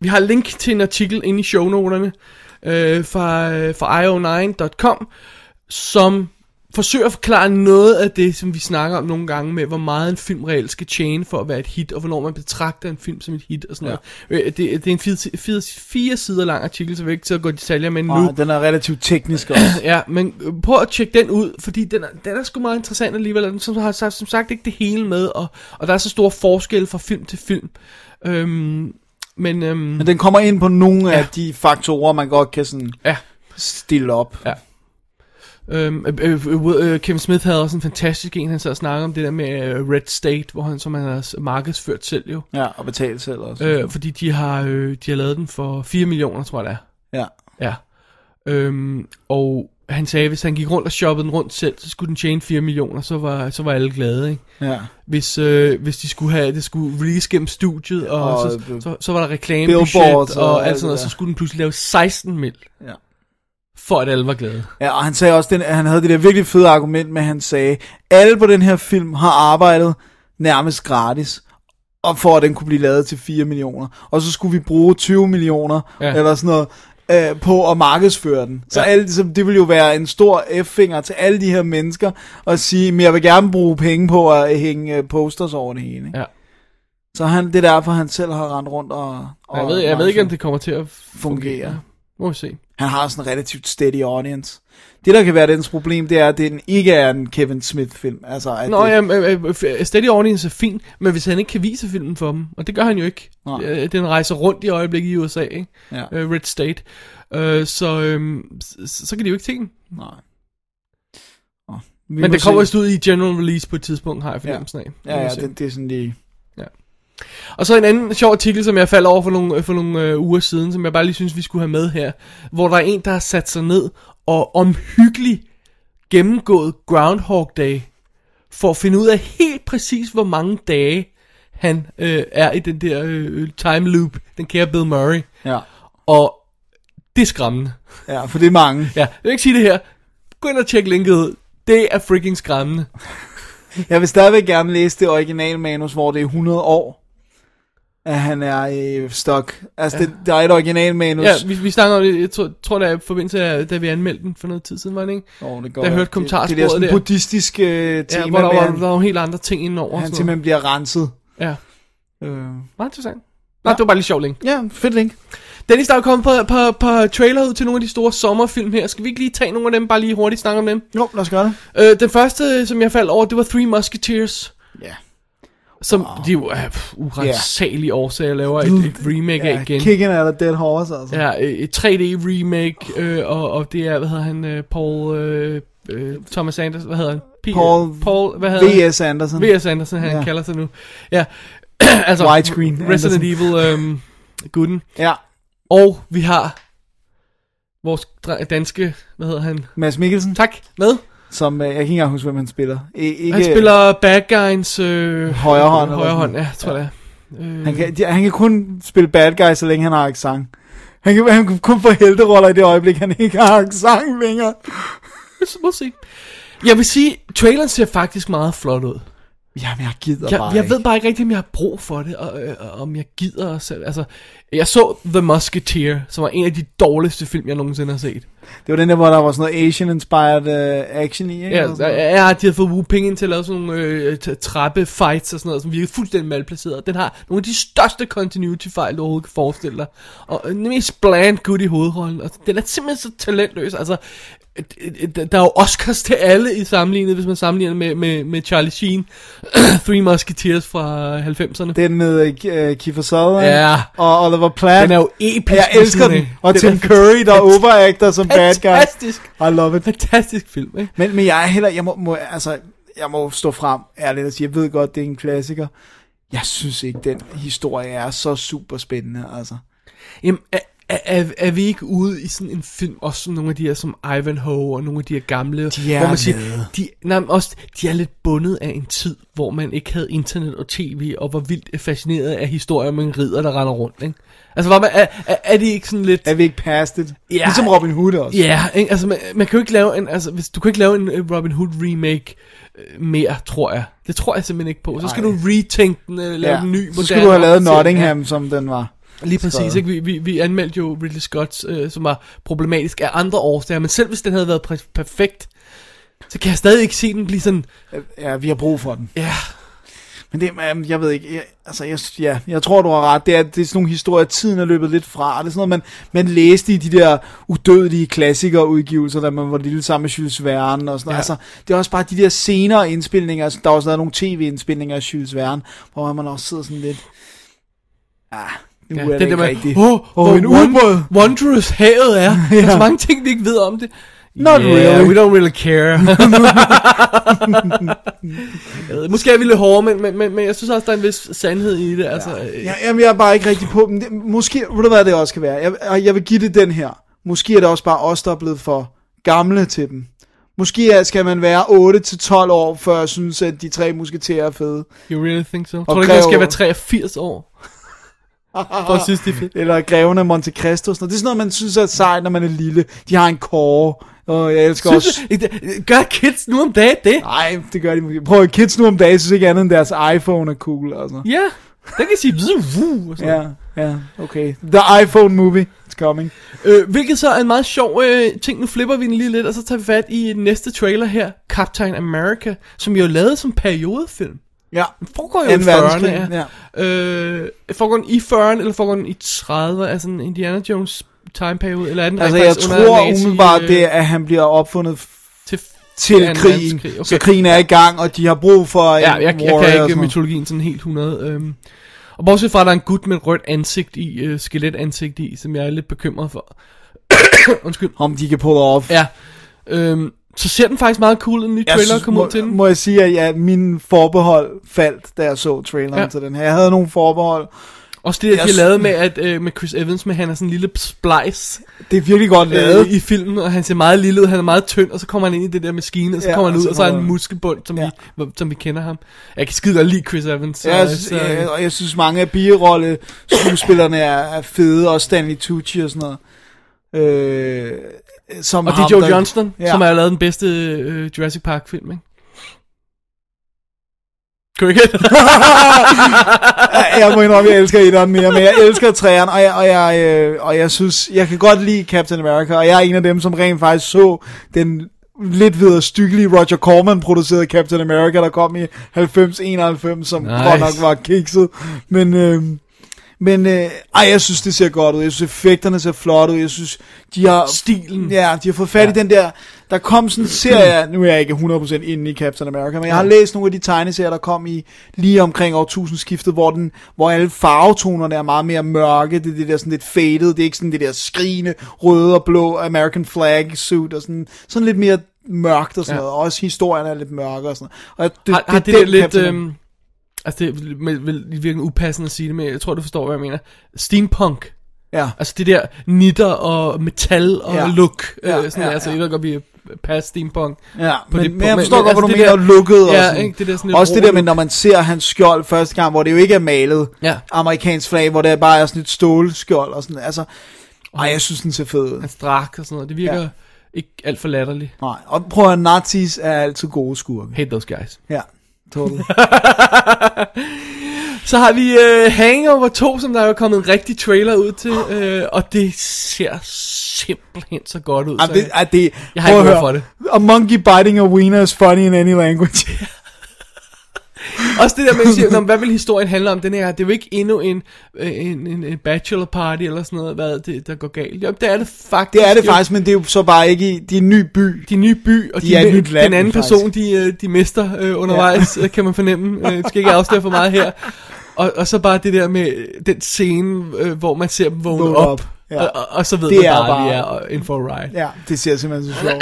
Speaker 5: vi har link til en artikel inde i shownoterne øh, fra, øh, fra io9.com, som forsøger at forklare noget af det, som vi snakker om nogle gange med, hvor meget en film reelt skal tjene for at være et hit, og hvornår man betragter en film som et hit og sådan ja. noget. Øh, det, det er en fire, fire, fire sider lang artikel, så vi er ikke til at gå i detaljer med nu.
Speaker 6: Nu. den er relativt teknisk også.
Speaker 5: Ja, men øh, prøv at tjekke den ud, fordi den er, den er sgu meget interessant alligevel, og den som, har som sagt ikke det hele med, og, og der er så store forskelle fra film til film. Øhm, men øhm,
Speaker 6: Men den kommer ind på nogle af de faktorer, man godt kan sådan
Speaker 5: ja,
Speaker 6: stille op.
Speaker 5: Ja. øhm, øh, øh, øh, øh, Kevin Smith havde også en fantastisk en, han sad og snakkede om det der med øh, Red State, hvor han, som han har markedsført selv jo.
Speaker 6: ja og betale selv også.
Speaker 5: Øh, fordi de har, øh, de har lavet den for 4 millioner, tror jeg det er.
Speaker 6: Ja.
Speaker 5: Ja. Øhm, og han sagde, at hvis han gik rundt og shoppede den rundt selv, så skulle den tjene 4 millioner, så var, så var alle glade, ikke?
Speaker 6: ja.
Speaker 5: hvis, øh, hvis de skulle have det skulle release gennem studiet, og,
Speaker 6: Og,
Speaker 5: og så,
Speaker 6: øh,
Speaker 5: så, så var der reklamebudget
Speaker 6: billboards
Speaker 5: og,
Speaker 6: og
Speaker 5: og
Speaker 6: alt
Speaker 5: alt sådan noget,
Speaker 6: det
Speaker 5: så
Speaker 6: der.
Speaker 5: skulle den pludselig lave 16 mil.
Speaker 6: Ja.
Speaker 5: For at alle var glade.
Speaker 6: Ja, og han sagde også, den, han havde det der virkelig fede argument med, at han sagde, alle på den her film har arbejdet nærmest gratis, og for at den kunne blive lavet til 4 millioner. Og så skulle vi bruge 20 millioner, ja.
Speaker 5: Ja.
Speaker 6: eller sådan noget, øh, på at markedsføre den. Så, ja.
Speaker 5: Ja.
Speaker 6: alle, så det ville jo være en stor F-finger til alle de her mennesker, og sige, men jeg vil gerne bruge penge på at hænge øh, posters over det hele. Ikke?
Speaker 5: Ja.
Speaker 6: Så han, det er derfor, han selv har rendt rundt og... og
Speaker 5: Og jeg ved, jeg ved ikke, om det kommer til at
Speaker 6: fungerer.
Speaker 5: fungere. Må vi se.
Speaker 6: Han har sådan en relativt steady audience. Det, der kan være dens problem, det er, at den ikke er en Kevin Smith-film. Altså, at
Speaker 5: Nå,
Speaker 6: det,
Speaker 5: ja, øh, øh, f- steady audience er fint, men hvis han ikke kan vise filmen for dem, og det gør han jo ikke.
Speaker 6: Nej.
Speaker 5: Øh, Den rejser rundt i øjeblikket i USA, ikke?
Speaker 6: Ja.
Speaker 5: Øh, Red State. Øh, så, øh, så, så kan de jo ikke se den.
Speaker 6: Nej. Nå, vi
Speaker 5: Men
Speaker 6: må
Speaker 5: der kommer
Speaker 6: se.
Speaker 5: vist ud i general release på et tidspunkt, har jeg fornemmelsen af.
Speaker 6: Ja,
Speaker 5: Vi må
Speaker 6: ja
Speaker 5: se.
Speaker 6: det, det er sådan lige...
Speaker 5: Ja. Og så en anden sjov artikel, som jeg faldt over for nogle, for nogle øh, uger siden, som jeg bare lige synes, vi skulle have med her. Hvor der er en, der har sat sig ned og omhyggeligt gennemgået Groundhog Day, for at finde ud af helt præcis, hvor mange dage han øh, er i den der øh, time loop, den kære Bill Murray.
Speaker 6: Ja.
Speaker 5: Og det er skræmmende.
Speaker 6: ja, for det er mange.
Speaker 5: Ja, jeg vil ikke sige det her. Gå ind og tjek linket ud. Det er freaking skræmmende.
Speaker 6: Jeg vil stadigvæk gerne læse det originale manus, hvor det er 100 år, at han er i stok. Altså, det, der er et original manus.
Speaker 5: Ja, vi, vi snakker om det, jeg tror, tror der er i forbindelse af, da vi anmeldte den for noget tid siden, var det ikke?
Speaker 6: oh, det
Speaker 5: der hørte kommentarsporet
Speaker 6: Det, det er sådan
Speaker 5: der.
Speaker 6: buddhistisk øh, tema,
Speaker 5: Ja, hvor der
Speaker 6: med,
Speaker 5: var,
Speaker 6: han,
Speaker 5: der var jo helt andre ting indenover. og
Speaker 6: han
Speaker 5: sådan noget.
Speaker 6: simpelthen bliver renset.
Speaker 5: Ja,
Speaker 6: Øh.
Speaker 5: meget interessant. Nej, det var bare lige sjovt link.
Speaker 6: Ja, fedt link.
Speaker 5: Dennis, der er jo kommet på, på, på trailer ud til nogle af de store sommerfilm her. Skal vi ikke lige tage nogle af dem, bare lige hurtigt snakke om dem?
Speaker 6: Jo, lad os gøre det.
Speaker 5: Øh, den første, som jeg faldt over, det var Three Musketeers.
Speaker 6: Ja.
Speaker 5: Som oh. de jo af urensagelige årsager laver et, et remake af igen.
Speaker 6: Kicking out of dead horse, altså.
Speaker 5: Ja, øh, et 3D remake, øh, og, og det er, hvad hedder han, øh, Paul, øh, øh, Thomas Anderson, hvad hedder han? P-
Speaker 6: Paul-
Speaker 5: Paul, hvad hedder
Speaker 6: V.S. Anderson.
Speaker 5: han? V.S. Anderson, han
Speaker 6: Ja.
Speaker 5: kalder sig nu. Ja, [clears throat] altså,
Speaker 6: Widescreen Anderson.
Speaker 5: Resident Evil, øhm, gutten.
Speaker 6: Ja,
Speaker 5: Og vi har vores dre- danske, hvad hedder han?
Speaker 6: Mads Mikkelsen,
Speaker 5: Tak, med.
Speaker 6: som øh, jeg kan ikke engang huske, hvem han spiller. I, ikke,
Speaker 5: Han spiller bad guyens øh,
Speaker 6: Højre hånd, eller
Speaker 5: højre
Speaker 6: sådan.
Speaker 5: hånd, ja, tror jeg. Ja. Øh,
Speaker 6: Han kan, de, han kan kun spille bad guy, så længe han har sang. Han kan, han kan kun få helteroller i det øjeblik, han ikke har sang længere.
Speaker 5: må se. Jeg vil sige, traileren ser faktisk meget flot ud.
Speaker 6: Jamen, jeg gider
Speaker 5: jeg,
Speaker 6: bare
Speaker 5: jeg
Speaker 6: ikke.
Speaker 5: ved bare ikke rigtig, om jeg har brug for det, og, øh, og om jeg gider at selv. Altså, jeg så The Musketeer, som var en af de dårligste film, jeg nogensinde har set.
Speaker 6: Det var den der, hvor der var sådan noget Asian-inspired uh, action i, ikke?
Speaker 5: Ja,
Speaker 6: Eller sådan noget.
Speaker 5: ja, de havde fået Wu Ping ind til at lave sådan nogle øh, t- trappe-fights og sådan noget, som virkede fuldstændig malplaceret. Den har nogle af de største continuity-fejl, du overhovedet kan forestille dig. Og øh, den mest bland good i hovedrollen. Og den er simpelthen så talentløs. Altså, øh, øh, der er jo Oscars til alle i sammenlignet, hvis man sammenligner med, med, med Charlie Sheen. [clears throat] Three Musketeers fra 90'erne.
Speaker 6: Den med uh, Kiefer Sutherland
Speaker 5: Ja.
Speaker 6: og Oliver Platt.
Speaker 5: Den er jo episk.
Speaker 6: Jeg elsker den.
Speaker 5: ved siden af.
Speaker 6: Og
Speaker 5: Den
Speaker 6: Tim
Speaker 5: er
Speaker 6: Curry, der
Speaker 5: fant-
Speaker 6: overacter som bad guy.
Speaker 5: Fantastisk.
Speaker 6: I love it.
Speaker 5: Fantastisk film, ikke?
Speaker 6: Men, men jeg er heller, jeg må, må, altså, jeg må stå frem ærligt og sige, jeg ved godt, det er en klassiker. Jeg synes ikke, den historie er så super spændende, altså.
Speaker 5: Jamen, er, er, er, er vi ikke ude i sådan en film, også sådan nogle af de her som Ivanhoe og nogle af de her gamle,
Speaker 6: De er
Speaker 5: hvor man siger,
Speaker 6: med.
Speaker 5: de, nej, men også, de er lidt bundet af en tid, hvor man ikke havde internet og tv, og var vildt fascineret af historier om en ridder, der render rundt, ikke? Altså, var man, er, er, er det ikke sådan lidt...
Speaker 6: Er vi ikke past det?
Speaker 5: Ja.
Speaker 6: Ligesom Robin Hood også.
Speaker 5: Ja, ikke? altså man, man kan jo ikke lave en, altså hvis, du kan ikke lave en øh, Robin Hood remake øh, mere, tror jeg. Det tror jeg simpelthen ikke på. Så skal
Speaker 6: Nej.
Speaker 5: du retænke den, øh, lave den ny, moderne.
Speaker 6: Så skulle du have lavet
Speaker 5: opsætning.
Speaker 6: Nottingham, som den var.
Speaker 5: Lige præcis,
Speaker 6: skrevet.
Speaker 5: ikke? Vi, vi, vi anmeldte jo Ridley Scott, øh, som var problematisk af andre årsager, men selv hvis den havde været præ- perfekt, så kan jeg stadig ikke se den blive sådan,
Speaker 6: Ja, vi har brug for den.
Speaker 5: ja,
Speaker 6: Men det, øhm, jeg ved ikke, jeg, altså, jeg, ja, jeg tror, du har ret. Det er, det er sådan nogle historier, tiden er løbet lidt fra. Det er sådan noget, man, man læste i de der udødelige klassikerudgivelser, da man var lille sammen med Jules Verne og sådan ja. noget.
Speaker 5: Ja.
Speaker 6: Altså, det er også bare de der senere indspilninger. Altså, der er også lavet nogle tv-indspilninger af Jules Verne, hvor man også sidder sådan lidt... Ah, nu
Speaker 5: ja
Speaker 6: ja, er det,
Speaker 5: den
Speaker 6: ikke
Speaker 5: der med,
Speaker 6: rigtigt.
Speaker 5: Åh, hvor
Speaker 6: en
Speaker 5: won-
Speaker 6: ubåd."
Speaker 5: wondrous havet
Speaker 6: [laughs]
Speaker 5: er. Der er så mange ting, de ikke ved om det.
Speaker 6: Not really.
Speaker 5: we don't really
Speaker 6: [laughs]
Speaker 5: care. Jeg ved, Måske er vi lidt hårde, men, men, men, men jeg synes også, der er en vis sandhed i det. Altså, øh,
Speaker 6: Ja, jamen, jeg er bare ikke rigtig på dem. Det- Måske, ved du hvad det også kan være? Jeg, og jeg vil give det den her. Måske er det også bare os, der er blevet for gamle til dem. Måske er- skal man være 8-12 år, før jeg synes, at de tre musketerer er fede.
Speaker 5: You really think so? Tror du ikke,
Speaker 6: kræver-
Speaker 5: man skal være 83 år?
Speaker 6: [laughs]
Speaker 5: For at synes, det er fedt.
Speaker 6: Eller greven af Monte Cristo. og Sådan noget. Det er sådan noget, man synes er sejt, når man er lille. De har en kåre, og jeg elsker
Speaker 5: Synes
Speaker 6: også...
Speaker 5: du- ikke- Gør kids nu om dagen det?
Speaker 6: Nej, det gør de måske. Prøv at kids nu om dagen, synes ikke andet end deres iPhone er cool. Altså.
Speaker 5: Ja, den kan sige vuh, og sådan.
Speaker 6: Ja, ja, okay. The iPhone movie, it's coming.
Speaker 5: Øh, hvilket så er en meget sjov øh, ting. Nu flipper vi den lige lidt, og så tager vi fat i næste trailer her. Captain America, som jo er lavet som periodefilm.
Speaker 6: Ja,
Speaker 5: Den foregår jo i
Speaker 6: Anden
Speaker 5: 40'erne.
Speaker 6: verdenskrig,
Speaker 5: Ja. Øh, foregår den i 40'erne, eller foregår den i 30'erne? Altså en Indiana Jones timeperiode, eller er den
Speaker 6: altså
Speaker 5: rent
Speaker 6: jeg
Speaker 5: faktisk under
Speaker 6: tror
Speaker 5: nazi,
Speaker 6: umiddelbart,
Speaker 5: øh,
Speaker 6: det er, at han bliver opfundet
Speaker 5: til,
Speaker 6: til
Speaker 5: anden
Speaker 6: krigen.
Speaker 5: verdenskrig.
Speaker 6: Okay.
Speaker 5: Okay.
Speaker 6: Så krigen er i gang, og de har brug for
Speaker 5: Ja,
Speaker 6: en
Speaker 5: jeg, jeg
Speaker 6: warrior og
Speaker 5: kan
Speaker 6: sådan
Speaker 5: ikke
Speaker 6: noget.
Speaker 5: mytologien sådan helt 100. Øhm. Og bortset fra, at der er en gut med et rødt ansigt i, øh, skeletansigt i, som jeg er lidt bekymret for. [coughs] Undskyld.
Speaker 6: Om de kan pull off.
Speaker 5: Ja. Øhm, så ser den faktisk meget cool ud, den nye trailer kom ud
Speaker 6: må,
Speaker 5: til den.
Speaker 6: må jeg sige, at ja, min forbehold faldt, da jeg så traileren
Speaker 5: Ja.
Speaker 6: ja. til den her. Jeg havde nogle forbehold.
Speaker 5: Også det, at de
Speaker 6: jeg
Speaker 5: har lavet
Speaker 6: sy-
Speaker 5: med, at, øh, med Chris Evans, med han er sådan en lille splice
Speaker 6: Det er virkelig godt lavet.
Speaker 5: øh, i filmen, og han ser meget lille ud, han er meget tynd, og så kommer han ind i det der maskine, og så ja,
Speaker 6: Ja,
Speaker 5: kommer han
Speaker 6: og
Speaker 5: ud,
Speaker 6: så
Speaker 5: og så er han en
Speaker 6: kommer-
Speaker 5: muskelbund, som, ja.
Speaker 6: Ja.
Speaker 5: vi, hvor- som vi kender ham. Jeg kan skide godt lide Chris Evans. Så,
Speaker 6: Ja, jeg, synes,
Speaker 5: så,
Speaker 6: jeg, og jeg synes mange af birolle skuespillerne er, er fede, også Stanley Tucci og sådan noget. Øh, som
Speaker 5: og det
Speaker 6: ham,
Speaker 5: er Joe
Speaker 6: der-
Speaker 5: Johnston, ja.
Speaker 6: Ja.
Speaker 5: som har lavet den bedste øh, Jurassic Park-film, ikke? Cricket.
Speaker 6: [laughs] jeg må indrømme, jeg elsker etteren mere, men jeg elsker træerne, og jeg, og, jeg, øh, og jeg synes, jeg kan godt lide Captain America, og jeg er en af dem, som rent faktisk så den lidt videre styggelige Roger Corman producerede Captain America, der kom i 90-91, som
Speaker 5: Nice.
Speaker 6: nice. godt nok var kikset, men... Øh, men øh, ej, jeg synes, det ser godt ud. Jeg synes, effekterne ser flot ud. Jeg synes, de har...
Speaker 5: Stilen.
Speaker 6: Ja, de har fået fat ja. i den der... Der kom sådan en
Speaker 5: [clears throat]
Speaker 6: serie... Nu er jeg ikke 100% inde i Captain America, men jeg har læst nogle af de tegneserier, der kom i lige omkring årtusindskiftet, hvor, den, hvor alle farvetonerne er meget mere mørke. Det er det der sådan lidt faded. Det er ikke sådan det der skrigende røde og blå American flag suit og sådan, sådan lidt mere mørkt og sådan
Speaker 5: Ja.
Speaker 6: ja. noget. Også historien er lidt mørkere og sådan noget. Og
Speaker 5: har, har det, det
Speaker 6: den
Speaker 5: der lidt...
Speaker 6: Captain
Speaker 5: Øhm, altså, det er vel- vel i virkeligheden upassende at sige det, men jeg tror, du forstår, hvad jeg mener. Steampunk.
Speaker 6: Ja.
Speaker 5: Altså det der nitter og metal og ja.
Speaker 6: Ja.
Speaker 5: look. Ja,
Speaker 6: Ja,
Speaker 5: øh, sådan,
Speaker 6: ja,
Speaker 5: ja, altså,
Speaker 6: ja.
Speaker 5: jeg ved godt, vi er past steampunk.
Speaker 6: Ja,
Speaker 5: på
Speaker 6: men, men
Speaker 5: det punkt.
Speaker 6: jeg
Speaker 5: Men-
Speaker 6: forstår
Speaker 5: men
Speaker 6: godt, hvor
Speaker 5: altså
Speaker 6: du
Speaker 5: det
Speaker 6: mener,
Speaker 5: der-
Speaker 6: lukket og
Speaker 5: Ja,
Speaker 6: sådan.
Speaker 5: ikke? Det der sådan lidt
Speaker 6: Også det der
Speaker 5: rå
Speaker 6: med, når man ser hans skjold første gang, hvor det jo ikke er malet
Speaker 5: Ja.
Speaker 6: amerikansk flag, hvor det bare er sådan et stålskjold og sådan, altså, ej, jeg synes, den ser fed ud.
Speaker 5: Hans drak og sådan noget. Det virker ja.
Speaker 6: Ja.
Speaker 5: ikke alt for latterligt.
Speaker 6: Nej, og prøv at høre, nazis er altid gode skurke.
Speaker 5: Hate those guys.
Speaker 6: Ja, total.
Speaker 5: Så har vi øh, Hangover 2, som der er jo kommet en rigtig trailer ud til. Øh, og det ser simpelthen så godt ud.
Speaker 6: Jamen,
Speaker 5: så,
Speaker 6: det, [laughs] ej, det,
Speaker 5: Jeg har ikke
Speaker 6: prøv at
Speaker 5: ord
Speaker 6: høre.
Speaker 5: for det.
Speaker 6: A monkey biting a wiener is funny in any
Speaker 5: [laughs]
Speaker 6: language.
Speaker 5: Også det der med, at sige, "Nå, men hvad vil historien handle om den her? Det er jo ikke endnu en, øh, en, en, en bachelor party eller sådan noget, hvad det, der går galt. Jo, det er det faktisk.
Speaker 6: det er det
Speaker 5: jo.
Speaker 6: faktisk, men det er jo så bare ikke i, det er en ny by.
Speaker 5: De nye by, og de,
Speaker 6: De er et
Speaker 5: de
Speaker 6: nyt land,
Speaker 5: den anden
Speaker 6: faktisk.
Speaker 5: person, de, øh, de mister øh, undervejs, ja. kan man fornemme. Øh, det skal ikke afsløre for meget her. Og, og så bare det der med øh, den scene, øh, hvor man ser dem vågne
Speaker 6: Vågne
Speaker 5: op,
Speaker 6: op, ja.
Speaker 5: og, og, og så ved
Speaker 6: Det
Speaker 5: man
Speaker 6: er
Speaker 5: bare, at vi
Speaker 6: bare-
Speaker 5: er øh, in for a ride.
Speaker 6: Ja, det ser simpelthen så sjovt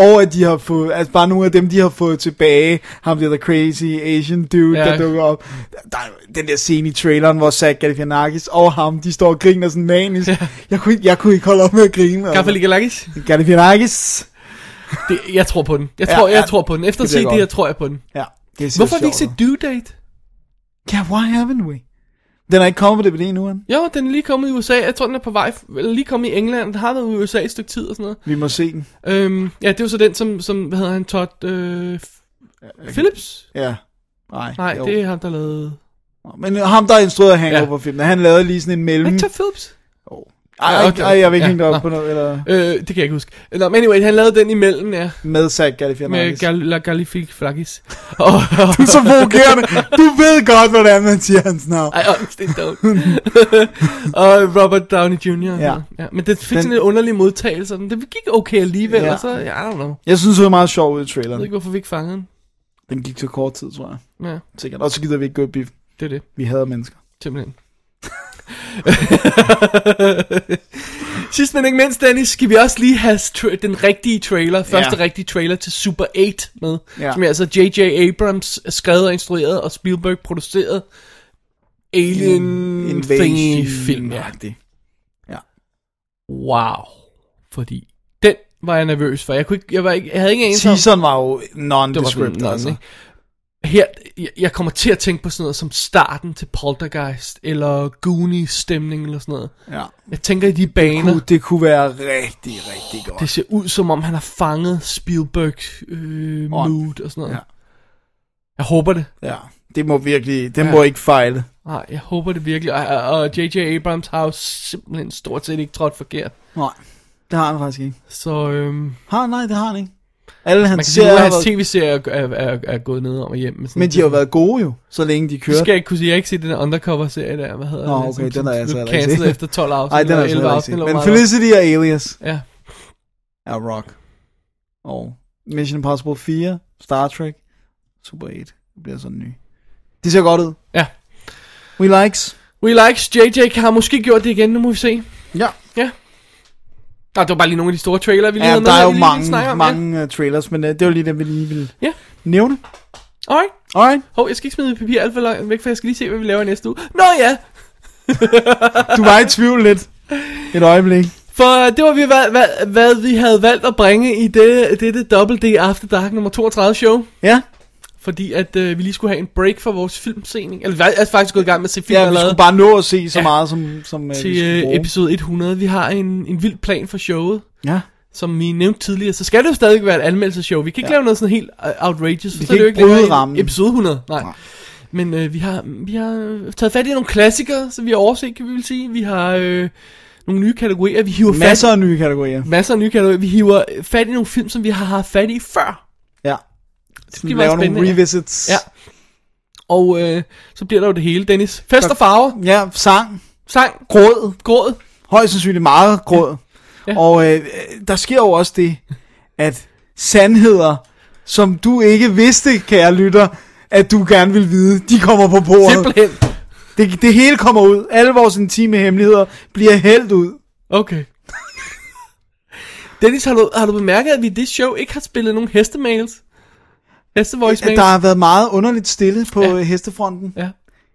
Speaker 6: ud. [clears throat] Og at de har fået, altså bare nogle af dem, de har fået tilbage, ham der, der crazy Asian dude,
Speaker 5: Ja.
Speaker 6: ja. der dukker op. Der er jo den der scene i traileren, hvor Zach Galifianakis og ham, de står og griner sådan manisk. Ja. Jeg, kunne ikke, jeg kunne ikke holde op med at grine.
Speaker 5: Kaffe Ligalakis?
Speaker 6: altså. Galifianakis.
Speaker 5: Det, jeg tror på den. Jeg
Speaker 6: Ja,
Speaker 5: tror, jeg
Speaker 6: ja.
Speaker 5: tror på den. Efter at
Speaker 6: Det
Speaker 5: se
Speaker 6: bliver
Speaker 5: det
Speaker 6: godt.
Speaker 5: her, tror jeg på den.
Speaker 6: Ja, det ser
Speaker 5: Hvorfor har vi
Speaker 6: sjovt
Speaker 5: ikke set
Speaker 6: ud.
Speaker 5: Due Date?
Speaker 6: Ja, why haven't we? Den er ikke kommet på det ved endnu, han.
Speaker 5: Jo, den er lige kommet i USA. Jeg tror, den er på vej. Eller lige kommet i England. Den har været i USA et stykke tid og sådan noget.
Speaker 6: Vi må se den.
Speaker 5: Øhm, ja, det var så den, som, som hvad hedder han, Todd øh, Phillips?
Speaker 6: Ja. Nej,
Speaker 5: Nej,
Speaker 6: jo.
Speaker 5: det er ham, der lavede...
Speaker 6: Men ham, der instruerede Hangover-filmen, han lavede lige sådan en
Speaker 5: Er det
Speaker 6: mellem...
Speaker 5: ikke Todd Phillips?
Speaker 6: Ej,
Speaker 5: Ja,
Speaker 6: ej,
Speaker 5: okay.
Speaker 6: ej, jeg vil ikke ja,
Speaker 5: Ja,
Speaker 6: hænge dig
Speaker 5: nå.
Speaker 6: op på noget, eller
Speaker 5: Øh, det kan jeg ikke huske. Nå, men anyway, han lavede den imellem, ja.
Speaker 6: med Zach Galifianakis.
Speaker 5: Med Gal La Galifik Flakis. [laughs] Og, og,
Speaker 6: Du er [laughs] så provokerende. Du ved godt, hvordan man siger hans navn.
Speaker 5: Ej, og, det er dumt. [laughs] og Robert Downey Jr. og
Speaker 6: Ja.
Speaker 5: sådan. ja. Men det fik
Speaker 6: Den-
Speaker 5: sådan lidt underlig modtagelse. og Den. Det gik okay alligevel,
Speaker 6: Ja.
Speaker 5: og så, ja, I don't know.
Speaker 6: Jeg synes, det var meget sjovt ud i
Speaker 5: Jeg ved
Speaker 6: traileren.
Speaker 5: ikke, hvorfor vi ikke fangede den.
Speaker 6: Den gik til kort tid, tror jeg.
Speaker 5: Ja,
Speaker 6: Sikkert. Og så gider vi ikke gå i biffen.
Speaker 5: det er det.
Speaker 6: Vi hader mennesker.
Speaker 5: Simpelthen. [laughs] Sidst men ikke mindst, Dennis, skal vi også lige have tra- den rigtige trailer, første
Speaker 6: Ja.
Speaker 5: rigtige trailer til Super 8 med, ja.
Speaker 6: Ja.
Speaker 5: som er altså J.J. Abrams skrevet og instrueret, og Spielberg produceret Alien Thingy film. Ja.
Speaker 6: Agtig.
Speaker 5: Wow. Fordi den var jeg nervøs for. Jeg, kunne ikke, jeg, var ikke, jeg havde ikke en
Speaker 6: Teaseren var jo
Speaker 5: det var sådan
Speaker 6: non-descript,
Speaker 5: noget,
Speaker 6: altså.
Speaker 5: ikke? Her, jeg, jeg kommer til at tænke på sådan noget som starten til Poltergeist, eller Goonies stemning, eller sådan noget.
Speaker 6: Ja.
Speaker 5: Jeg tænker i de baner.
Speaker 6: Gud, det kunne være rigtig, rigtig godt.
Speaker 5: Det ser ud som om, han har fanget Spielbergs øh,
Speaker 6: Ånd.
Speaker 5: mood og sådan noget. Ja.
Speaker 6: Ja.
Speaker 5: Jeg håber det.
Speaker 6: Ja. Det må virkelig, den må ikke fejle.
Speaker 5: Nej, jeg håber det virkelig. Og- og- Og J.J. Abrams har jo simpelthen stort set ikke trådt forkert.
Speaker 6: Nej, det har han faktisk ikke.
Speaker 5: Så øhm, man
Speaker 6: Har, nej, det har han ikke. Alle
Speaker 5: kan
Speaker 6: hans
Speaker 5: sige,
Speaker 6: serier
Speaker 5: at
Speaker 6: har
Speaker 5: hans
Speaker 6: været,
Speaker 5: tv-serier er, er, er, er gået ned om og hjem. Med sådan
Speaker 6: men de har jo været gode jo, så længe de
Speaker 5: Det
Speaker 6: kørte.
Speaker 5: skal jeg ikke kunne sige. Jeg har ikke set den der undercover-serie der. Hvad hedder
Speaker 6: Nå,
Speaker 5: den?
Speaker 6: okay,
Speaker 5: Som-
Speaker 6: den
Speaker 5: som
Speaker 6: har jeg altså
Speaker 5: blev
Speaker 6: heller ikke
Speaker 5: cancelled
Speaker 6: set.
Speaker 5: efter 12 afsnit.
Speaker 6: Nej, den er
Speaker 5: eller
Speaker 6: altså
Speaker 5: 11
Speaker 6: heller ikke
Speaker 5: afsnit,
Speaker 6: set.
Speaker 5: eller
Speaker 6: Men
Speaker 5: hvor meget der
Speaker 6: Felicity og Alias.
Speaker 5: var. Ja,
Speaker 6: er Rock. Og Mission Impossible 4, Star Trek, Super 8. Det bliver sådan ny. Det ser godt ud.
Speaker 5: ja.
Speaker 6: We likes.
Speaker 5: We likes. JJ har måske gjort det igen. Nu må vi se.
Speaker 6: Ja.
Speaker 5: Ja. Nå, det var bare lige nogle af de store trailer, vi lige
Speaker 6: Ja,
Speaker 5: havde
Speaker 6: der
Speaker 5: med,
Speaker 6: er jo
Speaker 5: vi lige snakker
Speaker 6: mange,
Speaker 5: om.
Speaker 6: mange uh, trailers, men uh, det var lige det, vi lige ville
Speaker 5: Ja, ja.
Speaker 6: nævne.
Speaker 5: alright.
Speaker 6: Alright,
Speaker 5: Hov, jeg skal ikke smide mit papir alt for langt væk, for jeg skal lige se, hvad vi laver i næste uge. Nå ja,
Speaker 6: du var i tvivl lidt. Et øjeblik.
Speaker 5: For det var, vi, hvad, hvad, hvad vi havde valgt at bringe i det, dette Double D After Dark nummer 32 show.
Speaker 6: Ja,
Speaker 5: Fordi at øh, vi lige skulle have en break for vores filmscening. Eller vi er faktisk gået i gang med at se film
Speaker 6: ja vi
Speaker 5: allerede
Speaker 6: skulle bare nå at se så
Speaker 5: Ja.
Speaker 6: meget, som, som uh, vi
Speaker 5: til
Speaker 6: skulle
Speaker 5: øh,
Speaker 6: bruge.
Speaker 5: episode 100. Vi har en, en vild plan for showet.
Speaker 6: Ja,
Speaker 5: Som vi nævnte tidligere, så skal det jo stadig være et anmeldelseshow. Vi kan ikke ja. lave noget sådan helt øh, outrageous, for
Speaker 6: Vi
Speaker 5: så
Speaker 6: kan
Speaker 5: er det jo
Speaker 6: ikke
Speaker 5: ikke længere
Speaker 6: bryde
Speaker 5: en
Speaker 6: rammen.
Speaker 5: episode 100. Nej.
Speaker 6: Nej.
Speaker 5: Men øh, vi, har, vi har taget fat i nogle klassikere, som vi har overset, kan vi vil sige. Vi har øh, nogle nye kategorier, vi hiver fat
Speaker 6: masser af nye kategorier.
Speaker 5: masser af nye kategorier. Vi hiver fat i nogle film, som vi har haft fat i før.
Speaker 6: Ja,
Speaker 5: Det
Speaker 6: vi
Speaker 5: bliver
Speaker 6: laver
Speaker 5: meget
Speaker 6: nogle
Speaker 5: spændende. ja.
Speaker 6: revisits.
Speaker 5: Ja. Og øh, så bliver der jo det hele, Dennis. Fest og farver,
Speaker 6: ja, sang.
Speaker 5: sang,
Speaker 6: Gråd.
Speaker 5: gråd.
Speaker 6: Højst sandsynligt meget gråd. Ja.
Speaker 5: Ja.
Speaker 6: Og øh, der sker jo også det, at sandheder, som du ikke vidste, kære lytter, at du gerne vil vide, de kommer på bordet.
Speaker 5: Simpelthen.
Speaker 6: Det, det hele kommer ud. Alle vores intime hemmeligheder bliver hældt ud.
Speaker 5: Okay. Dennis, har du, har du bemærket, at vi i det show ikke har spillet nogen hestemails? Heste voice
Speaker 6: Der har været meget underligt stille på ja. hestefronten.
Speaker 5: Ja.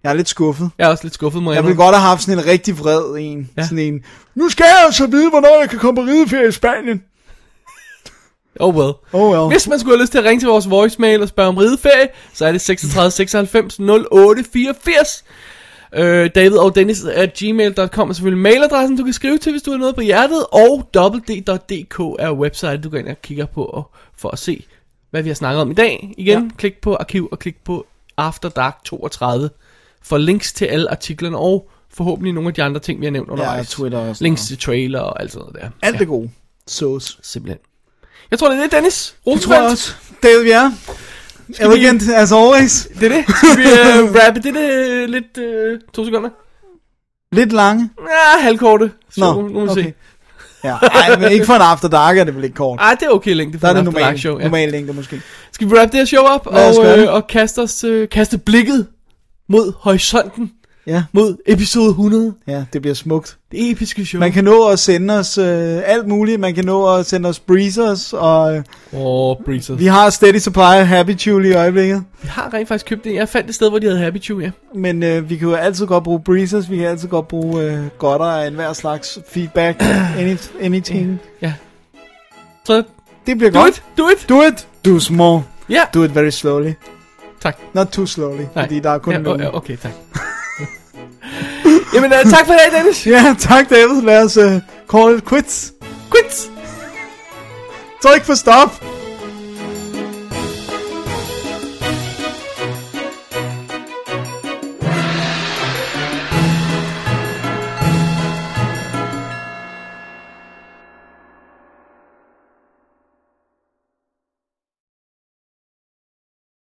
Speaker 6: Jeg er lidt skuffet.
Speaker 5: Jeg er også lidt skuffet, må jeg
Speaker 6: Jeg ville
Speaker 5: indrømme.
Speaker 6: godt have haft sådan en rigtig vred en. Ja.
Speaker 5: Ja.
Speaker 6: Sådan en, nu skal jeg altså vide, hvornår jeg kan komme på rideferie i Spanien.
Speaker 5: Oh well.
Speaker 6: Oh well.
Speaker 5: Hvis man skulle have lyst til at ringe til vores voicemail og spørge om rideferie, så er det 36 96 08 84. Øh, David og Dennis at gmail.com er selvfølgelig mailadressen, du kan skrive til, hvis du har noget på hjertet. Og www.dk er website, du går ind og kigger på og, for at se, hvad vi har snakket om i dag. Igen, ja. klik på arkiv og klik på After Dark 32 for links til alle artiklerne og forhåbentlig nogle af de andre ting, vi har nævnt undervejs.
Speaker 6: Twitter og sådan
Speaker 5: links
Speaker 6: noget.
Speaker 5: til trailer og alt sådan noget der.
Speaker 6: Alt det gode. Sås.
Speaker 5: Simpelthen. Jeg tror, det er det, Dennis.
Speaker 6: Det tror jeg
Speaker 5: Rosenfeldt.
Speaker 6: også. David Bjerre. Elegant as always.
Speaker 5: Det er det. Skal [laughs]
Speaker 6: [laughs]
Speaker 5: vi uh, rappe det uh, lidt uh, to sekunder?
Speaker 6: Lidt lange.
Speaker 5: Ja, halvkorte. Så
Speaker 6: Nå,
Speaker 5: nu, nu må vi
Speaker 6: okay.
Speaker 5: se.
Speaker 6: Ja, ej, men ikke for en after dark er det vel ikke kort.
Speaker 5: Ej, det er okay længde for
Speaker 6: Der er
Speaker 5: en
Speaker 6: det
Speaker 5: After Dark
Speaker 6: normal,
Speaker 5: show. Ja.
Speaker 6: normal længde måske.
Speaker 5: Skal vi rappe det her show op
Speaker 6: Lad os
Speaker 5: og,
Speaker 6: gøre det.
Speaker 5: øh, og kaste, os, øh, kaste blikket mod horisonten,
Speaker 6: Ja,
Speaker 5: mod episode 100,
Speaker 6: ja, det bliver smukt.
Speaker 5: det episke show.
Speaker 6: Man kan nå at sende os øh, alt muligt. Man kan nå at sende os breezers, og øh,
Speaker 5: Åh, oh, Breezers.
Speaker 6: vi har Steady Supply og Happy Chew lige i øjeblikket.
Speaker 5: Vi har rent faktisk købt det. Jeg fandt et sted, hvor de havde Happy Chew, ja.
Speaker 6: Men øh, vi kan jo altid godt bruge breezers, vi kan altid godt bruge øh, godter af enhver slags
Speaker 5: [clears throat]
Speaker 6: feedback, any, anything.
Speaker 5: ja. Så
Speaker 6: Det bliver
Speaker 5: do
Speaker 6: godt.
Speaker 5: it, do it.
Speaker 6: Do it. Do small.
Speaker 5: Ja,
Speaker 6: Do it very slowly.
Speaker 5: tak.
Speaker 6: Not too slowly, Nej. fordi der er kun
Speaker 5: ja,
Speaker 6: nogen.
Speaker 5: o- Okay, tak. [laughs] Jamen, uh, tak for i dag, Dennis.
Speaker 6: Ja, tak øh, David. Lad os uh, call it quits.
Speaker 5: Quits.
Speaker 6: Tryk for stop.